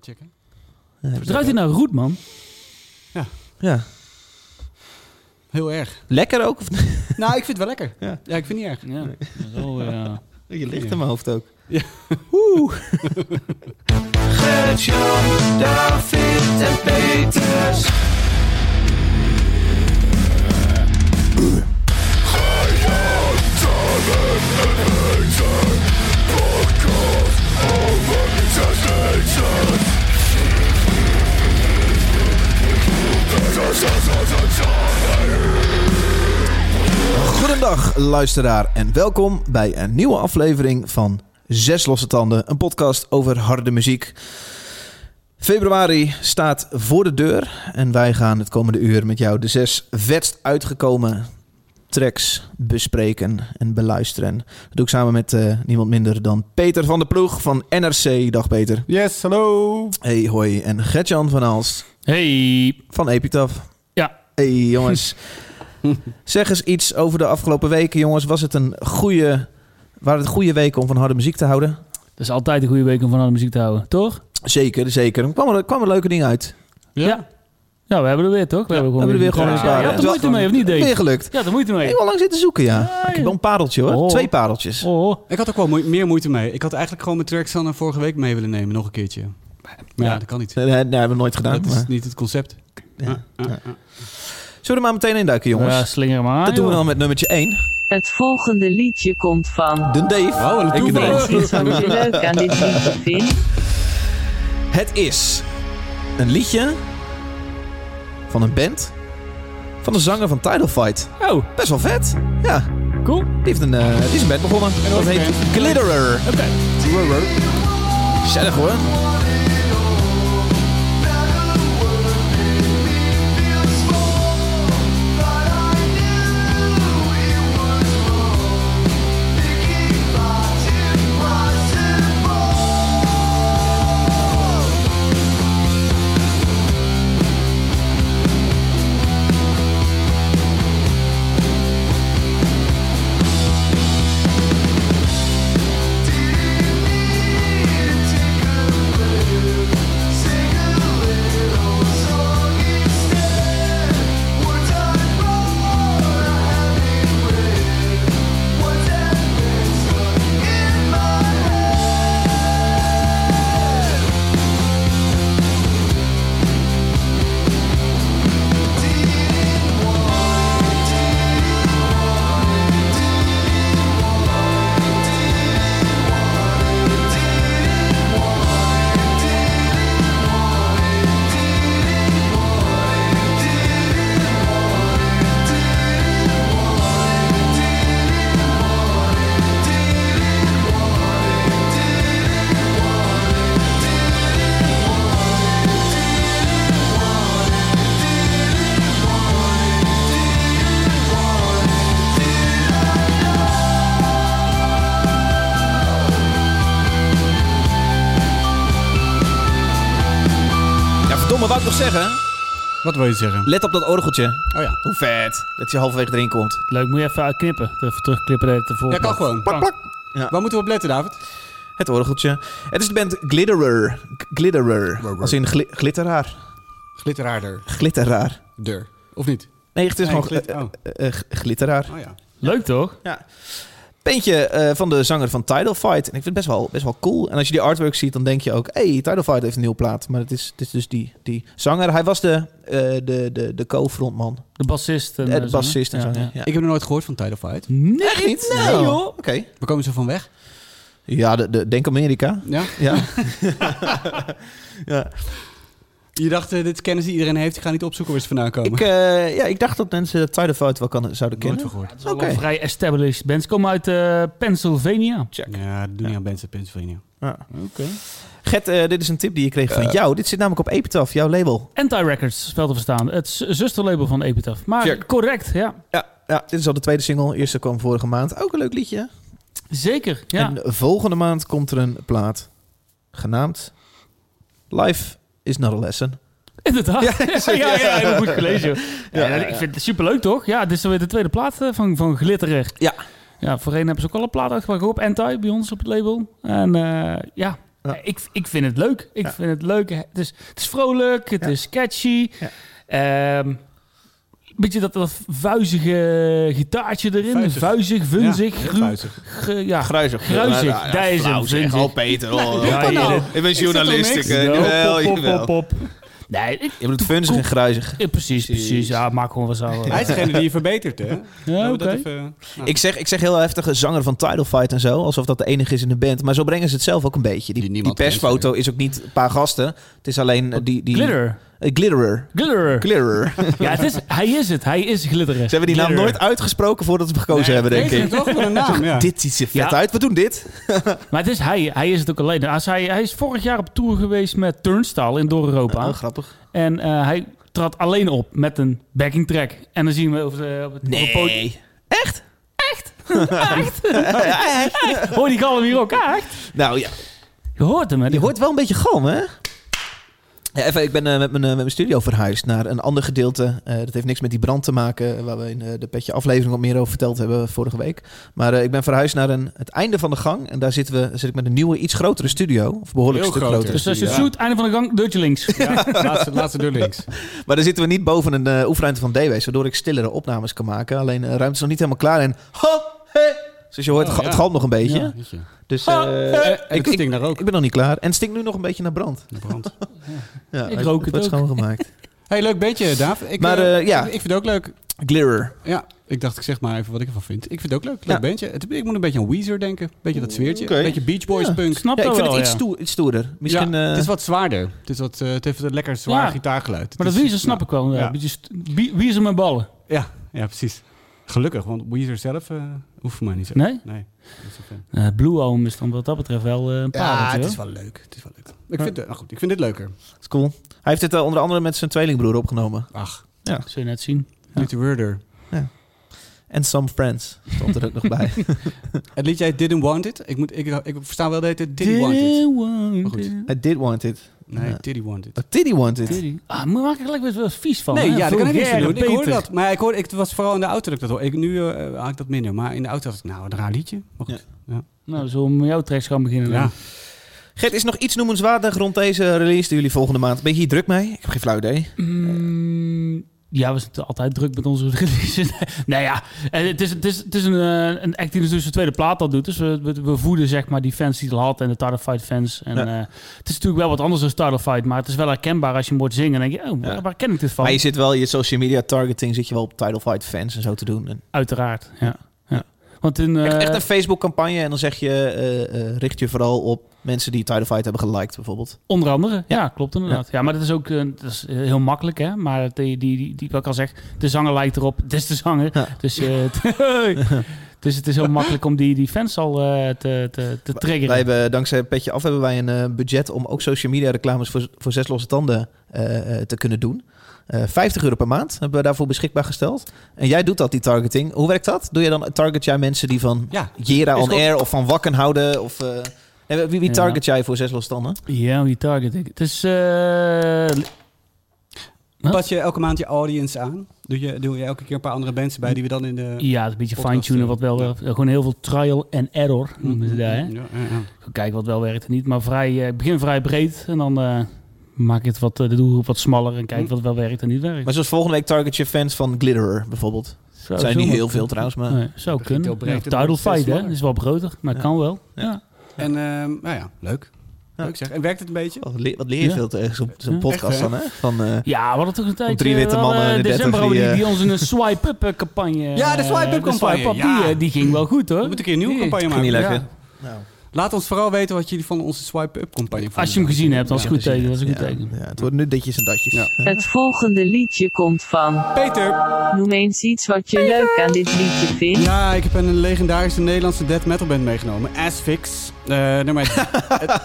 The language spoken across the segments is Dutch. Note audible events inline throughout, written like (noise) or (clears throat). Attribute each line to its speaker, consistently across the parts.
Speaker 1: checken.
Speaker 2: Ja,
Speaker 3: Wat ruikt hij nou roet, man?
Speaker 2: ja.
Speaker 1: Heel erg.
Speaker 2: Lekker ook? Of niet?
Speaker 1: (laughs) nou, ik vind het wel lekker.
Speaker 2: Ja.
Speaker 1: Ja, ik vind het niet erg.
Speaker 3: Ja. dat is wel, ja.
Speaker 2: Je ligt in mijn hoofd ook. (laughs)
Speaker 1: Ja.
Speaker 2: Oeh.
Speaker 4: David en Peters.
Speaker 2: Goedendag luisteraar en welkom bij een nieuwe aflevering van Zes Losse Tanden. Een podcast over harde muziek. Februari staat voor de deur en wij gaan het komende uur met jou de zes vetst uitgekomen tracks bespreken en beluisteren. Dat doe ik samen met eh, niemand minder dan Peter van der Ploeg van NRC. Dag Peter.
Speaker 1: Yes, hallo.
Speaker 2: Hey hoi en Gertjan van Aalst
Speaker 3: Hey.
Speaker 2: van Epitaph.
Speaker 3: Ja.
Speaker 2: Hey jongens. (laughs) zeg eens iets over de afgelopen weken, jongens. Was het een goede, waren het goede weken om van harde muziek te houden?
Speaker 3: Dat is altijd een goede week om van alle muziek te houden, toch?
Speaker 2: Zeker, zeker. Er kwamen er, kwamen leuke dingen uit.
Speaker 1: Ja.
Speaker 3: Ja. Ja, we hebben er weer, toch? We hebben,
Speaker 2: We hebben er weer gewoon
Speaker 3: ja,
Speaker 2: een paar.
Speaker 3: Je had
Speaker 2: Het was
Speaker 3: er moeite mee, of
Speaker 2: gewoon
Speaker 3: niet, Dave?
Speaker 2: Weer gelukt.
Speaker 3: Ja, daar moeite
Speaker 2: Ik
Speaker 3: mee.
Speaker 2: heb al lang zitten zoeken, ja.
Speaker 3: Ja,
Speaker 2: Ik heb wel een pareltje, hoor.
Speaker 3: Oh.
Speaker 2: Twee pareltjes.
Speaker 3: Oh.
Speaker 1: Ik had ook wel moe- meer moeite mee. Ik had eigenlijk gewoon mijn tracks van vorige week mee willen nemen, nog een keertje. Maar ja,
Speaker 3: Ja.
Speaker 1: dat kan niet.
Speaker 2: Nee, nee, dat hebben we nooit gedaan.
Speaker 1: Dat is
Speaker 2: maar-
Speaker 1: niet het concept.
Speaker 2: ja.
Speaker 1: Ah, ah,
Speaker 2: Ja.
Speaker 1: ah.
Speaker 2: Zullen we er maar meteen in duiken, jongens?
Speaker 3: Ja, slinger maar.
Speaker 2: dat doen we
Speaker 3: joh.
Speaker 2: dan met nummertje 1.
Speaker 5: Het volgende liedje komt van.
Speaker 2: De Dave.
Speaker 1: Oh, en het toeval.
Speaker 2: Ik bedoel-
Speaker 5: Weet je wat je leuk aan dit liedje vindt?
Speaker 2: Het is een liedje van een band van de zanger van Tidal Fight.
Speaker 3: Oh,
Speaker 2: Best wel vet. Ja,
Speaker 3: cool. Oké.
Speaker 2: die, heeft een, eh, die is een band begonnen. dat
Speaker 1: ook
Speaker 2: heet
Speaker 1: een
Speaker 2: Glitterer. Zettig hoor. Ja, verdomme, wou ik nog zeggen.
Speaker 1: Wat wil je zeggen?
Speaker 2: Let op dat orgeltje.
Speaker 1: Oh ja.
Speaker 2: Hoe vet. Dat je halverwege erin komt.
Speaker 3: Leuk, moet je even uitknippen. Even terugklippen. Dat de
Speaker 1: Ja,
Speaker 3: volgende.
Speaker 1: kan gewoon.
Speaker 2: Plak, plak.
Speaker 1: Waar moeten we op letten, David?
Speaker 2: Het orgeltje. Het is de band Glitterer. G- Glitterer. Als in gli- glitteraar.
Speaker 1: Glitteraarder.
Speaker 2: Glitteraar.
Speaker 1: Deur. Of niet?
Speaker 2: Nee, het is
Speaker 1: Nee,
Speaker 2: gewoon
Speaker 1: glit-
Speaker 2: gl-
Speaker 1: oh.
Speaker 2: eh, eh, g- glitteraar.
Speaker 1: Oh ja.
Speaker 3: Leuk, toch?
Speaker 2: Peentje eh, van de zanger van Tidal Fight. En ik vind het best wel, best wel cool. En als je die artwork ziet, dan denk je ook... hey, Tidal Fight heeft een nieuw plaat. Maar het is, het is dus die, die zanger. Hij was de, eh, de, de, de co-frontman.
Speaker 3: De bassist. En,
Speaker 2: Eh,
Speaker 3: eh,
Speaker 2: de
Speaker 3: zanger.
Speaker 2: bassist en
Speaker 3: Ja,
Speaker 2: zanger.
Speaker 3: ja.
Speaker 2: Ja.
Speaker 1: Ik heb er nooit gehoord van Tidal Fight.
Speaker 3: Nee,
Speaker 2: Echt niet? Nou,
Speaker 3: Nee, joh.
Speaker 2: Oké.
Speaker 1: We komen ze van weg.
Speaker 2: Ja, de, de, denk Amerika.
Speaker 1: Ja?
Speaker 2: Ja. ja.
Speaker 1: Je dacht, eh, dit is kennis die iedereen heeft. Ik ga niet opzoeken waar ze vandaan komen.
Speaker 2: Ik, eh, ja, ik dacht dat mensen Tidal Fight wel kan,
Speaker 1: nooit
Speaker 2: zouden kennen.
Speaker 1: van gehoord.
Speaker 3: Het is al
Speaker 2: Oké.
Speaker 3: een vrij established band. Ze komen uit eh, Pennsylvania.
Speaker 2: Check.
Speaker 1: Ja, dat doen niet aan bands uit Pennsylvania.
Speaker 2: Ja.
Speaker 3: Oké.
Speaker 2: Gert, eh, dit is een tip die je kreeg van jou. Dit zit namelijk op Epitaph, jouw label.
Speaker 3: Anti Records, spel te verstaan. Het z- zusterlabel van Epitaph. Maar
Speaker 2: Check.
Speaker 3: correct, ja.
Speaker 2: Ja, ja, dit is al de tweede single. Eerste kwam vorige maand. Ook een leuk liedje.
Speaker 3: Zeker, ja.
Speaker 2: En volgende maand komt er een plaat genaamd Life is not a lesson.
Speaker 3: Inderdaad. (laughs) Ja, ja, ja, heel goed gelezen. joh.
Speaker 2: Ja,
Speaker 3: Ja,
Speaker 2: ja,
Speaker 3: Ik vind het superleuk, toch? Ja, dit is alweer de tweede plaat eh, van, van Glitterer.
Speaker 2: Ja.
Speaker 3: Ja, voorheen hebben ze ook al een plaat uitgebracht op Anti, bij ons op het label. En eh, ja,
Speaker 2: Ja.
Speaker 3: Ik, ik vind het leuk. Ik
Speaker 2: Ja.
Speaker 3: vind het leuk. Het is, het is vrolijk, het
Speaker 2: Ja.
Speaker 3: is catchy.
Speaker 2: Ja.
Speaker 3: Ehm, beetje dat, dat vuizige gitaartje erin.
Speaker 1: Vuizig.
Speaker 3: Vuizig, vunzig,
Speaker 1: Ja,
Speaker 3: gru-
Speaker 1: vuizig.
Speaker 3: ge- ja.
Speaker 2: Ah, Gruizig.
Speaker 3: Gruizig, daar is
Speaker 2: flauw
Speaker 3: hem,
Speaker 2: zeg.
Speaker 3: vind ik.
Speaker 2: Oh, Peter.
Speaker 3: (laughs)
Speaker 2: Oh.
Speaker 3: Ja,
Speaker 1: maar nou.
Speaker 3: dit-
Speaker 2: Ik ben journalist.
Speaker 1: Ik
Speaker 2: Ik,
Speaker 1: zeg
Speaker 2: eh,
Speaker 1: toch
Speaker 3: Ja,
Speaker 2: jawel,
Speaker 3: pop, pop,
Speaker 2: jawel.
Speaker 3: pop, pop. Nee, ik,
Speaker 2: Je bedoet funzig en gruizig.
Speaker 3: ja, precies, precies. Ja, maak gewoon wat zo.
Speaker 1: Hij is degene die je verbetert, hè?
Speaker 3: Ja,
Speaker 1: Laten we dat
Speaker 3: oké.
Speaker 1: even- nou.
Speaker 2: Ik zeg, ik zeg heel heftig een zanger van Tidal Fight en zo. Alsof dat de enige is in de band. Maar zo brengen ze het zelf ook een beetje. Die,
Speaker 1: Die
Speaker 2: die,
Speaker 1: niemand
Speaker 2: persfoto is ook niet een paar gasten. Het is alleen eh, die... die
Speaker 3: Glitter.
Speaker 2: eh, glitterer. (laughs)
Speaker 3: Glitter.
Speaker 2: Glitterer. ze
Speaker 3: Ja, het is, hij is het. Hij is glitteren.
Speaker 2: hebben die naam
Speaker 3: Glitterer.
Speaker 2: nooit uitgesproken voordat ze hem gekozen hebben, denk
Speaker 1: Peter,
Speaker 2: ik.
Speaker 1: toch? Wat een naam, ja.
Speaker 2: Dit ziet er vet
Speaker 3: Ja.
Speaker 2: uit. We doen dit.
Speaker 3: Maar het is hij. Hij is het ook alleen. Als hij, hij is vorig jaar op tour geweest met Turnstile in Door-Europa.
Speaker 2: Oh, grappig.
Speaker 3: en eh, hij trad alleen op met een backing track. En dan zien we op, de, op het op het podium-
Speaker 2: Echt?
Speaker 3: Hoor die galm hier ook? Ah, echt?
Speaker 2: Nou ja,
Speaker 3: Je hoort hem, hè?
Speaker 2: Je hoort wel een beetje galm, hè? Ja, even, ik ben eh, met, mijn, eh, met mijn studio verhuisd naar een ander gedeelte. Eh, dat heeft niks met die brand te maken, eh, waar we in eh, de petje aflevering wat meer over verteld hebben vorige week. Maar eh, ik ben verhuisd naar een, het einde van de gang. En daar zitten we, zit ik met een nieuwe, iets grotere studio. Of behoorlijk
Speaker 1: Heel
Speaker 2: stuk
Speaker 1: groter.
Speaker 2: groter.
Speaker 3: Dus als je het
Speaker 1: Ja.
Speaker 3: zoet, einde van de gang, deurtje
Speaker 2: (laughs)
Speaker 3: links.
Speaker 1: Ja, laatste, laatste deur links.
Speaker 2: Maar daar zitten we niet boven een eh, oefenruimte van DW's, waardoor ik stillere opnames kan maken. Alleen eh, de ruimte is nog niet helemaal klaar. En ho, hé. Dus je hoort
Speaker 1: Oh,
Speaker 2: ga-
Speaker 1: ja.
Speaker 2: het galm nog een beetje.
Speaker 1: Ja, weet je.
Speaker 2: Dus
Speaker 3: Ha,
Speaker 2: eh,
Speaker 3: hé.
Speaker 1: Eh,
Speaker 2: ik-
Speaker 1: het stinkt daar ook.
Speaker 2: ik ben nog niet klaar. En het stinkt nu nog een beetje naar brand.
Speaker 1: De brand.
Speaker 2: Ja,
Speaker 3: Ik rook het
Speaker 2: wordt
Speaker 3: ook.
Speaker 2: schoongemaakt.
Speaker 3: (laughs)
Speaker 1: Hey, leuk beetje, Daaf. Ik,
Speaker 2: Maar,
Speaker 1: eh,
Speaker 2: eh, ja.
Speaker 1: ik, ik vind het ook leuk.
Speaker 2: Glitterer.
Speaker 1: Ja, ik dacht, ik zeg maar even wat ik ervan vind. Ik vind het ook leuk. Leuk
Speaker 2: Ja.
Speaker 1: bandje. Het- ik moet een beetje aan Weezer denken. Beetje dat sfeertje.
Speaker 2: Oké.
Speaker 1: Beetje Beach Boys
Speaker 2: Ja.
Speaker 1: punk.
Speaker 3: Snap
Speaker 2: Ja, ik
Speaker 3: dat
Speaker 2: vind
Speaker 3: wel,
Speaker 2: het iets,
Speaker 3: ja.
Speaker 2: stoer- iets stoerder. Misschien,
Speaker 1: Ja,
Speaker 2: eh,
Speaker 1: het is wat zwaarder. Het, is wat, eh, het heeft een lekker zwaar
Speaker 3: Ja.
Speaker 1: gitaargeluid. Het
Speaker 3: Maar dat
Speaker 1: is-
Speaker 3: Weezer snap ik wel.
Speaker 1: Ja.
Speaker 3: Ja. Beetje st- Wie wie is er met ballen?
Speaker 1: Ja, ja, precies. Gelukkig, want Weezer zelf eh, hoeft voor mij niet zo.
Speaker 3: Nee?
Speaker 1: Nee. niet zo fan.
Speaker 3: Eh, Blue Album is dan wat dat betreft wel eh, een
Speaker 1: Ja,
Speaker 3: pareltje.
Speaker 1: het
Speaker 3: hoor.
Speaker 1: is wel leuk. Het is wel leuk. Ik vind, het- nou goed, ik vind dit leuker.
Speaker 2: dat is cool. Hij heeft het eh, onder andere met zijn tweelingbroer opgenomen.
Speaker 1: Ach,
Speaker 3: Zul je net zien. Ja.
Speaker 1: Little Murder.
Speaker 2: En Some Friends stond er ook nog bij.
Speaker 3: (laughs)
Speaker 1: Het liedje heet Didn't Want It. Ik, moet, ik, ik versta wel de hele tijd Diddy Want It. Maar goed.
Speaker 2: I did want it.
Speaker 1: Nee,
Speaker 2: Ja.
Speaker 1: Diddy Want It.
Speaker 2: Oh, Tiddy want it.
Speaker 3: Diddy. Ah, maar maak ik er gelijk weer wel vies van.
Speaker 1: nee,
Speaker 3: hè?
Speaker 1: ja, dat kan ik niet
Speaker 3: Vulgaire
Speaker 1: doen. Ik hoorde
Speaker 3: Peter.
Speaker 1: dat. Maar ik hoorde, ik, het was vooral in de auto dat ik dat hoorde. Ik, nu eh, had ik dat minder. Maar in de auto had ik, nou, een raar liedje. Maar goed.
Speaker 3: Nou, zullen we met jouw tracks gaan beginnen? dan?
Speaker 1: Ja.
Speaker 2: Gert, is er nog iets noemenswaardig rond deze release die jullie volgende maand... Ben je hier druk mee? Ik heb geen flauw idee.
Speaker 3: Mm, ja, we zitten altijd druk met onze (laughs) releases. nou ja, eh, het is, het is, het is een, eh, een act die dus zijn tweede plaat al doet. Dus we, we, we voeden zeg maar die fans die het al had en de Title Fight fans. En,
Speaker 2: Ja.
Speaker 3: eh, het is natuurlijk wel wat anders dan Title Fight, maar het is wel herkenbaar als je hem hoort zingen. Dan denk je, oh, waar,
Speaker 2: Ja.
Speaker 3: waar ken ik dit van?
Speaker 2: Maar je zit wel je social media targeting... zit je wel op Tidal Fight fans en zo te doen. En
Speaker 3: Uiteraard, ja. ja. Want in, eh,
Speaker 2: echt, echt een Facebook campagne. En dan zeg je... eh, eh, richt je vooral op mensen die Tidal Fight hebben geliked bijvoorbeeld.
Speaker 3: Onder andere, ja, klopt inderdaad. Ja, maar dat is ook eh, dat is eh, heel makkelijk, hè. Maar die, die, die, die, wat ik al zeg, de zanger lijkt erop. Het is de zanger.
Speaker 2: Ja.
Speaker 3: Dus, eh, (laughs) dus het is heel makkelijk om die, die fans al eh, te, te, te triggeren.
Speaker 2: Wij hebben, dankzij Petje Af hebben wij een eh, budget om ook social media reclames voor, voor zes losse tanden eh, eh, te kunnen doen. Eh 50 euro per maand hebben we daarvoor beschikbaar gesteld. En jij doet dat, die targeting. Hoe werkt dat? Doe je dan, target jij mensen die van
Speaker 1: Ja.
Speaker 2: Jera
Speaker 1: Is
Speaker 2: on
Speaker 1: dat-
Speaker 2: Air of van Wakken houden? Of, eh, nee, wie, wie
Speaker 3: Ja.
Speaker 2: target jij voor zes losse tanden?
Speaker 3: Ja, wie target ik? Het is... eh, Huh?
Speaker 1: Pas je elke maand je audience aan? Doe je, doe je elke keer een paar andere bands bij die we dan in de...
Speaker 3: ja, het is een beetje
Speaker 1: Podcast,
Speaker 3: fine-tunen, wat wel...
Speaker 1: ja.
Speaker 3: eh, Gewoon heel veel trial en error
Speaker 2: Mm-hmm.
Speaker 3: noemen ze dat, hè.
Speaker 1: Ja, ja, ja.
Speaker 3: Gewoon Kijken wat wel werkt en niet. Maar vrij, eh, ik begin vrij breed en dan eh, maak ik het wat, eh, de doelgroep wat smaller... en kijk
Speaker 1: Hm.
Speaker 3: wat wel werkt en niet werkt.
Speaker 2: Mm-hmm. Maar zoals volgende week target je fans van Glitterer bijvoorbeeld.
Speaker 3: Zo,
Speaker 2: Dat zijn niet
Speaker 3: zomaar.
Speaker 2: heel veel eh, trouwens, maar...
Speaker 3: Nee, zou
Speaker 1: begint heel
Speaker 3: kunnen.
Speaker 1: breed,
Speaker 3: Ja,
Speaker 1: het
Speaker 3: title
Speaker 1: wordt steeds
Speaker 3: fight, hè?
Speaker 1: smaller.
Speaker 3: Is wel brodig, maar
Speaker 2: Ja.
Speaker 3: kan wel.
Speaker 2: Ja.
Speaker 3: Ja.
Speaker 1: En, ehm, nou ja, leuk.
Speaker 2: Ja.
Speaker 1: Leuk zeg. En werkt het een beetje?
Speaker 2: Wat leer, wat leer je
Speaker 3: Ja.
Speaker 2: veel tegen zo'n zo'n
Speaker 3: Ja.
Speaker 2: podcast
Speaker 1: Echt, hè?
Speaker 2: dan, hè? Van, eh,
Speaker 3: Ja, we hadden toch een tijdje...
Speaker 2: drie witte
Speaker 3: wel,
Speaker 2: mannen
Speaker 3: eh,
Speaker 2: in de
Speaker 3: december
Speaker 2: dertig die,
Speaker 3: hadden die,
Speaker 2: eh,
Speaker 3: die ons een swipe-up eh, campagne...
Speaker 1: Ja, de
Speaker 3: eh,
Speaker 1: swipe-up campagne,
Speaker 3: swipe-up,
Speaker 1: ja.
Speaker 3: die, eh, die ging wel goed, hoor.
Speaker 1: We moeten een keer een nieuwe
Speaker 3: Die-
Speaker 1: campagne
Speaker 2: Ging niet
Speaker 1: maken.
Speaker 2: lekker.
Speaker 3: Ja.
Speaker 2: Nou.
Speaker 1: Laat ons vooral weten wat jullie van onze swipe-up campagne vonden.
Speaker 3: Als je hem gezien hebt, dan is
Speaker 1: Ja.
Speaker 3: het goed teken. Dat is een goed
Speaker 1: (laughs)
Speaker 2: Ja,
Speaker 3: teken.
Speaker 2: ja, het wordt nu ditjes en datjes.
Speaker 1: Ja.
Speaker 5: Het volgende liedje komt van.
Speaker 1: Peter!
Speaker 5: Noem eens iets wat je leuk aan dit liedje vindt.
Speaker 1: Ja, ik heb een legendarische Nederlandse death metal band meegenomen. Asfix. Eh nummer heet- het,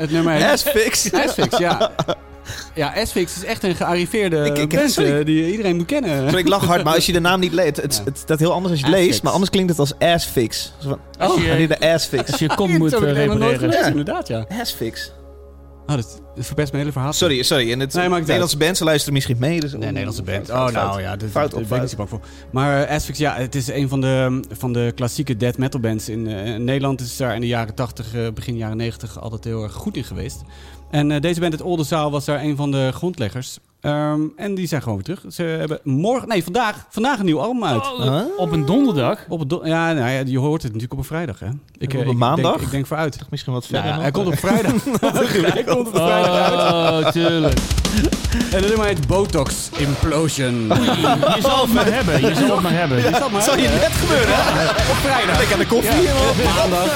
Speaker 1: het nummer
Speaker 2: (laughs)
Speaker 1: heet...
Speaker 2: Asfix.
Speaker 1: Asfix, ja. Ja, Asfix is echt een gearriveerde
Speaker 2: Ik- ik-
Speaker 1: band
Speaker 2: sorry.
Speaker 1: eh, die iedereen moet kennen.
Speaker 2: Sorry, ik lach hard, maar als je de naam niet leest, het, het, het staat heel anders als je het
Speaker 1: Assfix.
Speaker 2: leest, maar anders klinkt het als assfix. Zo van,
Speaker 3: Als
Speaker 2: Oh,
Speaker 3: je-
Speaker 2: I need de assfix.
Speaker 3: Als je je kont moet
Speaker 1: Zo heb
Speaker 3: eh,
Speaker 1: ik het helemaal nooit
Speaker 3: repareren.
Speaker 1: gelezen,
Speaker 2: Ja.
Speaker 1: inderdaad, ja.
Speaker 2: Assfix.
Speaker 1: Oh, dat verpest mijn hele verhaal.
Speaker 2: Sorry, sorry. En het
Speaker 1: Nee, maakt niet
Speaker 2: Nederlandse band, ze luisteren misschien mee. Dus,
Speaker 1: Nee, Nederlandse band.
Speaker 2: Fout,
Speaker 1: oh,
Speaker 2: fout.
Speaker 1: nou ja, dit-
Speaker 2: Fout
Speaker 1: daar
Speaker 2: op
Speaker 1: ben ik niet
Speaker 2: fout.
Speaker 1: zo bang voor. Maar eh, Asphyx, ja, het is een van de, van de klassieke death metal bands. In, eh, in Nederland is daar in de jaren 80, eh, begin jaren 90 altijd heel erg goed in geweest. En eh, deze band uit Oldenzaal was daar een van de grondleggers. Ehm, en die zijn gewoon weer terug. Ze hebben morgen, nee, vandaag, vandaag een nieuw album uit.
Speaker 3: Oh, Op een donderdag.
Speaker 1: Op het do- ja, nou ja, je hoort het natuurlijk op een vrijdag, hè? Ik,
Speaker 2: En op
Speaker 1: eh,
Speaker 2: een
Speaker 1: ik
Speaker 2: maandag?
Speaker 1: Denk, ik denk vooruit.
Speaker 2: Misschien wat
Speaker 1: Nou
Speaker 2: verder.
Speaker 1: ja,
Speaker 2: nog.
Speaker 1: hij komt op
Speaker 2: (laughs)
Speaker 1: vrijdag. hij komt op vrijdag uit.
Speaker 3: Oh, tuurlijk.
Speaker 1: En de nummer heet Botox Implosion.
Speaker 3: Je zal het maar hebben. Je zal het maar hebben.
Speaker 1: Is dat maar?
Speaker 2: Oh Zal je net gebeuren, hè? Op vrijdag. Lekker aan de koffie. joh.
Speaker 1: maandag.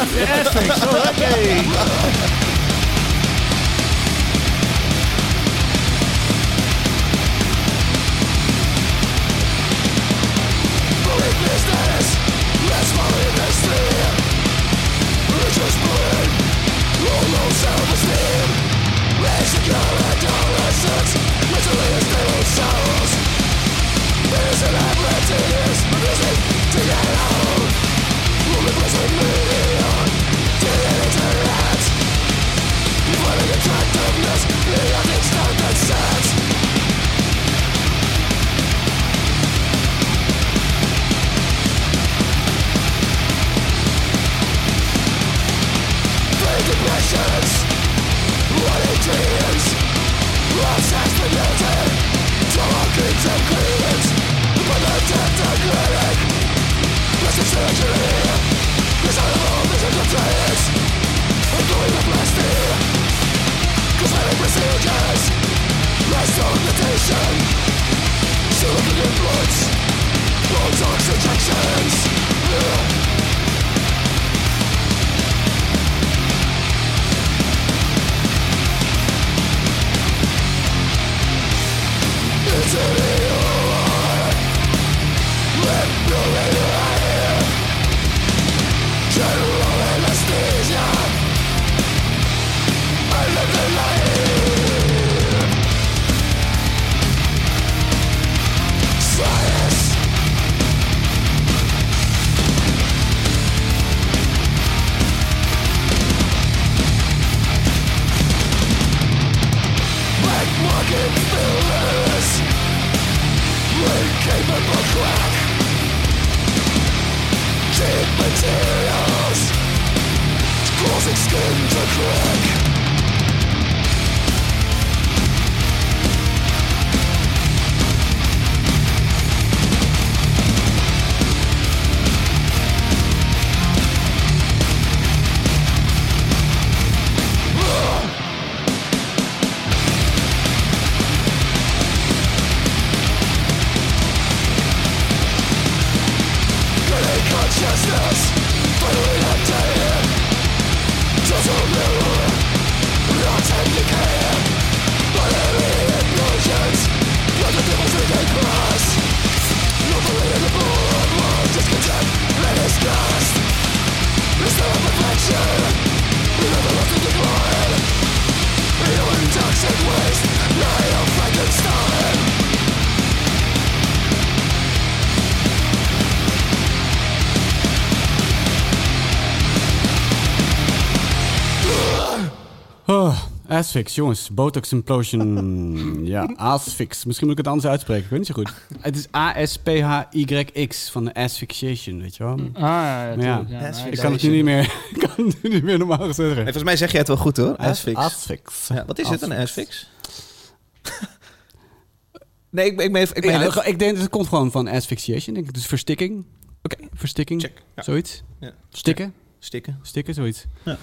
Speaker 1: Oh, Asfix, jongens. Botox
Speaker 2: (laughs)
Speaker 1: Implosion. ja, Asfix. Misschien moet ik het anders uitspreken. Ik weet niet zo goed. Het is A-S-P-H-Y-X van de Asphyxiation, weet je wel?
Speaker 2: Hmm.
Speaker 3: Ah, ja, tuurlijk.
Speaker 1: Ja,
Speaker 3: Ja, nou,
Speaker 1: Ik kan het nu niet meer, (laughs) ik kan het nu niet meer normaal gezegd
Speaker 2: Nee,
Speaker 1: zeggen.
Speaker 2: volgens mij zeg jij het wel goed, hoor. Asfix.
Speaker 1: Asfix.
Speaker 2: Ja, wat is het, een
Speaker 1: Asfix.
Speaker 2: asfix? (laughs) nee, ik, ik, meen- ik, meen
Speaker 1: Ja,
Speaker 2: het.
Speaker 1: dat- ik denk dat het komt gewoon van asphyxiation, denk ik. Dus verstikking. Oké. Verstikking.
Speaker 2: Check. Ja.
Speaker 1: Zoiets.
Speaker 2: Ja.
Speaker 1: Stikken.
Speaker 2: Stikken.
Speaker 1: Stikken, zoiets.
Speaker 2: Ja.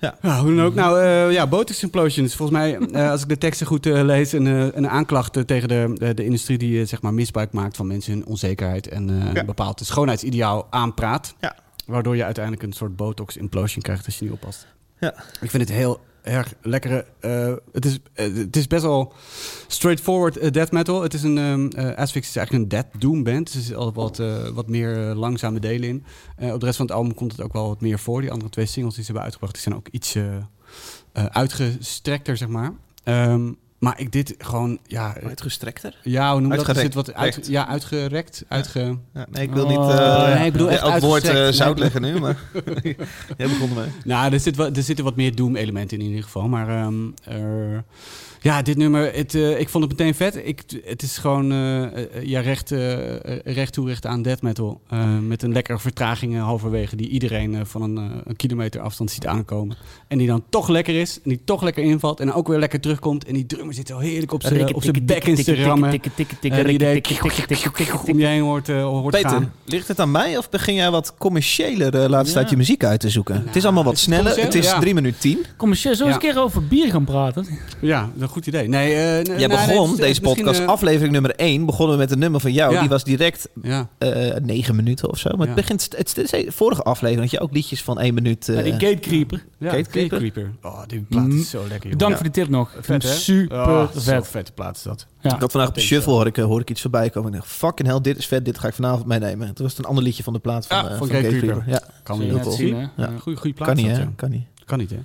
Speaker 2: Ja.
Speaker 1: hoe dan ook. Nou, eh, ja, botox implosions. Volgens mij, eh, als ik de teksten goed eh, lees, een, eh, een aanklacht eh, tegen de, eh, de industrie die eh, zeg maar misbruik maakt van mensen hun onzekerheid en eh,
Speaker 2: Ja.
Speaker 1: een bepaald schoonheidsideaal aanpraat.
Speaker 2: Ja.
Speaker 1: Waardoor je uiteindelijk een soort botox implosion krijgt als je niet oppast.
Speaker 2: Ja.
Speaker 1: Ik vind het heel erg lekkere. eh, het, is, eh, het is best wel straightforward eh, death metal. Het is een ehm eh, Asphyx is eigenlijk een death doom band. Dus er zitten altijd wat, eh, wat meer eh, langzame delen in. Eh, op de rest van het album komt het ook wel wat meer voor. Die andere twee singles die ze hebben uitgebracht, die zijn ook iets eh, eh, uitgestrekter, zeg maar. Ehm, Maar ik dit gewoon, ja, eh,
Speaker 2: Uitgestrekter?
Speaker 1: ja hoe noem je dat? Er
Speaker 2: Uitgerekt.
Speaker 1: zit wat uit,
Speaker 2: Recht.
Speaker 1: ja, uitgerekt, uitge...
Speaker 2: Ja, nee, ik wil
Speaker 3: Oh,
Speaker 2: niet
Speaker 3: nee,
Speaker 2: eh
Speaker 1: ik bedoel echt
Speaker 2: elk woord eh,
Speaker 1: uitgestrekt.
Speaker 2: zout
Speaker 1: Nee.
Speaker 2: leggen nu,
Speaker 1: (laughs)
Speaker 2: maar jij begon ermee.
Speaker 1: Nou, er, zit wat, er zitten wat meer Doom-elementen in ieder geval. Maar ehm, eh, ja, dit nummer, het, eh, ik vond het meteen vet. Ik, het is gewoon eh, eh, ja, recht, eh, eh, recht toe recht aan death metal. Eh, met een lekkere vertraging eh, halverwege die iedereen eh, van een, eh, een kilometer afstand ziet aankomen. En die dan toch lekker is, en die toch lekker invalt en ook weer lekker terugkomt. En die drummer zit zo heerlijk op zijn op zijn bek in te rammen.
Speaker 3: Eh,
Speaker 1: En die idee om je heen hoort, eh, hoort
Speaker 2: Peter,
Speaker 1: gaan.
Speaker 2: ligt het aan mij of begin jij wat commerciëler eh, laatste
Speaker 3: Ja.
Speaker 2: tijd je muziek uit te zoeken? het is allemaal wat
Speaker 1: Nou, is het
Speaker 2: sneller. Het
Speaker 1: commercieel?
Speaker 2: is
Speaker 1: Ja. Eh,
Speaker 2: 3 minuten 10.
Speaker 3: Kom eens, zo eens
Speaker 1: Ja.
Speaker 3: een keer over bier gaan praten.
Speaker 1: Ja, dat is een goed idee. Nee, eh, n-
Speaker 2: Jij
Speaker 1: nou, nee,
Speaker 2: begon
Speaker 1: het is-
Speaker 2: deze
Speaker 1: misschien,
Speaker 2: podcast,
Speaker 1: eh,
Speaker 2: aflevering nummer 1, begonnen we met een nummer van jou.
Speaker 1: Ja.
Speaker 2: Die was direct
Speaker 1: Ja.
Speaker 2: eh 9 minuten of zo. Maar
Speaker 1: Ja.
Speaker 2: het begint, het, het is de vorige aflevering had je ook liedjes van 1 minuut. eh,
Speaker 3: Ja, die gatecreeper.
Speaker 1: Ja,
Speaker 2: Gatekeeper.
Speaker 1: Gatekeeper. Oh, die plaat
Speaker 3: Mm.
Speaker 1: is zo lekker. joh.
Speaker 3: Bedankt
Speaker 2: Ja.
Speaker 3: voor die tip nog. Ik vind
Speaker 1: Vet,
Speaker 3: hem
Speaker 1: hè?
Speaker 3: Super
Speaker 1: Oh, Zo'n
Speaker 3: vet.
Speaker 1: vette plaat is dat.
Speaker 3: Ja.
Speaker 2: Ik had vandaag op de
Speaker 1: Dat denk ik
Speaker 2: shuffle hoor ik, eh, hoor ik iets voorbij komen. Ik dacht, fucking hell, dit is vet, dit ga ik vanavond meenemen. Toen was het een ander liedje van de plaat van,
Speaker 1: Ja,
Speaker 2: eh,
Speaker 1: Ah, van
Speaker 2: van
Speaker 1: Gatekeeper.
Speaker 2: Gatekeeper. Ja,
Speaker 1: Kan niet.
Speaker 3: Zul je
Speaker 2: heel
Speaker 3: net
Speaker 2: tof.
Speaker 3: zien, hè?
Speaker 2: Ja.
Speaker 3: Ja.
Speaker 1: Goeie, goeie plaat
Speaker 2: kan
Speaker 1: is
Speaker 2: niet
Speaker 1: dat,
Speaker 2: hè,
Speaker 1: ja.
Speaker 2: kan niet.
Speaker 1: Kan niet, hè?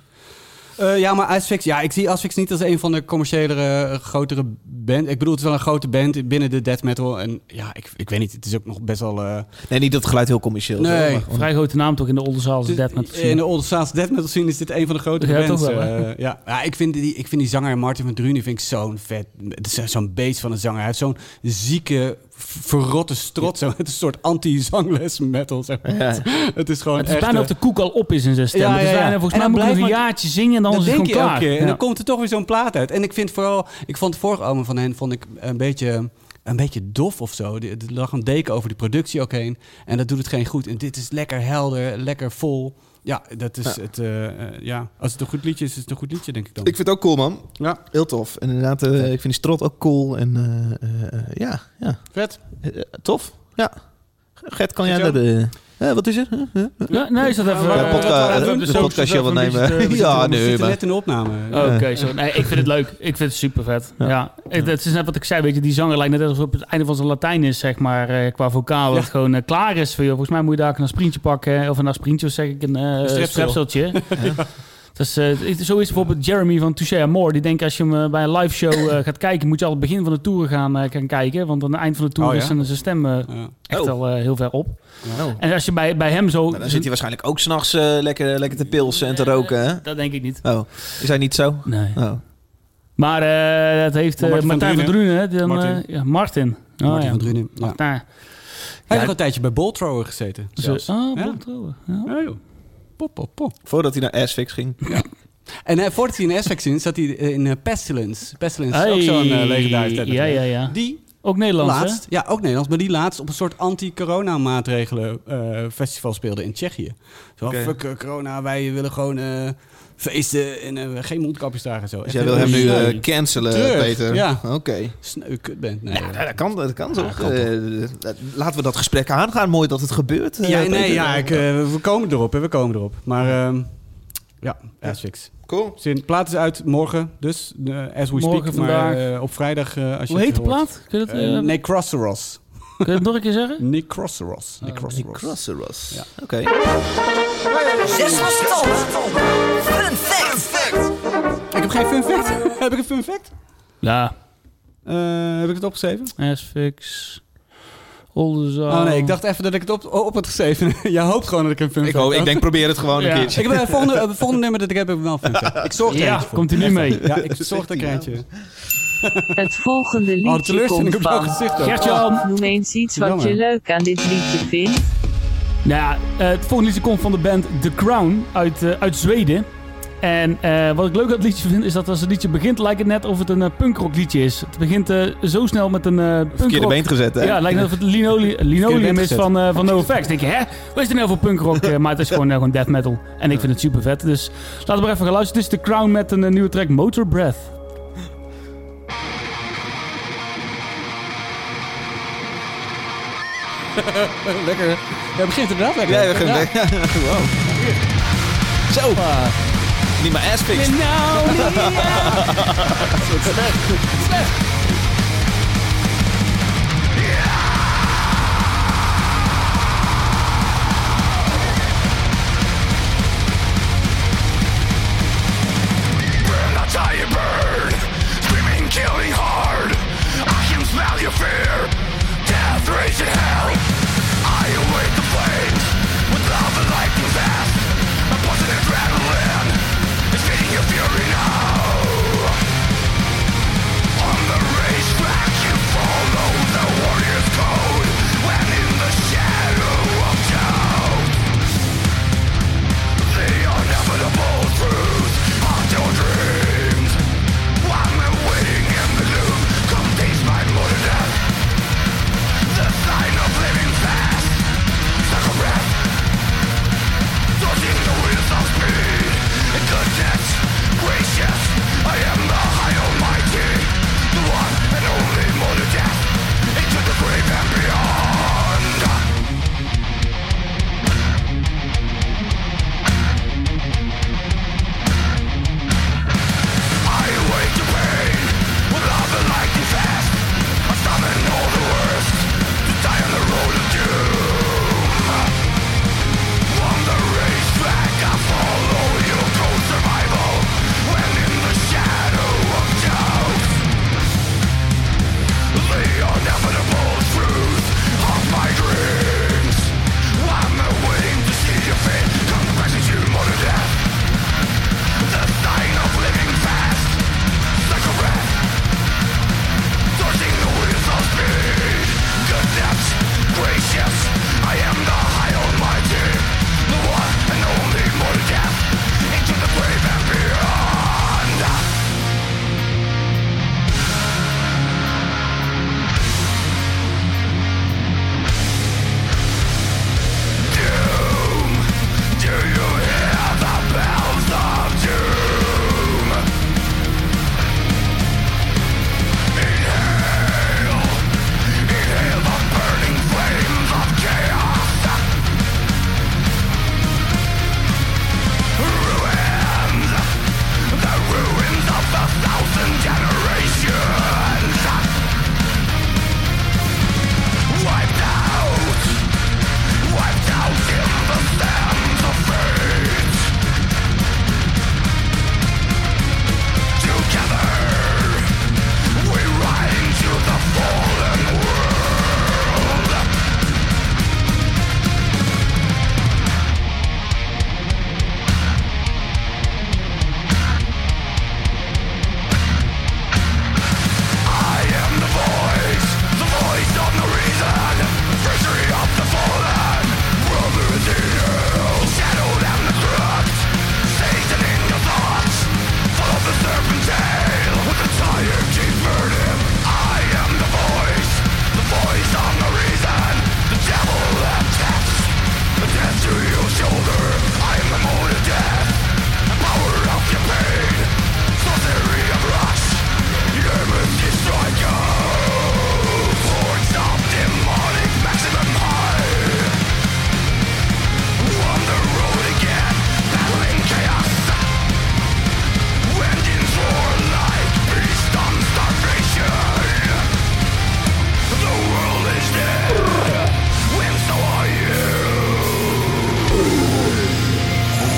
Speaker 1: Eh, ja, maar Asfix, ja, ik zie Asfix niet als een van de commerciëlere, eh, grotere band. Ik bedoel, het is wel een grote band binnen de death metal. En ja, ik, ik weet niet, het is ook nog best wel... eh,
Speaker 2: Nee, niet dat het geluid heel commercieel is,
Speaker 1: Nee.
Speaker 2: hoor, maar gewoon-
Speaker 3: Vrij grote naam toch in de Oldenzaal als Dead Metal
Speaker 1: Dus In
Speaker 3: Scene.
Speaker 1: de Old Staatse death metal scene is dit een van de grotere
Speaker 3: Ja,
Speaker 1: bands.
Speaker 3: toch wel,
Speaker 1: eh,
Speaker 3: hè?
Speaker 1: ja. ja ik, vind die, ik vind die zanger Martin van Drunen vind ik zo'n vet... het is Zo'n beest van een zanger. Hij heeft zo'n zieke, v- verrotte strot. Zo. (laughs) Het is een soort anti-zangles metal. Zeg maar.
Speaker 2: Ja.
Speaker 1: (laughs) Het is gewoon
Speaker 3: Het is
Speaker 1: echt,
Speaker 3: bijna
Speaker 1: eh,
Speaker 3: of de koek al op is in zijn stem.
Speaker 1: Ja,
Speaker 3: Het is
Speaker 1: ja, ja.
Speaker 3: bijna- volgens
Speaker 1: En
Speaker 3: mij
Speaker 1: dan
Speaker 3: moet ik nog een
Speaker 1: blijft maar-
Speaker 3: jaartje zingen en dan
Speaker 1: dat
Speaker 3: is het
Speaker 1: denk
Speaker 3: gewoon
Speaker 1: je elke
Speaker 3: klaar.
Speaker 1: keer. En
Speaker 3: Ja.
Speaker 1: dan komt er toch weer zo'n plaat uit. En ik vind vooral... Ik vond het vorige album van hen vond ik een beetje... Een beetje dof of zo. Er er lag een deken over die productie ook heen. En dat doet het geen goed. En dit is lekker helder, lekker vol. Ja, dat is het. eh, eh, ja. Als het een goed liedje is, is het een goed liedje, denk ik dan.
Speaker 2: Ik vind het ook cool, man.
Speaker 1: Ja.
Speaker 2: Heel tof. En inderdaad, eh, ik vind die strot ook cool. En eh, eh, eh, ja, ja.
Speaker 1: Vet.
Speaker 2: Eh, eh, tof. Ja. Gert, kan jij
Speaker 1: Gert-Jan?
Speaker 2: dat... eh, eh, wat is er? Huh? Huh?
Speaker 3: Ja, nee, is dat even...
Speaker 1: Ja,
Speaker 2: Ja,
Speaker 1: eh,
Speaker 2: podca-
Speaker 1: wat
Speaker 3: eh,
Speaker 1: we
Speaker 2: eh,
Speaker 1: doen,
Speaker 2: de
Speaker 1: dus
Speaker 2: podcast
Speaker 3: even
Speaker 2: wel
Speaker 3: een
Speaker 2: nemen.
Speaker 3: beetje, eh, we
Speaker 2: ja,
Speaker 1: we
Speaker 2: nee,
Speaker 1: zitten
Speaker 2: maar...
Speaker 1: net in de opname.
Speaker 3: Oh, Oké, zo. Nee, ik vind het leuk. Ik vind het super vet. Ja. Ik, het is net wat ik zei, weet je, die zanger lijkt net alsof het op het einde van zijn Latijn is, zeg maar, eh, qua vocaal. Dat
Speaker 1: Ja.
Speaker 3: het gewoon eh, klaar is voor je. Volgens mij moet je daar ook een sprintje pakken, eh, of een asprintje, of zeg ik, een eh
Speaker 1: strepsel.
Speaker 3: strepseltje. Dus zoiets bijvoorbeeld Jeremy van Touche Amore. Die denkt als je hem eh, bij een live show gaat kijken, moet je al het begin van de tour gaan, eh, gaan kijken. Want aan het eind van de tour
Speaker 1: Oh, ja?
Speaker 3: is zijn, zijn stem eh,
Speaker 1: Ja.
Speaker 3: echt
Speaker 2: Oh.
Speaker 3: al eh, heel ver op.
Speaker 2: Oh.
Speaker 3: En als je bij, bij hem zo...
Speaker 2: Maar dan zit hij waarschijnlijk ook s'nachts eh lekker, lekker te pilsen en te roken, hè?
Speaker 3: Dat denk ik niet.
Speaker 2: Oh, is hij niet zo?
Speaker 3: Nee.
Speaker 2: Oh.
Speaker 3: Maar eh, dat heeft
Speaker 1: Maar
Speaker 3: eh,
Speaker 1: Martin van
Speaker 3: Martijn van Drunen. hè, die dan,
Speaker 1: Martin.
Speaker 3: eh, ja, Martin. Oh,
Speaker 1: Martin
Speaker 3: ja.
Speaker 1: van Drunen. Ja. Hij
Speaker 3: Martijn.
Speaker 1: heeft nog een tijdje bij Boltrower gezeten. zelfs.
Speaker 3: Dus, oh,
Speaker 1: Ja.
Speaker 3: Boltrouwen. Ja.
Speaker 1: Ja, joh. Pop, pop, pop.
Speaker 2: Voordat hij naar Asfix ging.
Speaker 1: En eh, voordat hij in Essex zat, zat hij eh, in eh, Pestilence. Pestilence is ook
Speaker 3: Hey.
Speaker 1: zo'n eh, legendarische tijd.
Speaker 3: Ja, ja, ja.
Speaker 1: Die
Speaker 3: Ook Nederlands, hè?
Speaker 1: laatst, ja ook Nederlands, maar die laatst op een soort anti-corona maatregelen eh, festival speelde in Tsjechië. Zo,
Speaker 2: Oké.
Speaker 1: fuck eh, corona, wij willen gewoon eh, feesten en eh, geen mondkapjes dragen en zo.
Speaker 2: Dus
Speaker 1: Echt
Speaker 2: jij wil
Speaker 1: heel
Speaker 2: hem nu eh,
Speaker 1: sneu.
Speaker 2: cancelen,
Speaker 1: Terug,
Speaker 2: Peter?
Speaker 1: ja.
Speaker 2: Oké.
Speaker 1: Sneu kutband. Nee,
Speaker 2: Ja, dat kan, dat kan toch?
Speaker 1: kan toch.
Speaker 2: Eh, laten we dat gesprek aangaan. Mooi dat het gebeurt. eh,
Speaker 1: Ja, nee,
Speaker 2: Peter.
Speaker 1: ja, ik, eh, we komen erop, hè, we komen erop. Maar ehm ja, Asfix.
Speaker 2: Cool.
Speaker 1: Zin, plaat is uit morgen, dus eh, as we
Speaker 3: Morgen,
Speaker 1: speak. Maar
Speaker 3: vandaag.
Speaker 1: eh, op vrijdag, eh, als je
Speaker 3: Hoe heet
Speaker 1: het
Speaker 3: de
Speaker 1: hoort.
Speaker 3: plaat? Kun je dat, eh,
Speaker 1: Eh, Necroceros.
Speaker 3: kun je dat nog een keer zeggen?
Speaker 1: Necroceros.
Speaker 3: Oh,
Speaker 1: Necroceros.
Speaker 2: Crossroads.
Speaker 1: Ja.
Speaker 2: Oké.
Speaker 6: Zes losse tanden. Fun fact.
Speaker 1: Ik heb geen fun fact. (laughs) heb ik een fun fact?
Speaker 3: Ja.
Speaker 1: Eh, heb ik het opgeschreven?
Speaker 3: Asfix. Oldenzaal.
Speaker 1: Oh nee, ik dacht even dat ik het op, op had geschreven. (laughs) Jij hoopt gewoon dat ik een fun
Speaker 2: Ik,
Speaker 1: fact
Speaker 2: hoop,
Speaker 1: had.
Speaker 2: ik denk, probeer het gewoon
Speaker 3: Ja.
Speaker 2: een keertje.
Speaker 1: Ik heb, eh, volgende, eh, volgende nummer dat ik heb, heb ik wel een fun fact. Ik zorg er
Speaker 3: Ja,
Speaker 1: eentje voor.
Speaker 3: komt hij nu mee.
Speaker 1: Ja, ik (laughs) zorg er een eentje.
Speaker 5: Het volgende
Speaker 1: Oh, de
Speaker 5: liedje
Speaker 1: teleurstelling
Speaker 5: komt
Speaker 1: op jouw
Speaker 5: van.
Speaker 1: gezicht ook.
Speaker 3: Gert-Jan.
Speaker 5: Noem eens iets wat je
Speaker 1: Jammer.
Speaker 5: leuk aan dit liedje vindt.
Speaker 3: Nou ja, eh, het volgende liedje komt van de band The Crown uit, eh, uit Zweden. En eh, wat ik leuk aan het liedje vind, is dat als het liedje begint, lijkt het net of het een eh, punkrock liedje is. Het begint eh, zo snel met een eh
Speaker 2: Verkeerde
Speaker 3: punkrock...
Speaker 2: been gezet, hè?
Speaker 3: Ja, het lijkt net of het linole
Speaker 1: Verkeerde
Speaker 3: linoleum
Speaker 1: band
Speaker 3: is
Speaker 1: gezet.
Speaker 3: van, eh van NoFX. denk je, hè? Wat is er nou voor punkrock? Eh, maar het is gewoon, eh, gewoon death metal. En ik vind het super vet. Dus laten we maar even gaan luisteren. Dit is The Crown met een eh, nieuwe track, Motor Breath.
Speaker 1: Oh, Lekker. Ja, begint inderdaad lekker.
Speaker 2: Ja, we gaan weg. Wow. Zo. Niet maar Asfix.
Speaker 1: nou
Speaker 2: (laughs)
Speaker 7: burn, that's how you burn. Screaming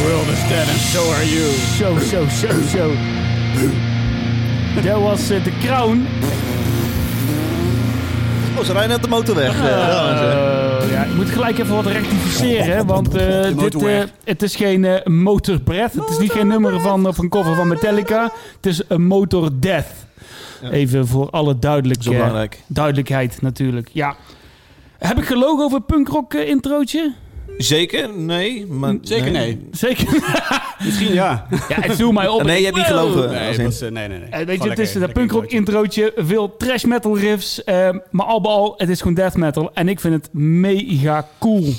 Speaker 1: are you?
Speaker 3: Zo, zo, zo, zo. Dat was eh, de crown.
Speaker 2: Oh, ze rijden net de motor weg.
Speaker 3: Eh, ja, ik moet gelijk even wat rectificeren, want eh,
Speaker 1: De
Speaker 3: dit, eh,
Speaker 1: motorweg.
Speaker 3: het is geen eh, Motor Breath. Het is niet geen nummer van, eh, van cover van Metallica. Het is een Motor Death. Even voor alle duidelijk,
Speaker 2: Zo
Speaker 3: eh,
Speaker 2: belangrijk.
Speaker 3: duidelijkheid natuurlijk. Ja. Heb ik gelogen over het punkrock eh, introotje?
Speaker 2: Zeker? Nee. Maar,
Speaker 1: Zeker nee.
Speaker 3: Zeker.
Speaker 1: Misschien ja.
Speaker 3: (laughs) ja, het viel mij op.
Speaker 2: Nee, je hebt niet gelogen.
Speaker 1: Nee,
Speaker 2: Als
Speaker 1: dat
Speaker 2: in-
Speaker 1: was, eh, nee, nee, nee.
Speaker 3: Eh,
Speaker 1: Gewoon
Speaker 3: weet je, het
Speaker 1: lekker-
Speaker 3: is dat
Speaker 1: lekker
Speaker 3: punkrock
Speaker 1: introotje.
Speaker 3: introotje, veel trash metal riffs, eh, maar al bij al, het is gewoon death metal en ik vind het mega cool.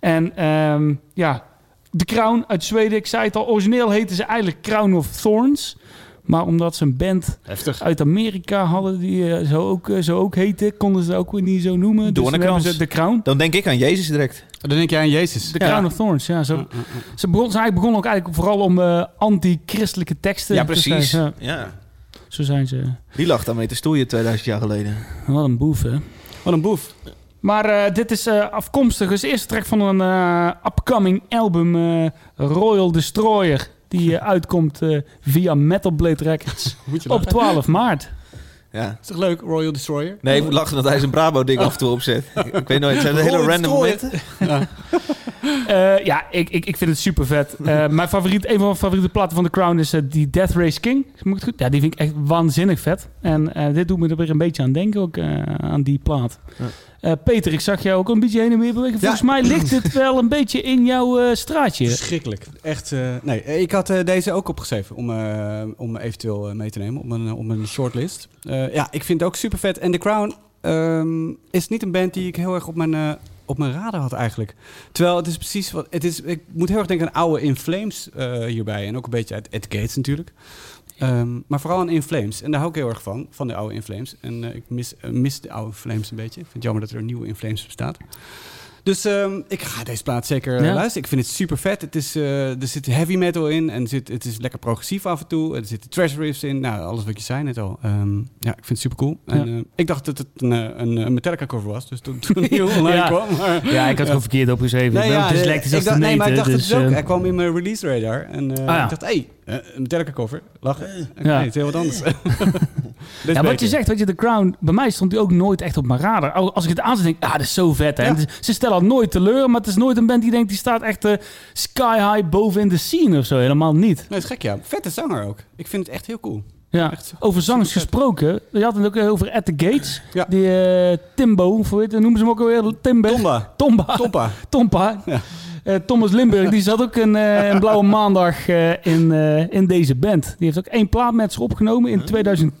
Speaker 3: En ehm, ja, de Crown uit Zweden, ik zei het al, origineel heten ze eigenlijk Crown of Thorns, maar omdat ze een band
Speaker 1: Heftig.
Speaker 3: uit Amerika hadden die eh, zo, ook, eh, zo ook heten, konden ze het ook weer niet zo noemen. Dus toen
Speaker 2: Doornenkrans.
Speaker 3: hebben ze de Crown.
Speaker 2: Dan denk ik aan Jezus direct.
Speaker 1: Dan denk jij aan Jezus.
Speaker 3: De
Speaker 2: Ja.
Speaker 3: Crown of Thorns, ja. Zo. Ze, begon, ze eigenlijk begonnen ook eigenlijk vooral om eh, anti-christelijke teksten
Speaker 2: Ja,
Speaker 3: te
Speaker 2: precies.
Speaker 3: schrijven.
Speaker 2: Ja.
Speaker 3: Ja, zo zijn ze.
Speaker 2: Die lag daarmee te stoeien 2000 jaar geleden.
Speaker 3: Wat een boef, hè?
Speaker 1: Wat een boef.
Speaker 3: Maar eh, dit is eh, afkomstig, dus eerste track van een eh, upcoming album, eh, Royal Destroyer, die eh, uitkomt eh, via Metal Blade Records
Speaker 1: Moet je
Speaker 3: op 12 maart.
Speaker 2: Ja.
Speaker 1: Is toch leuk, Royal Destroyer?
Speaker 2: Nee, ik moet lachen dat hij zijn Brabo-ding af en toe opzet. Ik, ik weet nooit, Oh. het zijn
Speaker 1: Royal
Speaker 2: hele random
Speaker 1: Destroyer.
Speaker 2: momenten.
Speaker 3: Eh, ja, ik, ik, ik vind het super (laughs) vet. Eh, mijn favoriet, een van mijn favoriete platen van The Crown is eh, die Death Race King. Moet ik het goed? Ja, die vind ik echt waanzinnig vet. En eh, dit doet me er weer een beetje aan denken, ook eh, aan die plaat.
Speaker 2: Ja.
Speaker 3: Eh, Peter, ik zag jou ook een beetje heen en weer bewegen. Volgens mij ligt dit wel een beetje in jouw eh, straatje.
Speaker 1: Verschrikkelijk. Echt, eh, nee. Eh, Ik had eh, deze ook opgeschreven om, eh, om eventueel eh, mee te nemen op een, op een shortlist. Eh, ja, ik vind het ook super vet. En The Crown ehm, is niet een band die ik heel erg op mijn, eh, op mijn radar had eigenlijk. Terwijl het is precies wat... Het is, ik moet heel erg denken aan oude In Flames eh, hierbij. En ook een beetje uit Ed Gates natuurlijk. Ehm, maar vooral aan In Flames. En daar hou ik heel erg van, van de oude In Flames. En eh, ik mis, eh, mis de oude In Flames een beetje. Ik vind het jammer dat er een nieuwe In Flames bestaat. Dus ehm, ik ga deze plaat zeker eh,
Speaker 3: Ja.
Speaker 1: luisteren. Ik vind het super vet. Het is, eh, er zit heavy metal in en zit, het is lekker progressief af en toe. Er zitten trash riffs in. Nou, alles wat je zei net al. Ehm, ja, ik vind het super cool. En, eh, ik dacht dat het een, eh, een, eh, Metallica cover was, dus toen,
Speaker 3: (laughs)
Speaker 1: toen die online
Speaker 3: Ja.
Speaker 1: kwam. Maar...
Speaker 3: Ja, ik had gewoon verkeerd opgeschreven. ik ben
Speaker 1: eh,
Speaker 3: ook dyslectisch als
Speaker 1: ik dacht,
Speaker 3: de
Speaker 1: nee, maar ik
Speaker 3: meter,
Speaker 1: dacht
Speaker 3: dus,
Speaker 1: het is ook.
Speaker 3: eh,
Speaker 1: Hij kwam in mijn release radar. En eh,
Speaker 3: ja.
Speaker 1: ik dacht, hé, hey, eh, een Metallica cover. Lachen. Eh,
Speaker 3: Ja.
Speaker 1: Nee, het is heel wat (laughs) anders. Dit is
Speaker 3: ja, wat
Speaker 1: beter.
Speaker 3: je zegt, weet je, The Crown, bij mij stond die ook nooit echt op mijn radar. Al- Als ik het aanzet, denk ik, ah, dat is zo vet. Hè?
Speaker 1: Ja.
Speaker 3: En het is- Ze stellen al nooit teleur, maar het is nooit een band die denkt, die staat echt eh, sky high bovenin de scene of zo. Helemaal niet.
Speaker 1: Nee, het is gek, ja. Vette zanger ook. Ik vind het echt heel cool.
Speaker 3: Ja.
Speaker 1: Echt zo-
Speaker 3: Over zangers
Speaker 1: supervet.
Speaker 3: gesproken, je had het ook eh, over At The Gates.
Speaker 1: Ja.
Speaker 3: Die eh, Timbo, of hoe heet, noemen ze hem ook alweer? Timber?
Speaker 1: Tomba.
Speaker 3: Tomba.
Speaker 1: Toppa.
Speaker 3: Tompa.
Speaker 1: Ja.
Speaker 3: Eh, Thomas Limburg, die zat ook een, eh, een
Speaker 2: (laughs)
Speaker 3: blauwe maandag eh, in, eh, in deze band. Die heeft ook één plaat met ze opgenomen in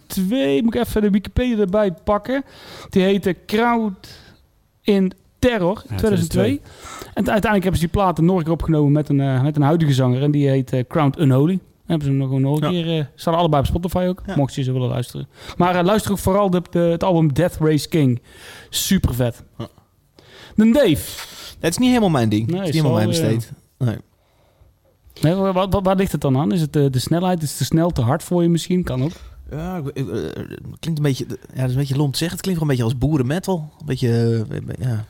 Speaker 3: 2002. Moet ik even de Wikipedia erbij pakken. Die heette Crowd in Terror, 2002.
Speaker 1: 2002.
Speaker 3: En t- uiteindelijk hebben ze die plaat nog een keer opgenomen met een, eh, met een huidige zanger. En die heet eh, Crowned Unholy. Dan hebben ze hem nog nog een keer... eh staan allebei op Spotify ook,
Speaker 2: Ja.
Speaker 3: mocht je ze willen luisteren. Maar eh, luister ook vooral de, de- het album Death Race King. Super vet.
Speaker 2: Ja.
Speaker 3: Dan Dave.
Speaker 2: Het is niet helemaal mijn ding.
Speaker 3: Nee,
Speaker 2: het is niet helemaal mijn
Speaker 3: zal, ja.
Speaker 2: besteed. Nee.
Speaker 3: Nee, waar, waar, waar- waar ligt het dan aan? Is het eh, de, de snelheid? Is het te snel, te hard voor je misschien? Kan ook.
Speaker 2: Ja, ik- ik- eh, het klinkt een beetje, ja, dat is een beetje lomp te zeggen. Het klinkt wel een beetje als boerenmetal. Een beetje, eh, ja.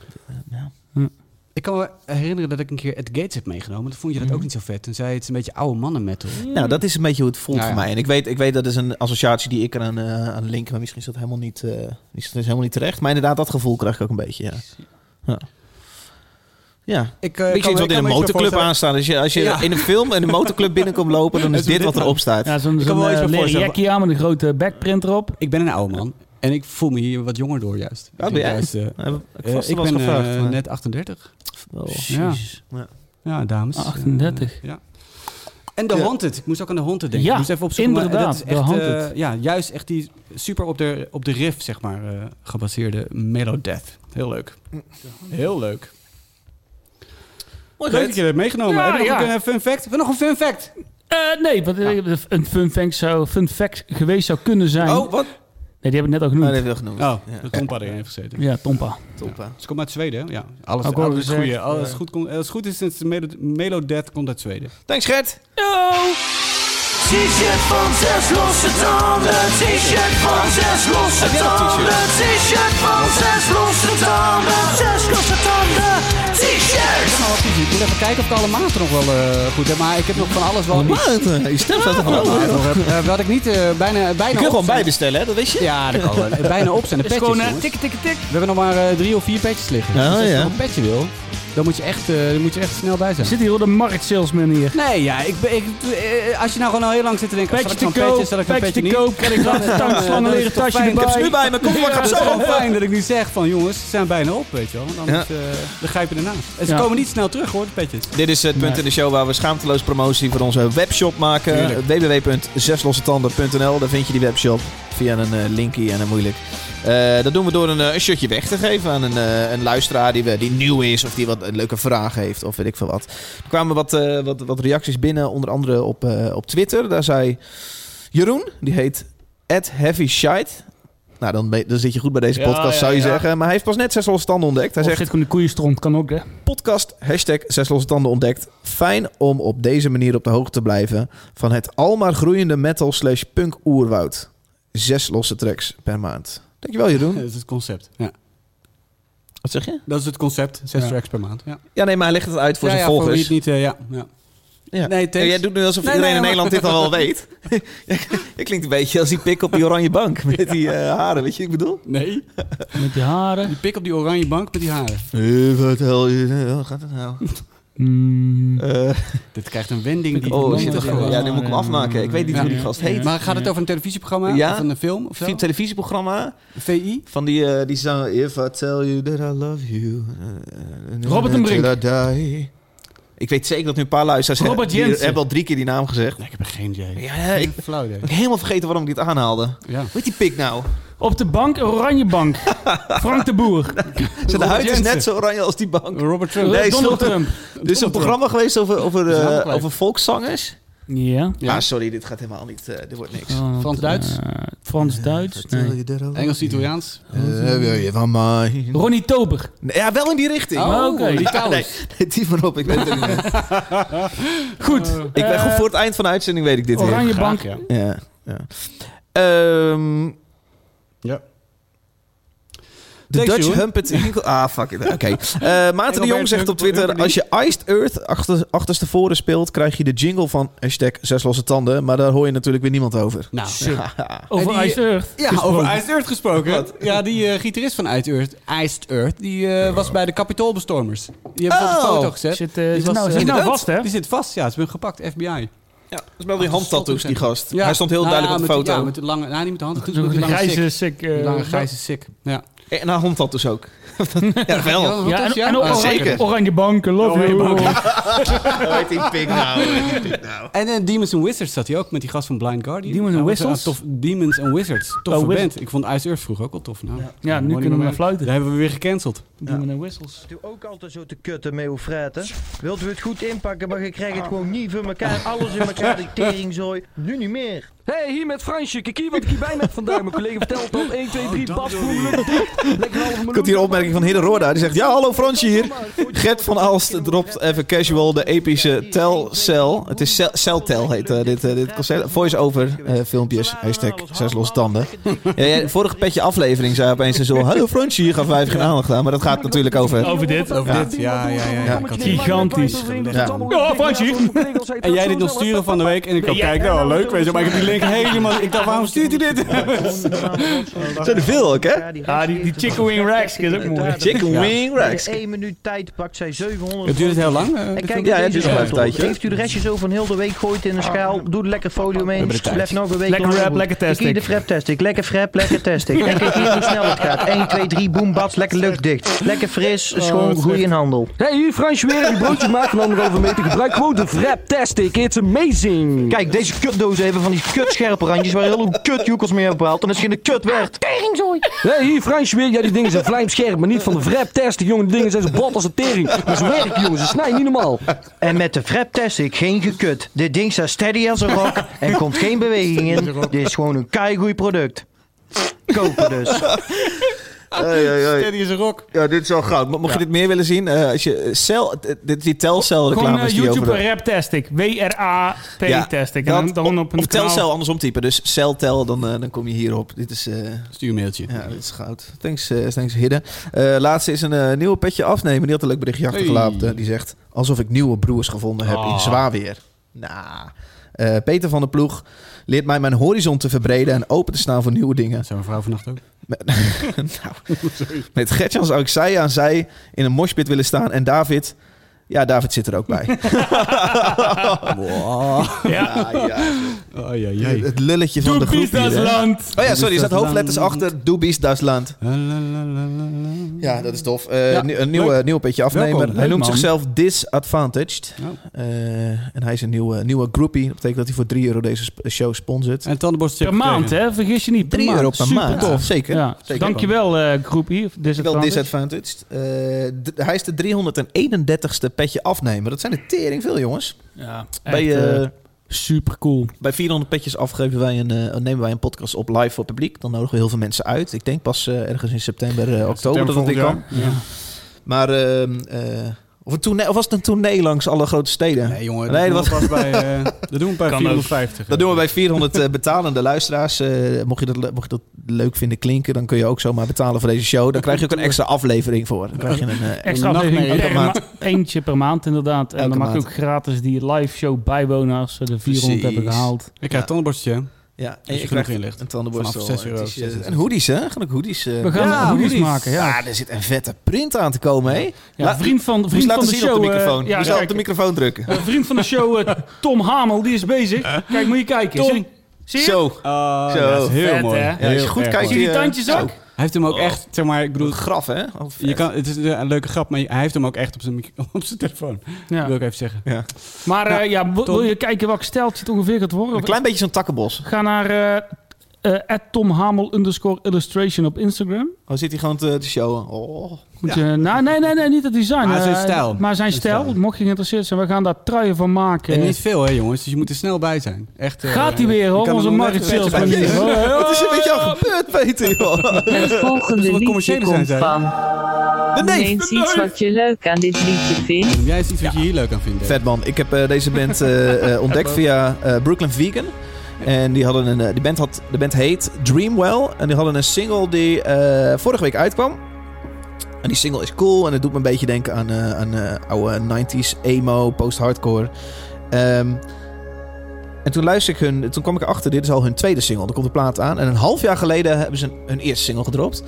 Speaker 1: (laughs) Ik kan me herinneren dat ik een keer Ed Gates heb meegenomen. Toen vond je dat ook niet zo vet. Toen zei je, het is een beetje oude mannen metal.
Speaker 2: Nou, dat is een beetje hoe het voelt
Speaker 1: Nou ja.
Speaker 2: voor mij. En ik weet, ik weet dat is een associatie die ik eraan eh, aan link, maar misschien is dat helemaal niet, eh, is dat helemaal niet terecht. Maar inderdaad, dat gevoel krijg ik ook een beetje. Ja. Ja. ja.
Speaker 1: Ik, eh,
Speaker 2: Beetje
Speaker 1: kan
Speaker 2: iets
Speaker 1: me-
Speaker 2: wat
Speaker 1: ik
Speaker 2: in
Speaker 1: kan me iets
Speaker 2: een
Speaker 1: bij
Speaker 2: motorclub
Speaker 1: voorstellen.
Speaker 2: aanstaat. Als je, als je
Speaker 1: Ja.
Speaker 2: in een film en een motorclub binnenkomt lopen, dan
Speaker 1: (laughs)
Speaker 2: is
Speaker 1: Is het
Speaker 2: dit
Speaker 1: dit
Speaker 2: wat erop staat.
Speaker 3: Ja, zo'n
Speaker 1: Ik kan
Speaker 3: zo'n
Speaker 1: me wel iets
Speaker 3: eh,
Speaker 1: bij
Speaker 3: leren
Speaker 1: voorstellen.
Speaker 3: jackie aan met een grote eh, backprint erop.
Speaker 1: Ik ben een oude man. En ik voel me hier wat jonger door juist.
Speaker 2: Wat
Speaker 1: Ik
Speaker 2: ben
Speaker 1: denk
Speaker 2: jij?
Speaker 1: Juist, eh,
Speaker 2: Dat heb ik
Speaker 1: eh,
Speaker 2: vast
Speaker 1: ik
Speaker 2: wel eens
Speaker 1: ben
Speaker 2: gevraagd.
Speaker 1: eh,
Speaker 2: maar-
Speaker 1: net 38.
Speaker 2: Oh.
Speaker 3: Ja.
Speaker 1: Ja, dames.
Speaker 3: 38.
Speaker 1: Eh, ja. En The
Speaker 2: Ja.
Speaker 1: Haunted. Ik moest ook aan The Haunted denken.
Speaker 3: Ja,
Speaker 1: ik moest even opzoeken. maar
Speaker 3: inderdaad,
Speaker 1: dat
Speaker 3: The
Speaker 1: is echt, eh,
Speaker 3: Haunted.
Speaker 1: ja, juist echt die super op de, op de riff, zeg maar, eh, gebaseerde Mellow Death. Heel leuk. Heel leuk.
Speaker 2: Mooi
Speaker 1: Leuk dat je
Speaker 2: Gert.
Speaker 1: dat hebt meegenomen.
Speaker 3: Ja,
Speaker 1: Heb je nog
Speaker 3: ja.
Speaker 1: een eh, fun fact? Hebben we nog een fun fact?
Speaker 3: Eh, nee, want eh, een fun fact, zou, fun fact geweest zou kunnen zijn.
Speaker 2: Oh, wat?
Speaker 3: Nee, die heb ik net al
Speaker 2: Nou,
Speaker 3: genoemd.
Speaker 2: dat heb ik wel genoemd.
Speaker 1: Oh,
Speaker 2: Ja.
Speaker 1: de Tompa erin heeft gezeten.
Speaker 3: Ja, Tompa.
Speaker 2: Top, hè.
Speaker 1: Ze komt uit Zweden, hè? ja. Alles,
Speaker 3: Ook eh, al
Speaker 1: alles,
Speaker 3: gezegd,
Speaker 1: goeie. alles goed komt, als het goed is, sinds Melo- Melo Death komt uit Zweden.
Speaker 2: Thanks Gert.
Speaker 4: T-shirt van zes losse tanden. T-shirt van zes losse
Speaker 2: Heb jij nog
Speaker 4: tanden. T-shirt van zes losse tanden. Zes losse tanden. T-shirt.
Speaker 1: Precies, moet even kijken of ik alle maten nog wel eh, goed heb. Maar ik heb nog van alles
Speaker 3: Oh,
Speaker 1: wel... iets. (laughs)
Speaker 2: Maarten, je stem staat er
Speaker 1: Alle
Speaker 2: gewoon
Speaker 1: maten
Speaker 2: over.
Speaker 1: nog heb. Eh, wat ik niet eh, bijna, bijna
Speaker 2: Je kunt gewoon
Speaker 1: op zijn.
Speaker 2: beide stellen, hè? dat wist je?
Speaker 1: Ja, dat kan wel. Eh, Bijna op zijn de
Speaker 3: Het
Speaker 1: petjes,
Speaker 3: is gewoon eh,
Speaker 1: jongens.
Speaker 3: tik, tik, tik.
Speaker 1: We hebben nog maar eh, drie of vier petjes liggen.
Speaker 2: Ja,
Speaker 1: dus als je
Speaker 2: Oh, ja.
Speaker 1: nog een petje wil, dan moet je echt, eh, dan moet je echt snel bij zijn.
Speaker 3: Zit hier wel de markt salesman hier.
Speaker 1: Nee, ja, ik, ben- ik, eh, als je nou gewoon al heel lang zit te denken...
Speaker 3: Petje
Speaker 1: zal
Speaker 3: te
Speaker 1: ik zo'n petje, zal ik
Speaker 3: koop,
Speaker 1: zo'n
Speaker 3: petje te
Speaker 1: niet?
Speaker 3: koop. Kan
Speaker 1: (laughs)
Speaker 3: ik laten
Speaker 1: Dan, eh,
Speaker 3: staan,
Speaker 1: dan is
Speaker 3: leren
Speaker 1: het toch
Speaker 3: tasje
Speaker 1: fijn.
Speaker 3: erbij.
Speaker 1: Ik heb
Speaker 2: Is nu bij me, kom maar, ik ga
Speaker 1: Het is
Speaker 2: zo
Speaker 1: gewoon
Speaker 2: op.
Speaker 1: fijn dat ik nu zeg van jongens, ze zijn bijna op, weet je wel. Want anders eh dan grijpen je ernaast. En ze
Speaker 3: Ja.
Speaker 1: komen niet snel terug hoor, de petjes.
Speaker 2: Dit is het punt
Speaker 3: Nee.
Speaker 2: in de show waar we schaamteloos promotie voor onze webshop maken. www.zeslossetanden.nl Daar vind je die webshop via een eh, linkie en een moeilijk. Eh, dat doen we door een, eh, een shirtje weg te geven aan een, eh, een luisteraar die, we, die nieuw is of die wat een leuke vraag heeft of weet ik veel wat. Er kwamen wat, eh, wat, wat reacties binnen, onder andere op, eh, op Twitter. Daar zei Jeroen, die heet @heavyshite. Nou, dan, ben- dan zit je goed bij deze
Speaker 3: Ja,
Speaker 2: podcast,
Speaker 3: ja,
Speaker 2: zou je
Speaker 3: ja.
Speaker 2: zeggen. Maar hij heeft pas net zes losse tanden ontdekt. Hij
Speaker 3: Of
Speaker 2: zegt,
Speaker 3: zit gewoon de koeienstront, kan ook hè.
Speaker 2: podcast, hashtag Zes Losse Tanden ontdekt. Fijn om op deze manier op de hoogte te blijven van het almaar groeiende metal slash punk oerwoud. Zes losse tracks per maand. Dankjewel
Speaker 1: (laughs)
Speaker 2: Jeroen.
Speaker 1: Dat is het concept. Ja.
Speaker 2: Wat zeg je?
Speaker 1: Dat is het concept, zes
Speaker 3: Ja.
Speaker 1: tracks per maand. Ja.
Speaker 2: Ja, nee, maar hij legt het uit voor
Speaker 1: ja,
Speaker 2: zijn
Speaker 1: ja,
Speaker 2: volgers.
Speaker 1: wie het niet, eh, ja. ja.
Speaker 2: Ja.
Speaker 1: Nee, thanks.
Speaker 2: Ja, jij doet nu alsof
Speaker 1: Nee,
Speaker 2: iedereen in
Speaker 1: nee,
Speaker 2: Nederland dit al wel weet. (laughs) Je klinkt een beetje als die pik op die oranje bank met die eh, haren, weet je wat ik bedoel?
Speaker 1: Nee.
Speaker 3: Met die haren.
Speaker 1: Die pik op die oranje bank met die haren.
Speaker 2: wat gaat het nou?
Speaker 3: Mm.
Speaker 1: Eh, Dit krijgt een wending die
Speaker 2: oh,
Speaker 1: oh,
Speaker 2: shit,
Speaker 1: toch gewoon.
Speaker 2: ja, nu moet ik hem afmaken. Ik weet niet
Speaker 1: Ja.
Speaker 2: hoe die gast heet.
Speaker 1: Maar gaat het over een televisieprogramma?
Speaker 2: Ja.
Speaker 1: Of een film? Of zo?
Speaker 2: Een televisieprogramma
Speaker 1: VI?
Speaker 2: Van die, eh, die zang If I tell you that I love you. eh,
Speaker 3: Robert en Brink.
Speaker 2: till I die. Ik weet zeker dat nu een paar luisteraars he-
Speaker 3: Robert
Speaker 2: die
Speaker 3: Jensen.
Speaker 2: hebben al drie keer die naam gezegd.
Speaker 1: Nee, ik heb er geen idee.
Speaker 2: Ja, ja, ik
Speaker 1: Geen flauw idee.
Speaker 2: ik ben helemaal vergeten waarom ik dit aanhaalde. Hoe
Speaker 1: Ja.
Speaker 2: heet die pik nou?
Speaker 3: Op de bank, een oranje
Speaker 2: (laughs)
Speaker 3: bank. Frank de Boer. Eh,
Speaker 2: Zijn huid is
Speaker 1: Jensen.
Speaker 2: net zo oranje als die bank.
Speaker 1: Robert Trump.
Speaker 2: Nee,
Speaker 3: Donald
Speaker 2: stop.
Speaker 3: Trump.
Speaker 2: Er is een programma geweest over, over,
Speaker 1: is helemaal
Speaker 2: eh,
Speaker 1: kwijt.
Speaker 2: over volkszangers.
Speaker 3: Ja.
Speaker 1: Ja.
Speaker 2: Ah, sorry, dit gaat helemaal niet. eh, dit wordt niks.
Speaker 3: Want,
Speaker 1: Frans-Duits?
Speaker 3: eh, Frans-Duits?
Speaker 1: eh,
Speaker 3: Nee.
Speaker 1: Engels-Italiaans.
Speaker 2: Eh, wil je van mij?
Speaker 3: Ronnie Tober.
Speaker 2: Ja, wel in die richting.
Speaker 1: Oh,
Speaker 3: oké.
Speaker 1: die
Speaker 2: Ja, nee,
Speaker 1: kous.
Speaker 2: nee, die van op. Ik, weet het ook niet meer.
Speaker 1: (laughs)
Speaker 3: Goed.
Speaker 2: ik ben
Speaker 3: Eh,
Speaker 2: gewoon voor het eind van de uitzending weet ik dit weer.
Speaker 3: Oranje
Speaker 1: Graag,
Speaker 3: bank.
Speaker 1: ja.
Speaker 2: Ja. ja. Ehm,
Speaker 1: Ja.
Speaker 2: de
Speaker 1: Thanks,
Speaker 2: Dutch
Speaker 1: Jeroen.
Speaker 2: Humpet Eagle. Ah, fuck it. Oké. Eh,
Speaker 1: (laughs)
Speaker 2: Maarten de Jong zegt op Twitter... als je Iced Earth achter, achterstevoren speelt... krijg je de jingle van hashtag zes losse tanden. Maar daar hoor je natuurlijk weer niemand over.
Speaker 1: Nou,
Speaker 2: (laughs)
Speaker 3: Over
Speaker 1: En die-
Speaker 3: Ice Earth.
Speaker 1: Ja, over Iced Earth gesproken. Ja, die eh, gitarist van Iced Earth, Iced Earth die eh, was bij de Capitoolbestormers. Die hebben ze op
Speaker 2: Oh.
Speaker 1: de foto gezet.
Speaker 3: Zit, eh,
Speaker 1: Die
Speaker 3: zit
Speaker 1: was,
Speaker 3: nou,
Speaker 1: eh,
Speaker 3: zit nou
Speaker 1: inderdaad.
Speaker 3: vast, hè?
Speaker 1: Die zit vast, ja. Ze hebben hem gepakt, FBI.
Speaker 2: Ja, Ah, dat is wel weer handtattoos, die gast.
Speaker 1: Ja.
Speaker 2: Hij stond heel
Speaker 1: Nou,
Speaker 2: duidelijk op de
Speaker 1: met die-
Speaker 2: foto.
Speaker 1: Ja, met de lange, nou, niet met de hand. Met
Speaker 3: Zo'n
Speaker 1: die lange
Speaker 3: grijze,
Speaker 1: sik.
Speaker 3: sick.
Speaker 1: Die
Speaker 3: eh,
Speaker 1: lange grijze sik. Ja.
Speaker 2: En haar Eh, nou, handtattoos
Speaker 1: (laughs)
Speaker 2: ook. ja, wel.
Speaker 1: Ja,
Speaker 3: Ja, en, en ook
Speaker 1: Ah,
Speaker 3: oranje,
Speaker 2: zeker.
Speaker 3: oranje bank. Love
Speaker 1: Oranje
Speaker 3: you.
Speaker 2: Hoe heet die pik
Speaker 1: (laughs)
Speaker 2: nou? Hoe heet die pik nou?
Speaker 1: En eh, Demons and Wizards zat hij ook met die gast van Blind Guardian.
Speaker 3: Demons and
Speaker 1: Ja, was, eh,
Speaker 3: Whistles?
Speaker 1: tof- Demons and Wizards. Toffe
Speaker 3: Oh, Wizards.
Speaker 1: band. Ik vond Ice Earth vroeger ook al tof. Nou.
Speaker 3: Ja, nu
Speaker 1: Hoor
Speaker 3: kunnen we
Speaker 1: niet
Speaker 3: naar
Speaker 1: meer.
Speaker 3: fluiten.
Speaker 1: Daar hebben we weer gecanceld.
Speaker 3: Doen we naar whistles.
Speaker 7: doe ook altijd zo te kutten mee hoe fretten. Wilt u het goed inpakken, maar je krijgt het gewoon niet voor elkaar. Alles in elkaar, die teringzooi. Nu niet meer.
Speaker 8: Hey, hier met Fransje. Kijk hier wat ik hier bij me heb vandaag. Mijn collega vertelt dat 1, 2,
Speaker 1: Oh,
Speaker 8: 3, pas pas, boem, lukt het. Lekker halve
Speaker 2: Ik
Speaker 8: miljoen.
Speaker 2: had hier een opmerking van Hidde Roorda. Die zegt, ja, hallo Fransje hier. Gert van Aalst dropt even casual de epische Telcel. Het is Cel- Celtel, heet eh, dit, eh, dit concert. Voice-over eh, filmpjes. Hashtag zes los tanden. Ja, ja, vorige petje aflevering zei opeens zo... Hallo Fransje hier, gaf vijf geen aandacht aan. Maar dat gaat natuurlijk over...
Speaker 3: Over dit.
Speaker 1: Over dit, ja, ja, ja. ja.
Speaker 3: Gigantisch. Ja, Fransje.
Speaker 1: "Oh, En jij dit nog sturen van de week en ik kan kijken, nou leuk, weet je, maar ik heb die link helemaal... Ik dacht, waarom stuurt hij dit?
Speaker 2: Zijn er veel ook, hè?
Speaker 3: Ah, die, die chicken wing racks is ook mooi.
Speaker 2: Chicken wing racks.
Speaker 7: 1 minuut tijd pakt zij 700.
Speaker 1: Het duurt het heel lang. eh,
Speaker 7: En
Speaker 1: dit
Speaker 7: kijk,
Speaker 2: Ja,
Speaker 7: ja,
Speaker 2: het
Speaker 7: het
Speaker 2: duurt nog wel een tijdje.
Speaker 7: Heeft u de restjes over een heel de week, gooit in een schaal, doe er lekker folio mee.
Speaker 1: hebben de tijd.
Speaker 7: Blijf nog een week
Speaker 3: Lekker
Speaker 7: lang
Speaker 3: rap,
Speaker 7: goed.
Speaker 3: lekker
Speaker 7: Kijk hier
Speaker 3: testing.
Speaker 7: de frap test ik, lekker frap, lekker test ik. En kijk hier hoe snel het gaat. 1, 2, 3, boem, bats, lekker lucht dicht. Lekker fris, schoon, goed in handel.
Speaker 8: Hey, hier Fransje weer. Die broodjes maken van anderhalve meter. Gebruik gewoon de wrap test ik. It's amazing.
Speaker 7: Kijk, deze kutdozen hebben van die kutscherpe randjes waar heel veel kutjoekels mee hebben behaald. En als je een kut werd.
Speaker 8: Hey, hier Fransje weer. Ja, die dingen zijn vlijmscherp, maar niet van de wrap test. Die jongen, die dingen zijn zo bot als een tering. Maar ze werken, jongens. Ze snijden niet normaal.
Speaker 7: En met de frap test ik geen gekut. Dit ding staat steady als een rock en komt geen beweging in. Dit is gewoon een keigoed product. Kopen dus.
Speaker 2: Hey, hey, hey.
Speaker 1: Teddy is een rock.
Speaker 2: Ja, dit is wel goud. Mo- Mocht je dit meer willen zien? eh, als je eh, cel, eh, dit, die
Speaker 3: Gewoon
Speaker 2: telcel-reclames
Speaker 3: eh,
Speaker 2: die over...
Speaker 3: YouTube rap testic. W-R-A-T
Speaker 2: Ja,
Speaker 3: testic. En
Speaker 2: dat-
Speaker 3: dan, dan op een
Speaker 2: of
Speaker 3: kanaal-
Speaker 2: telcel andersom typen. Dus celtel, dan, eh, dan kom je hierop. Dit is, eh,
Speaker 1: Stuur een mailtje.
Speaker 2: ja, dit is goud. Thanks, eh, thanks Hidde. Eh, laatste is een eh, nieuwe petje afnemen. Die had een leuk berichtje achtergelaten.
Speaker 1: Hey.
Speaker 2: Die zegt, alsof ik nieuwe broers gevonden heb in
Speaker 1: Ah.
Speaker 2: zwaar weer. Nou, eh, Peter van der Ploeg leert mij mijn horizon te verbreden... en open te staan voor nieuwe dingen.
Speaker 1: Dat zijn mevrouw vannacht ook.
Speaker 2: Met, nou, met Gertjan zou ik zij aan zij in een moshpit willen staan. En David... Ja, David zit er ook
Speaker 1: (laughs)
Speaker 2: bij.
Speaker 3: Ja.
Speaker 2: Ah, ja.
Speaker 1: Oh, ja,
Speaker 2: Het-
Speaker 1: jee.
Speaker 2: Het lulletje van de
Speaker 3: Doe
Speaker 2: groep
Speaker 3: Pies
Speaker 2: hier,
Speaker 3: das
Speaker 2: hè.
Speaker 3: Land.
Speaker 2: Oh ja, sorry, er staat hoofdletters
Speaker 1: Land.
Speaker 2: achter. Doebies Duitsland.
Speaker 1: La, la, la, la, la, la.
Speaker 2: Ja, dat is tof. Eh,
Speaker 1: Ja,
Speaker 2: nie- een nieuwe,
Speaker 1: leuk.
Speaker 2: nieuwe petje afnemer.
Speaker 1: Welkom,
Speaker 2: hij
Speaker 1: leuk,
Speaker 2: noemt
Speaker 1: man.
Speaker 2: zichzelf Disadvantaged.
Speaker 1: Oh.
Speaker 2: Eh, en hij is een nieuwe, nieuwe groupie. Dat betekent dat hij voor 3 euro deze sp- show sponsort.
Speaker 1: En tandenborstel.
Speaker 3: Per maand, hè? Vergis je niet.
Speaker 2: 3 euro per
Speaker 3: Super
Speaker 2: maand.
Speaker 3: tof.
Speaker 2: Zeker.
Speaker 3: Ja.
Speaker 2: Zeker.
Speaker 3: Dankjewel, eh groepie.
Speaker 2: Wel
Speaker 3: Disadvantage.
Speaker 2: disadvantaged. Eh, d- hij is de 331ste petje afnemer. Dat zijn er tering veel, jongens.
Speaker 3: Ja,
Speaker 2: bij,
Speaker 3: echt, eh,
Speaker 2: eh,
Speaker 3: super cool.
Speaker 2: bij 400 petjes afgeven wij een, eh, nemen wij een podcast op live voor publiek. Dan nodigen we heel veel mensen uit. Ik denk pas eh, ergens in september, eh, oktober dat dat weer kan.
Speaker 1: Ja.
Speaker 2: Maar, ehm, eh, of, een tournee, of was het een tournee langs alle grote steden?
Speaker 1: Nee, jongen.
Speaker 2: Nee,
Speaker 1: Nee, dat,
Speaker 2: dat
Speaker 1: doen we pas bij, eh, (laughs) dat doen we bij
Speaker 3: Kan ook.
Speaker 1: 450.
Speaker 2: Dat doen we bij 400 eh, betalende luisteraars. Eh, mocht, je dat, le- mocht je dat leuk vinden klinken, dan kun je ook zomaar betalen voor deze show. Dan krijg je ook een extra aflevering voor. Dan krijg je een, eh,
Speaker 3: Extra
Speaker 1: Een
Speaker 3: aflevering
Speaker 1: nachtmerrie
Speaker 2: per
Speaker 3: per ma- Eentje per maand, inderdaad. En
Speaker 2: Elke
Speaker 3: dan mag je
Speaker 2: maand.
Speaker 3: ook gratis die live show bijwonen als we de 400 hebben
Speaker 2: Precies.
Speaker 3: gehaald.
Speaker 1: Ik krijg tandenborsteltje. hè?
Speaker 2: ja,
Speaker 1: je genoeg inlegt.
Speaker 2: een tandenborstel.
Speaker 1: Vanaf 6
Speaker 2: een
Speaker 1: euro,
Speaker 2: t-shirt.
Speaker 1: 6.
Speaker 2: en hoodies, hè? Gaan ook hoodies. eh,
Speaker 3: We gaan
Speaker 2: ja,
Speaker 3: hoodies maken, ja.
Speaker 2: Ah, er zit een vette print aan te komen, hè?
Speaker 3: Ja,
Speaker 2: La-
Speaker 3: vriend van,
Speaker 2: Moest
Speaker 3: vriend van
Speaker 2: laten
Speaker 3: de
Speaker 2: zien
Speaker 3: show.
Speaker 2: op de
Speaker 3: eh,
Speaker 2: microfoon.
Speaker 3: ja,
Speaker 2: Moest wel op
Speaker 3: kijk,
Speaker 2: de microfoon drukken.
Speaker 3: eh, vriend van de show, eh, Tom Hamel, die is
Speaker 2: Eh?
Speaker 3: bezig. Kijk, moet je kijken.
Speaker 1: Tom.
Speaker 3: Zie je- Zie je?
Speaker 2: Zo.
Speaker 1: Ah,
Speaker 2: Zo.
Speaker 1: ja, dat is heel
Speaker 3: Vet,
Speaker 1: mooi.
Speaker 3: hè? Ja,
Speaker 2: Ja, als je
Speaker 1: Heel
Speaker 2: goed
Speaker 1: erg
Speaker 2: kijkt...
Speaker 1: mooi.
Speaker 3: Zie je die
Speaker 2: eh,
Speaker 3: tandjes
Speaker 2: zo.
Speaker 3: ook?
Speaker 1: Hij heeft hem ook echt, zeg maar, ik bedoel...
Speaker 2: Graf, hè? Al
Speaker 1: Je
Speaker 2: vet.
Speaker 1: kan, het is een een leuke grap, maar hij heeft hem ook echt op zijn, micro- (laughs) op zijn telefoon.
Speaker 3: Ja.
Speaker 1: Wil ik even zeggen.
Speaker 3: Maar eh, ja, wil,
Speaker 1: Tom.
Speaker 3: wil je kijken welk steltje het ongeveer gaat worden?
Speaker 2: Een klein beetje zo'n takkenbos.
Speaker 3: Ga naar eh eh, Tom Hamel underscore illustration op Instagram.
Speaker 2: Oh, zit hij gewoon te, te showen? Oh.
Speaker 3: Moet je, nou, nee, nee, nee, niet het design.
Speaker 1: Maar
Speaker 3: eh,
Speaker 1: zijn stijl.
Speaker 3: Maar zijn
Speaker 1: Zijn
Speaker 3: stijl,
Speaker 1: stijl.
Speaker 3: mocht je geïnteresseerd zijn. We gaan daar truien van maken. Eh,
Speaker 1: En niet veel, hè, jongens. Dus je moet er snel bij zijn. Echt, eh,
Speaker 3: Gaat hij weer,
Speaker 1: je
Speaker 3: hoor,
Speaker 1: kan hem
Speaker 3: onze
Speaker 1: nog
Speaker 3: Marit
Speaker 1: net een beetje
Speaker 3: Sils
Speaker 1: bij-
Speaker 3: manier.
Speaker 2: Wat is er met jou gebeurd, Peter? joh?
Speaker 5: Het
Speaker 1: (laughs) Dat is
Speaker 5: volgende
Speaker 1: wat
Speaker 5: liedje
Speaker 1: commerciële zijn,
Speaker 5: komt
Speaker 1: zei
Speaker 5: van.
Speaker 2: De
Speaker 5: Noem
Speaker 2: neef!
Speaker 5: eens iets wat je leuk aan dit liedje vindt.
Speaker 1: Jij is iets wat je hier leuk aan vindt. hè?
Speaker 2: Vet man, ik heb eh, deze band eh, eh, ontdekt via eh, Brooklyn Vegan. En die hadden een, eh, die band had, de band heet Dreamwell. En die hadden een single die eh, vorige week uitkwam. En die single is cool en het doet me een beetje denken aan, eh, aan eh, oude 90s emo, post-hardcore. Ehm, en toen luister ik hun, toen kwam ik erachter, dit is al hun tweede single. Er komt een plaat aan. En een half jaar geleden hebben ze hun, hun eerste single gedropt.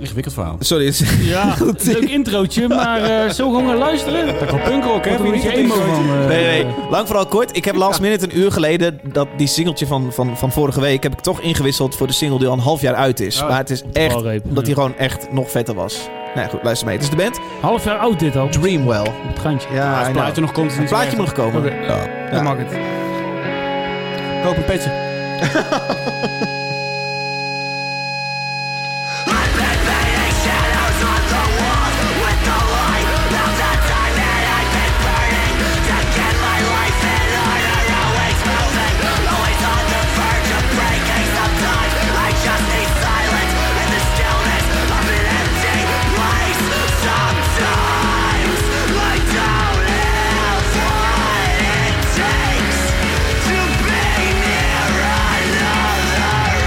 Speaker 1: Ingewikkeld verhaal.
Speaker 2: Sorry, het is-
Speaker 3: (laughs) Ja, leuk introotje, maar (laughs) eh, zo gewoon gaan luisteren. Dat kan punkrock, hè? Daar word je emo van. eh.
Speaker 2: Nee, nee, nee. Lang vooral kort. Ik heb last minute een uur geleden dat die singeltje van, van, van vorige week heb ik toch ingewisseld voor de single die al een half jaar uit is.
Speaker 1: Oh.
Speaker 2: Maar het is echt
Speaker 3: Valreep,
Speaker 2: omdat
Speaker 3: ja.
Speaker 2: die gewoon echt nog vetter was. Nou ja, goed, luister mee. Het is de band
Speaker 3: Half jaar oud dit al, op
Speaker 2: Dreamwell.
Speaker 3: het randje.
Speaker 2: Ja,
Speaker 1: Als
Speaker 2: I
Speaker 1: het
Speaker 2: know.
Speaker 1: plaatje nog komt, is
Speaker 2: Een
Speaker 1: niet zo
Speaker 2: plaatje moet
Speaker 1: erg.
Speaker 2: nog komen.
Speaker 3: Oké,
Speaker 2: Ja.
Speaker 3: dan mag het.
Speaker 1: Koop een petje.
Speaker 4: Takes to be near another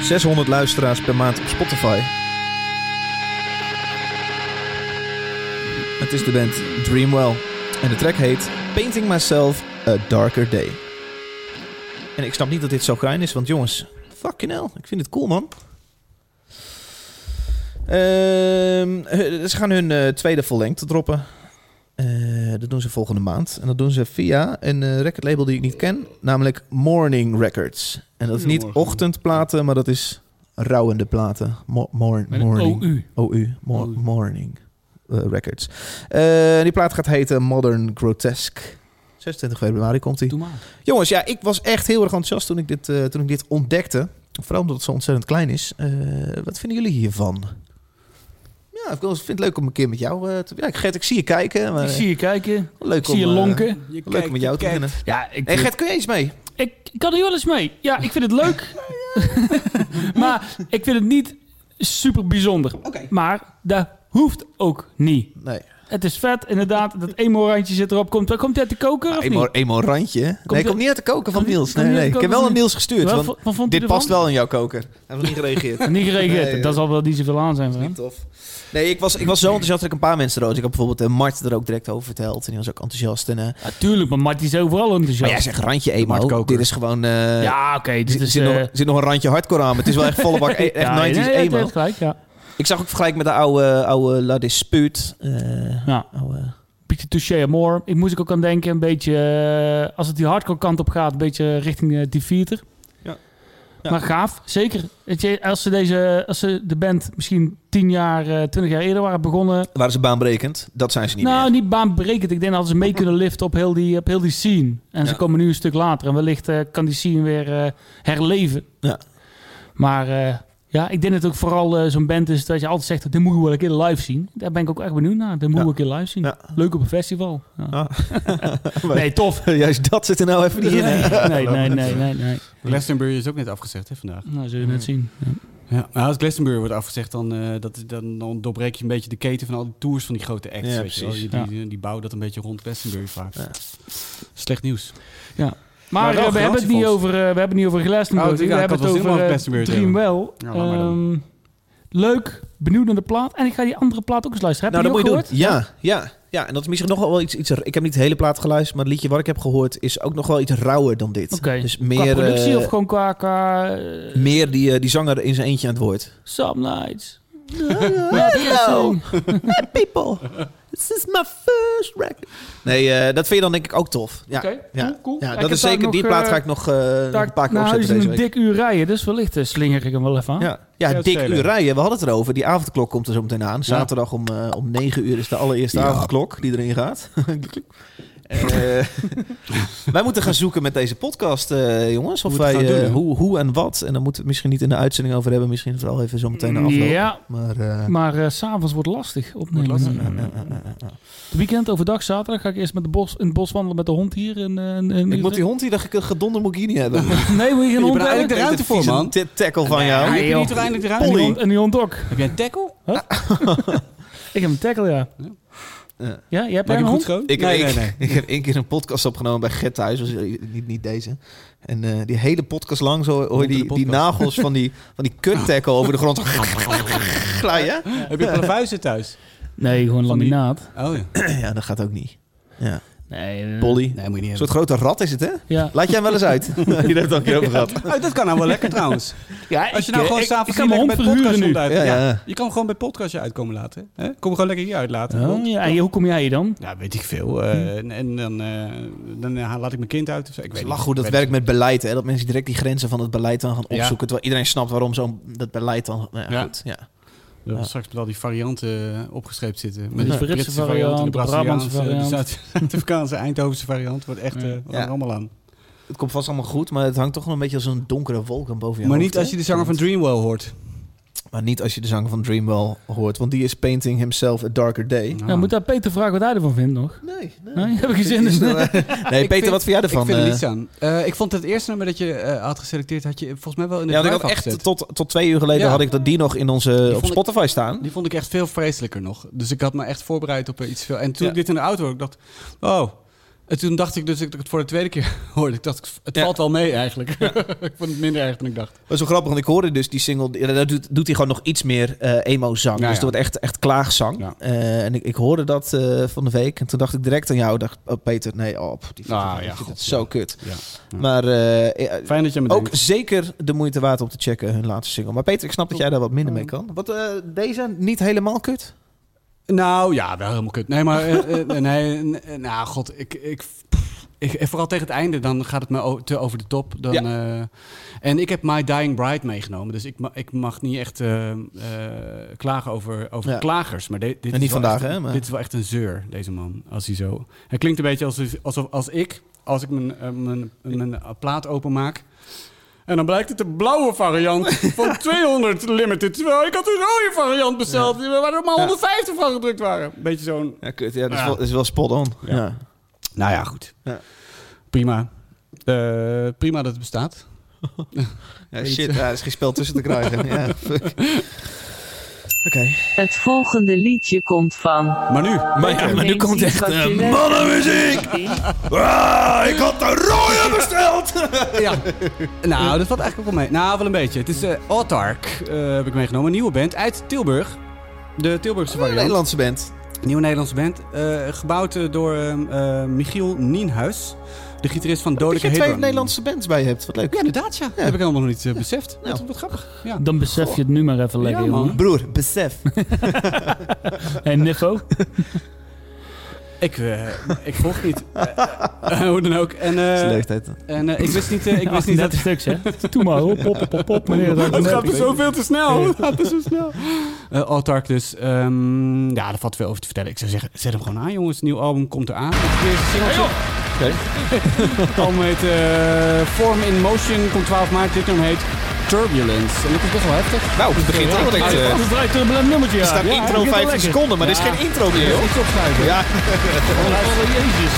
Speaker 2: 600 luisteraars per maand op Spotify. Het is de band Dreamwell. En de track heet Painting Myself a Darker Day. En ik snap niet dat dit zo klein is, want jongens, fucking hell. Ik vind het cool, man. Ehm, hu- ze gaan hun eh, tweede vollengte droppen. Eh, dat doen ze volgende maand. En dat doen ze via een eh, recordlabel die ik niet ken, namelijk Morning Records. En dat is niet
Speaker 1: Goedemorgen.
Speaker 2: ochtendplaten, maar dat is rouwende platen. Mo- mor-
Speaker 3: Met een
Speaker 2: morning.
Speaker 3: OU.
Speaker 2: OU, Oh, Mo-
Speaker 3: OU.
Speaker 2: Morning eh, Records. Eh, die plaat gaat heten Modern Grotesque. 26 februari komt die.
Speaker 3: Doe maar.
Speaker 2: Jongens, ja, ik was echt heel erg enthousiast toen ik dit, eh, toen ik dit ontdekte. Vooral omdat het zo ontzettend klein is. Eh, wat vinden jullie hiervan? Ja, ik wil- vind het leuk om een keer met jou eh, te... Ja, Gert, ik zie je kijken. Maar,
Speaker 3: Ik zie je kijken.
Speaker 2: leuk
Speaker 3: Ik zie je
Speaker 2: om, eh,
Speaker 3: lonken.
Speaker 1: Je
Speaker 2: leuk om met jou te beginnen.
Speaker 3: Ja, ik,
Speaker 2: Hey, Gert, kun je eens mee?
Speaker 3: ik, ik kan er wel eens mee. Ja, ik vind het leuk. (laughs) maar ik vind het niet super bijzonder. Maar dat hoeft ook niet.
Speaker 2: Nee.
Speaker 3: Het is vet, inderdaad. Dat emo-randje zit erop. Komt, komt hij uit de koker of
Speaker 2: Eenmaal,
Speaker 3: niet?
Speaker 2: eenmaal Ah, randje. hè? nee,
Speaker 3: het-
Speaker 2: komt niet uit de koken van
Speaker 3: komt-
Speaker 2: Niels.
Speaker 3: komt
Speaker 2: Nee,
Speaker 3: niet
Speaker 2: nee.
Speaker 3: uit
Speaker 2: Ik
Speaker 3: de
Speaker 2: heb wel
Speaker 3: koker
Speaker 2: aan Niels gestuurd.
Speaker 3: Wel,
Speaker 2: Want
Speaker 3: wat- wat vond hij
Speaker 2: dit past
Speaker 3: ervan?
Speaker 2: wel in jouw koker. Hij heeft nog niet gereageerd.
Speaker 3: Niet gereageerd.
Speaker 2: Nee,
Speaker 3: dat zal wel niet zoveel aan zijn voor hem.
Speaker 2: Niet tof. Nee, ik was, ik was zo enthousiast dat ik een paar mensen rood. Ik had bijvoorbeeld eh, Mart er ook direct over verteld. En die was ook enthousiast. En, eh,
Speaker 3: Natuurlijk, maar Marty is overal
Speaker 2: maar
Speaker 3: enthousiast.
Speaker 2: jij zegt randje emo.
Speaker 1: Mart Koker.
Speaker 2: Dit is gewoon... eh,
Speaker 3: ja, oké.
Speaker 2: Er
Speaker 3: dit is...
Speaker 2: zit,
Speaker 3: eh,
Speaker 2: nog, er zit nog een randje hardcore aan, maar het is wel echt volle
Speaker 3: (laughs)
Speaker 2: bak e- echt
Speaker 3: ja,
Speaker 2: 90s
Speaker 3: nee, je
Speaker 2: emo.
Speaker 3: hebt gelijk, ja.
Speaker 2: Ik zag ook vergelijk met de oude, oude La Dispute. eh,
Speaker 3: Ja.
Speaker 2: oude-
Speaker 3: Beetje touché amor. Ik moest ik ook aan denken, een beetje... eh, als het die hardcore kant op gaat, een beetje richting eh, die theater.
Speaker 2: Ja. Ja.
Speaker 3: Maar gaaf, zeker. Weet je, als, ze deze, als ze de band misschien 10 jaar, eh 20 jaar eerder waren begonnen...
Speaker 2: waren ze baanbrekend? Dat zijn ze niet
Speaker 3: nou,
Speaker 2: meer.
Speaker 3: niet baanbrekend. Ik denk dat ze mee kunnen liften op heel die, op heel die scene. En ze
Speaker 2: Ja.
Speaker 3: komen nu een stuk later. En wellicht eh, kan die scene weer eh, herleven.
Speaker 2: Ja.
Speaker 3: Maar eh, ja, ik denk dat het ook vooral eh, zo'n band is dat je altijd zegt... dit moeten we wel een keer live zien. Daar ben ik ook echt benieuwd naar. Dit moeten we een keer live zien.
Speaker 2: Ja.
Speaker 3: Leuk op een festival. Ja.
Speaker 2: Ah.
Speaker 3: (laughs) nee,
Speaker 2: (laughs)
Speaker 3: tof.
Speaker 2: Juist dat zit er nou even niet in. hè? (laughs)
Speaker 3: Nee,
Speaker 2: Nou,
Speaker 3: nee, nee, nee, nee.
Speaker 1: Glastonbury is ook net afgezegd hè, vandaag.
Speaker 3: Nou, zul je net zien. Ja.
Speaker 1: Ja, maar als Glastonbury wordt afgezegd, dan, eh, dat, dan, dan doorbreek je een beetje de keten van al die tours van die grote acts.
Speaker 2: Ja,
Speaker 1: weet je wel.
Speaker 2: precies.
Speaker 1: Die, die, die bouwen dat een beetje rond Glastonbury vaak.
Speaker 2: Ja.
Speaker 1: Slecht nieuws.
Speaker 3: Maar,
Speaker 1: Maar wel
Speaker 3: eh, we, hebben het niet
Speaker 1: garantiefonds.
Speaker 3: over, eh, we hebben het niet over Glastonbury.
Speaker 1: Oh, ja,
Speaker 3: we
Speaker 1: ik
Speaker 3: hebben
Speaker 1: had wel zin om over
Speaker 3: het over
Speaker 1: Glastonbury te
Speaker 3: Dreamwell.
Speaker 1: Ja, laat maar dan.
Speaker 3: Ehm, leuk, benieuwd naar de plaat. En ik ga die andere plaat ook eens luisteren. Heb
Speaker 2: nou, dat
Speaker 3: je
Speaker 2: moet
Speaker 3: die
Speaker 2: je
Speaker 3: ook
Speaker 2: doen. Ja, ja, ja, en dat is misschien nog wel iets, iets... Ik heb niet de hele plaat geluisterd, maar het liedje wat ik heb gehoord... is ook nog wel iets rauwer dan dit.
Speaker 3: Oké.
Speaker 2: Dus
Speaker 3: gehoord?
Speaker 2: meer,
Speaker 3: qua productie
Speaker 2: eh,
Speaker 3: of gewoon qua... qua eh,
Speaker 2: meer die, eh, die zanger in zijn eentje aan het
Speaker 3: (laughs)
Speaker 2: woord.
Speaker 3: some nights.
Speaker 2: Hello, people. This is my first record. Nee, eh, dat vind je dan denk ik ook tof. Ja,
Speaker 3: Oké,
Speaker 2: Ja,
Speaker 3: cool, cool.
Speaker 2: Ja,
Speaker 3: Ik
Speaker 2: dat
Speaker 3: heb
Speaker 2: is
Speaker 3: daar
Speaker 2: zeker.
Speaker 3: nog,
Speaker 2: Die plaat
Speaker 3: eh,
Speaker 2: ga ik nog, eh, nog een paar keer
Speaker 3: naar huis
Speaker 2: opzetten
Speaker 3: in
Speaker 2: deze
Speaker 3: een
Speaker 2: week.
Speaker 3: dik uur rijden. Dus wellicht eh, slinger ik hem wel even aan.
Speaker 2: ja, ja,
Speaker 1: Ja,
Speaker 2: dik
Speaker 1: spelen.
Speaker 2: uur rijden. We hadden het erover. Die avondklok komt er zo meteen aan. Zaterdag om, eh, om 9 uur is de allereerste avondklok die erin gaat. (laughs) Eh, (laughs) wij moeten gaan zoeken met deze podcast, eh, jongens. Of
Speaker 1: Hoe we het
Speaker 2: wij,
Speaker 1: gaan
Speaker 2: eh,
Speaker 1: doen, hè?
Speaker 2: hoe, hoe en wat. En daar moeten we het misschien niet in de uitzending over hebben. Misschien vooral even zo meteen na afloop.
Speaker 3: Ja,
Speaker 2: Maar, eh,
Speaker 3: maar eh, s s'avonds wordt lastig opnemen.
Speaker 1: lastig,
Speaker 2: eh, eh, eh, eh, eh.
Speaker 3: Het Weekend, overdag, zaterdag ga ik eerst met de bos, in het bos wandelen met de hond hier. En, eh, en, en-
Speaker 2: ik moet die hond hier, dat ge- gedonder moet ik hier niet hebben. (laughs)
Speaker 3: Nee, moet je geen
Speaker 1: Je
Speaker 3: hond
Speaker 1: bent eigenlijk
Speaker 3: hebben?
Speaker 1: de ruimte voor,
Speaker 2: Vieze
Speaker 1: man.
Speaker 2: t- tackle van
Speaker 1: Ja,
Speaker 2: jou.
Speaker 1: heb je
Speaker 3: Ah, joh.
Speaker 1: niet toch eindelijk
Speaker 3: En
Speaker 1: eruit?
Speaker 3: die hond, en die hond ook.
Speaker 1: Heb jij een tackle?
Speaker 3: Ik heb een tackle, ja.
Speaker 2: Ja.
Speaker 3: Ja, jij hebt
Speaker 1: Maak
Speaker 3: een
Speaker 1: je hem goed
Speaker 3: hond?
Speaker 1: schoon?
Speaker 2: Ik, ik, (laughs) ik heb één keer een podcast opgenomen bij Get Thuis, was, eh, niet, niet deze. En eh, die hele podcast lang zo hoor je die, die nagels van die, van die kuttackle over de grond
Speaker 1: Ah.
Speaker 2: glijden.
Speaker 1: Heb je plavuizen thuis?
Speaker 3: Nee, gewoon
Speaker 1: Van die-
Speaker 3: laminaat.
Speaker 1: Oh ja.
Speaker 2: Ja, dat gaat ook niet. Ja.
Speaker 3: Nee, eh,
Speaker 2: Polly.
Speaker 1: Nee, moet je
Speaker 2: Een
Speaker 1: niet
Speaker 2: soort grote rat is het, hè?
Speaker 3: Ja.
Speaker 2: Laat jij hem wel eens uit. Je hebt het al een keer over gehad.
Speaker 1: hebben. Oh, dat kan nou wel lekker trouwens.
Speaker 3: ja
Speaker 1: Als je nou gewoon
Speaker 3: ik, ik
Speaker 1: s'avonds
Speaker 3: kan mijn
Speaker 1: lekker
Speaker 3: hond
Speaker 1: bij het podcastje
Speaker 3: verhuren nu.
Speaker 1: uit.
Speaker 2: Ja,
Speaker 1: Ja,
Speaker 2: ja.
Speaker 1: Je kan hem gewoon bij het podcastje uitkomen laten. Hè? Kom gewoon lekker hier uitlaten.
Speaker 3: Oh, ja. En je- hoe kom jij hier dan?
Speaker 1: Ja, weet ik veel. Eh, en, en dan, eh, dan eh, laat ik mijn kind uit. Of zo. Ik weet
Speaker 2: Het is
Speaker 1: niet.
Speaker 2: lach hoe dat
Speaker 1: Ik weet
Speaker 2: werkt met beleid, hè? Dat mensen direct die grenzen van het beleid dan gaan
Speaker 1: Ja.
Speaker 2: opzoeken. Terwijl iedereen snapt waarom zo'n dat beleid dan... Nou, ja,
Speaker 1: Ja.
Speaker 2: goed. Ja.
Speaker 1: het niet. Dat we Straks met al die varianten eh, opgeschreven zitten. Met
Speaker 3: De
Speaker 1: de
Speaker 3: Britse
Speaker 1: Britse
Speaker 3: variant,
Speaker 1: variant, en de
Speaker 3: de Brabantse
Speaker 1: Braziliaanse, de
Speaker 3: variant.
Speaker 1: Zuid- (laughs) Zuid-Afrikaanse, Eindhovense variant. Wordt echt,
Speaker 3: Ja.
Speaker 1: eh, wat
Speaker 2: Ja.
Speaker 1: er allemaal aan.
Speaker 2: Het komt vast allemaal goed, maar het hangt toch nog een beetje als een donkere wolk aan boven je
Speaker 1: maar
Speaker 2: hoofd,
Speaker 1: niet als
Speaker 2: hè?
Speaker 1: je de zanger van Dreamwell hoort.
Speaker 2: Maar niet als je de zang van Dreamwell hoort, want die is Painting Himself a Darker Day.
Speaker 1: Nou,
Speaker 3: Nou, moet daar Peter vragen wat hij ervan vindt nog?
Speaker 2: Nee, nee. eh,
Speaker 3: Nee, heb ik geen zin in.
Speaker 2: (laughs) nee,
Speaker 1: Ik
Speaker 2: Peter,
Speaker 1: vind-
Speaker 2: wat vind jij ervan?
Speaker 1: Ik vind er
Speaker 2: eh?
Speaker 1: niets aan. Eh, ik vond het eerste nummer dat je eh, had geselecteerd, had je volgens mij wel in de
Speaker 2: ja, want ik
Speaker 1: drive
Speaker 2: had echt
Speaker 1: afgezet.
Speaker 2: tot, tot twee uur geleden
Speaker 1: Ja.
Speaker 2: had ik dat die nog in onze, op
Speaker 1: vond ik-
Speaker 2: Spotify staan.
Speaker 1: Die vond ik echt veel vreselijker nog. Dus ik had me echt voorbereid op eh, iets veel. En toen
Speaker 2: Ja.
Speaker 1: ik dit in de auto hoorde, ik dacht, oh, En toen dacht ik dus, ik het voor de tweede keer (laughs) hoorde. Ik dacht, het valt wel mee eigenlijk. (laughs) ik vond het minder erg dan ik dacht.
Speaker 2: Dat is zo grappig, want ik hoorde dus die single... die- Daar doet, doet hij gewoon nog iets meer eh, emo-zang.
Speaker 1: Ja,
Speaker 2: dus
Speaker 1: ja.
Speaker 2: het wordt echt, echt klaagzang.
Speaker 1: Ja.
Speaker 2: Eh, en ik, ik hoorde dat eh, van de week. En toen dacht ik direct aan jou. dacht, oh, Peter, nee, oh, pff, die vindt
Speaker 1: Ah,
Speaker 2: het,
Speaker 1: ja,
Speaker 2: die vindt het
Speaker 1: god,
Speaker 2: zo
Speaker 1: ja.
Speaker 2: kut.
Speaker 1: Ja.
Speaker 2: Maar eh, eh,
Speaker 1: Fijn dat je me
Speaker 2: ook
Speaker 1: denkt.
Speaker 2: zeker de moeite waard om te checken, hun laatste single. Maar Peter, ik snap dat jij daar wat minder mee kan. Wat, eh, deze niet helemaal kut?
Speaker 1: Nou ja, wel helemaal kut. Nee, maar eh, eh, nee, n- eh, nou god, ik, ik, pff, ik, eh, vooral tegen het einde, dan gaat het me o- te over de top. Dan,
Speaker 2: Ja.
Speaker 1: eh, en ik heb My Dying Bride meegenomen, dus ik, ma- ik mag niet echt eh, eh, klagen over, over
Speaker 2: Ja.
Speaker 1: klagers. Maar de- dit
Speaker 2: niet
Speaker 1: is wel
Speaker 2: vandaag,
Speaker 1: echt-
Speaker 2: hè, maar-
Speaker 1: Dit is wel echt een zeur, deze man, als hij zo. Hij klinkt een beetje alsof, alsof als ik, als ik mijn, eh, mijn, mijn eh, plaat openmaak. En dan blijkt het de blauwe (laughs) variant van 200 limited. Terwijl ik had een rode variant besteld. Waar er maar 150 van gedrukt waren. Beetje zo'n...
Speaker 2: Ja, kut. Ja, dat is,
Speaker 1: Ja.
Speaker 2: Wel, dat is wel spot on. Ja.
Speaker 1: Ja. Nou ja, goed.
Speaker 2: Ja.
Speaker 1: Prima. Eh, prima dat het bestaat.
Speaker 2: Ja, shit, daar is geen spel tussen te (laughs) krijgen. ja, fuck. Oké.
Speaker 5: Het volgende liedje komt
Speaker 1: (laughs)
Speaker 5: van.
Speaker 1: Maar nu.
Speaker 2: Maar, ja, maar nu komt echt eh, mannenmuziek! Ah, ik had de rode besteld! (laughs)
Speaker 1: Ja. nou, dat valt eigenlijk ook wel mee. Nou, wel een beetje. Het is eh Autark, eh, heb ik meegenomen. Een nieuwe band uit Tilburg. De Tilburgse
Speaker 2: Een
Speaker 1: variant.
Speaker 2: Nederlandse band.
Speaker 1: Nieuwe Nederlandse band. eh, gebouwd eh, door ehm, eh, Michiel Nienhuis. De gitarist van
Speaker 2: Dat
Speaker 1: Dodelijke
Speaker 2: je twee
Speaker 1: Hebron.
Speaker 2: Nederlandse bands bij je hebt. Wat leuk.
Speaker 1: Ja, inderdaad, ja. Dat heb ik helemaal nog niet eh, beseft.
Speaker 2: Nou.
Speaker 1: Wat, wat grappig. Ja.
Speaker 3: Dan besef je het nu maar even lekker,
Speaker 1: Ja, man.
Speaker 3: jongen.
Speaker 2: Broer, besef.
Speaker 1: (laughs)
Speaker 3: En Niffo?
Speaker 1: Ik, eh, ik volg niet. Eh, eh, hoe dan ook. En, eh,
Speaker 2: leeftijd.
Speaker 1: en eh, ik wist niet, eh, ik wist niet dat...
Speaker 3: 38 stuks, hè? Doe maar, hop, hop, hop, hop, meneer.
Speaker 1: (laughs)
Speaker 3: Dat
Speaker 1: Het
Speaker 3: is
Speaker 1: gaat me
Speaker 3: leuk.
Speaker 1: zoveel te snel. Het gaat me zo snel. Eh, Autark dus. Ehm, ja, daar valt veel over te vertellen. Ik zou zeggen, zet hem gewoon aan, jongens. Nieuw album komt eraan. Het eerste singeltje. Het (laughs) album heet eh, Form in Motion. Komt 12 maart. Dit nummer heet Turbulence. En dat is best wel heftig.
Speaker 2: Nou, het begint al direct. eh,
Speaker 3: Dat is een vrij turbulent nummertje, ja.
Speaker 2: Er staat
Speaker 3: Ja,
Speaker 2: intro
Speaker 3: begint wel
Speaker 2: 15
Speaker 3: lekker.
Speaker 2: seconden, maar er is geen intro meer, joh.
Speaker 1: Iets opschuiven.
Speaker 2: Ja,
Speaker 1: (laughs)
Speaker 3: Oh, jezus.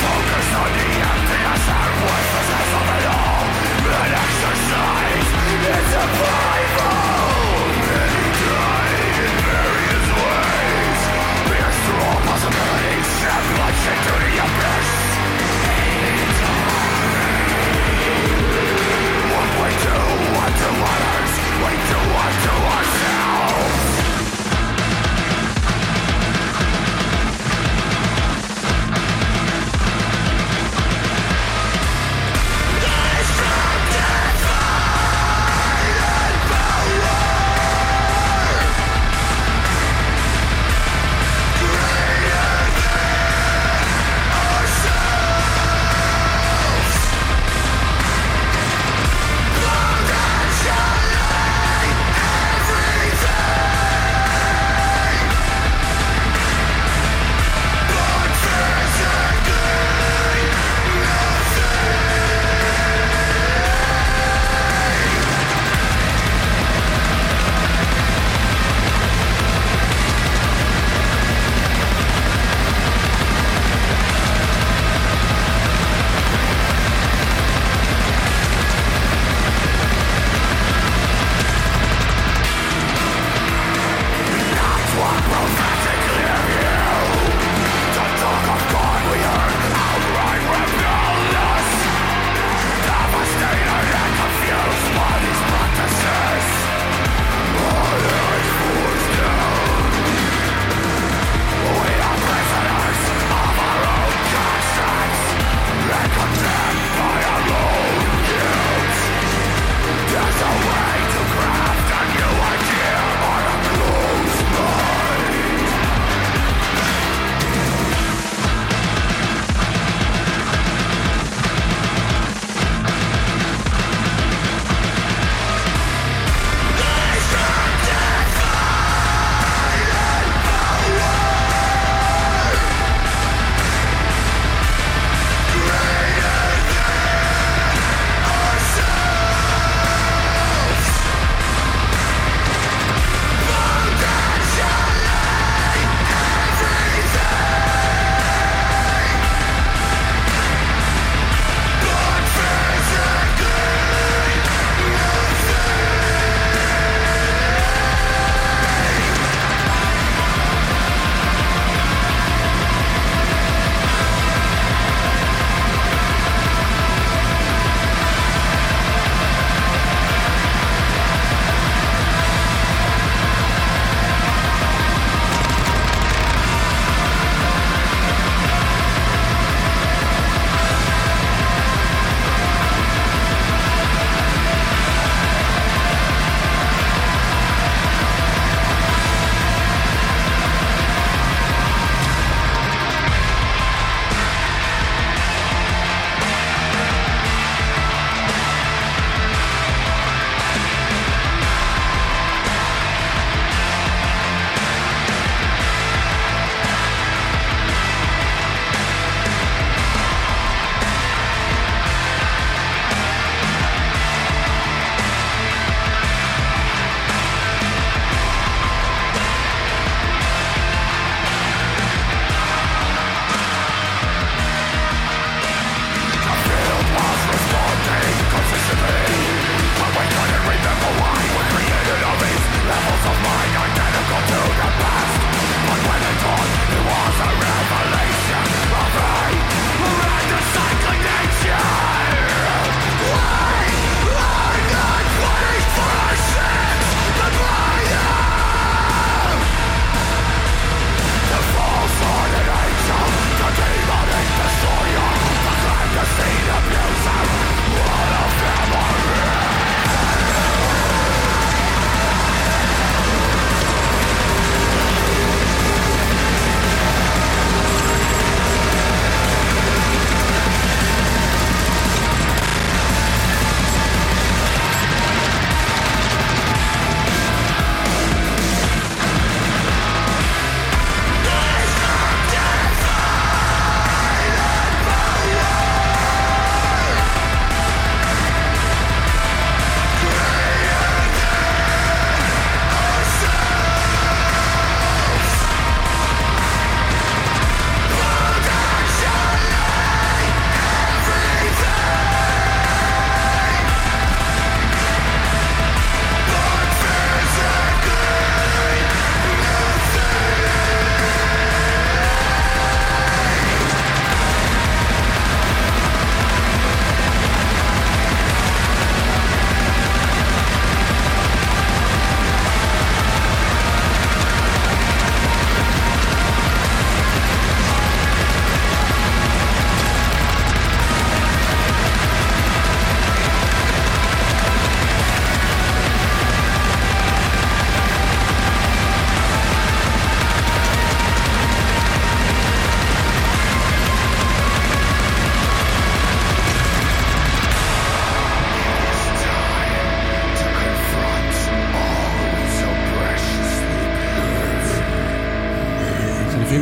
Speaker 4: Focus on the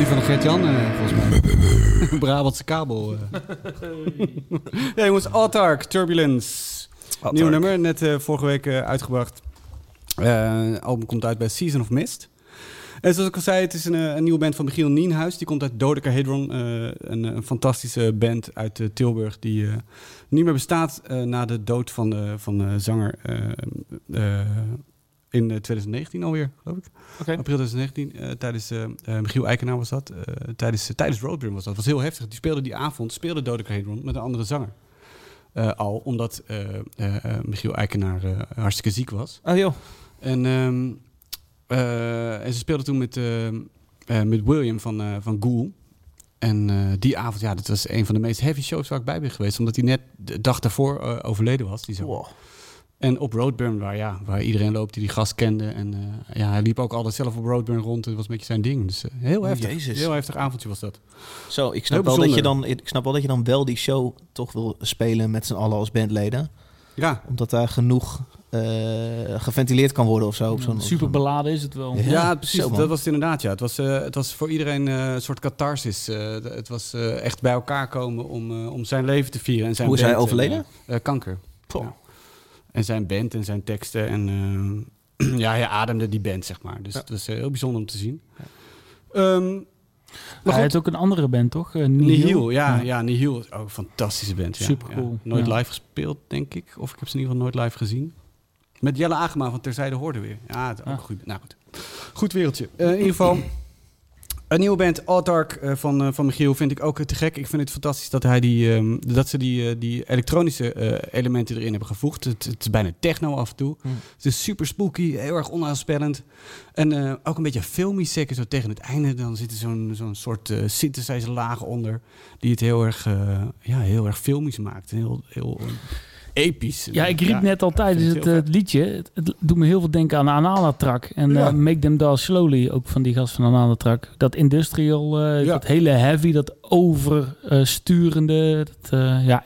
Speaker 1: van Gert-Jan, eh, volgens mij. Brabantse kabel. eh. (laughs) ja, jongens, Autark, Turbulence. Nieuw nummer, net eh, vorige week eh, uitgebracht. Eh, Het album komt uit bij Season of Mist. En zoals ik al zei, het is een, eh, een nieuwe band van Michiel Nienhuis. Die komt uit Dodecahedron. eh een, een fantastische band uit eh, Tilburg die eh, niet meer bestaat eh, na de dood van de, van de zanger eh, eh, in eh, 2019 alweer, geloof ik.
Speaker 3: Oké.
Speaker 1: April 2019, eh, tijdens eh, eh, Michiel Eikenaar was dat. eh, tijdens eh, tijdens Roadburn was dat. was heel heftig. Die speelde die avond, speelde Dodecahedron met een andere zanger. Eh, al omdat eh, eh, eh, Michiel Eikenaar eh, hartstikke ziek was.
Speaker 2: Oh joh.
Speaker 1: En, ehm, eh, en ze speelden toen met, ehm, eh, met William van, eh van Ghoul. En eh, die avond, ja, dat was een van de meest heavy shows waar ik bij ben geweest. Omdat hij net de dag daarvoor eh, overleden was. Die zanger.
Speaker 2: Wow.
Speaker 1: En op Roadburn, waar, ja, waar iedereen loopt die die gast kende. En eh, ja, hij liep ook altijd zelf op Roadburn rond. Het was een beetje zijn ding. Dus eh, heel
Speaker 2: Oh,
Speaker 1: heftig.
Speaker 2: Jezus.
Speaker 1: Heel heftig avondje was dat.
Speaker 2: Zo, ik
Speaker 1: Heel
Speaker 2: snap, wel dat je
Speaker 1: bijzonder.
Speaker 2: dan, ik snap wel dat je dan wel die show toch wil spelen met z'n allen als bandleden.
Speaker 1: Ja,
Speaker 2: Omdat daar genoeg eh, geventileerd kan worden of zo. Op zo'n,
Speaker 3: Super beladen is het wel.
Speaker 2: Ja.
Speaker 1: Ja, precies.
Speaker 2: zo, man.
Speaker 1: dat was het inderdaad. Ja. Het, was, eh, het was voor iedereen eh, een soort catharsis. Eh, d- het was eh, echt bij elkaar komen om, eh, om zijn leven te vieren. En zijn
Speaker 2: Hoe is hij
Speaker 1: band en,
Speaker 2: overleden?
Speaker 1: eh, eh, kanker.
Speaker 2: Poh.
Speaker 1: Ja. En zijn band en zijn teksten. En eh, (clears throat) ja, hij ademde die band, zeg maar. Dus het was eh, heel bijzonder om te zien. Ehm, maar
Speaker 3: Maar hij
Speaker 1: goed,
Speaker 3: heeft ook een andere band, toch? Eh, Nihil.
Speaker 1: Nihil, ja, ja, Nihil is ook een fantastische band. Ja.
Speaker 3: Supercool.
Speaker 1: Ja. Nooit
Speaker 3: Ja.
Speaker 1: live gespeeld, denk ik. Of ik heb ze in ieder geval nooit live gezien. Met Jelle Agema van Terzijde Hoorde weer. Ja, het, ook
Speaker 3: Ah.
Speaker 1: goed. Nou goed. Goed wereldje. Eh, in ieder geval, een nieuwe band, Autark eh, van, eh, van Michiel, vind ik ook eh, te gek. Ik vind het fantastisch dat, hij die, ehm, dat ze die, eh, die elektronische eh, elementen erin hebben gevoegd. Het, het is bijna techno af en toe.
Speaker 2: Hmm.
Speaker 1: Het is super spooky, heel erg onaanspellend. En eh, ook een beetje filmisch, zeker zo tegen het einde. Dan zit er zo'n zo'n soort eh synthesizer laag onder. Die het heel erg, eh, ja, heel erg filmisch maakt. En Heel, heel eh, episch.
Speaker 3: Ja, ik riep net al tijdens
Speaker 1: vind
Speaker 3: het,
Speaker 1: het heel
Speaker 3: eh, liedje. Het, het doet me heel veel denken aan Anala Trak. En eh, Make Them Down Slowly, ook van die gast van Anala Trak. Dat industrial, eh,
Speaker 1: Ja.
Speaker 3: dat hele heavy, dat oversturende. dat, eh, ja,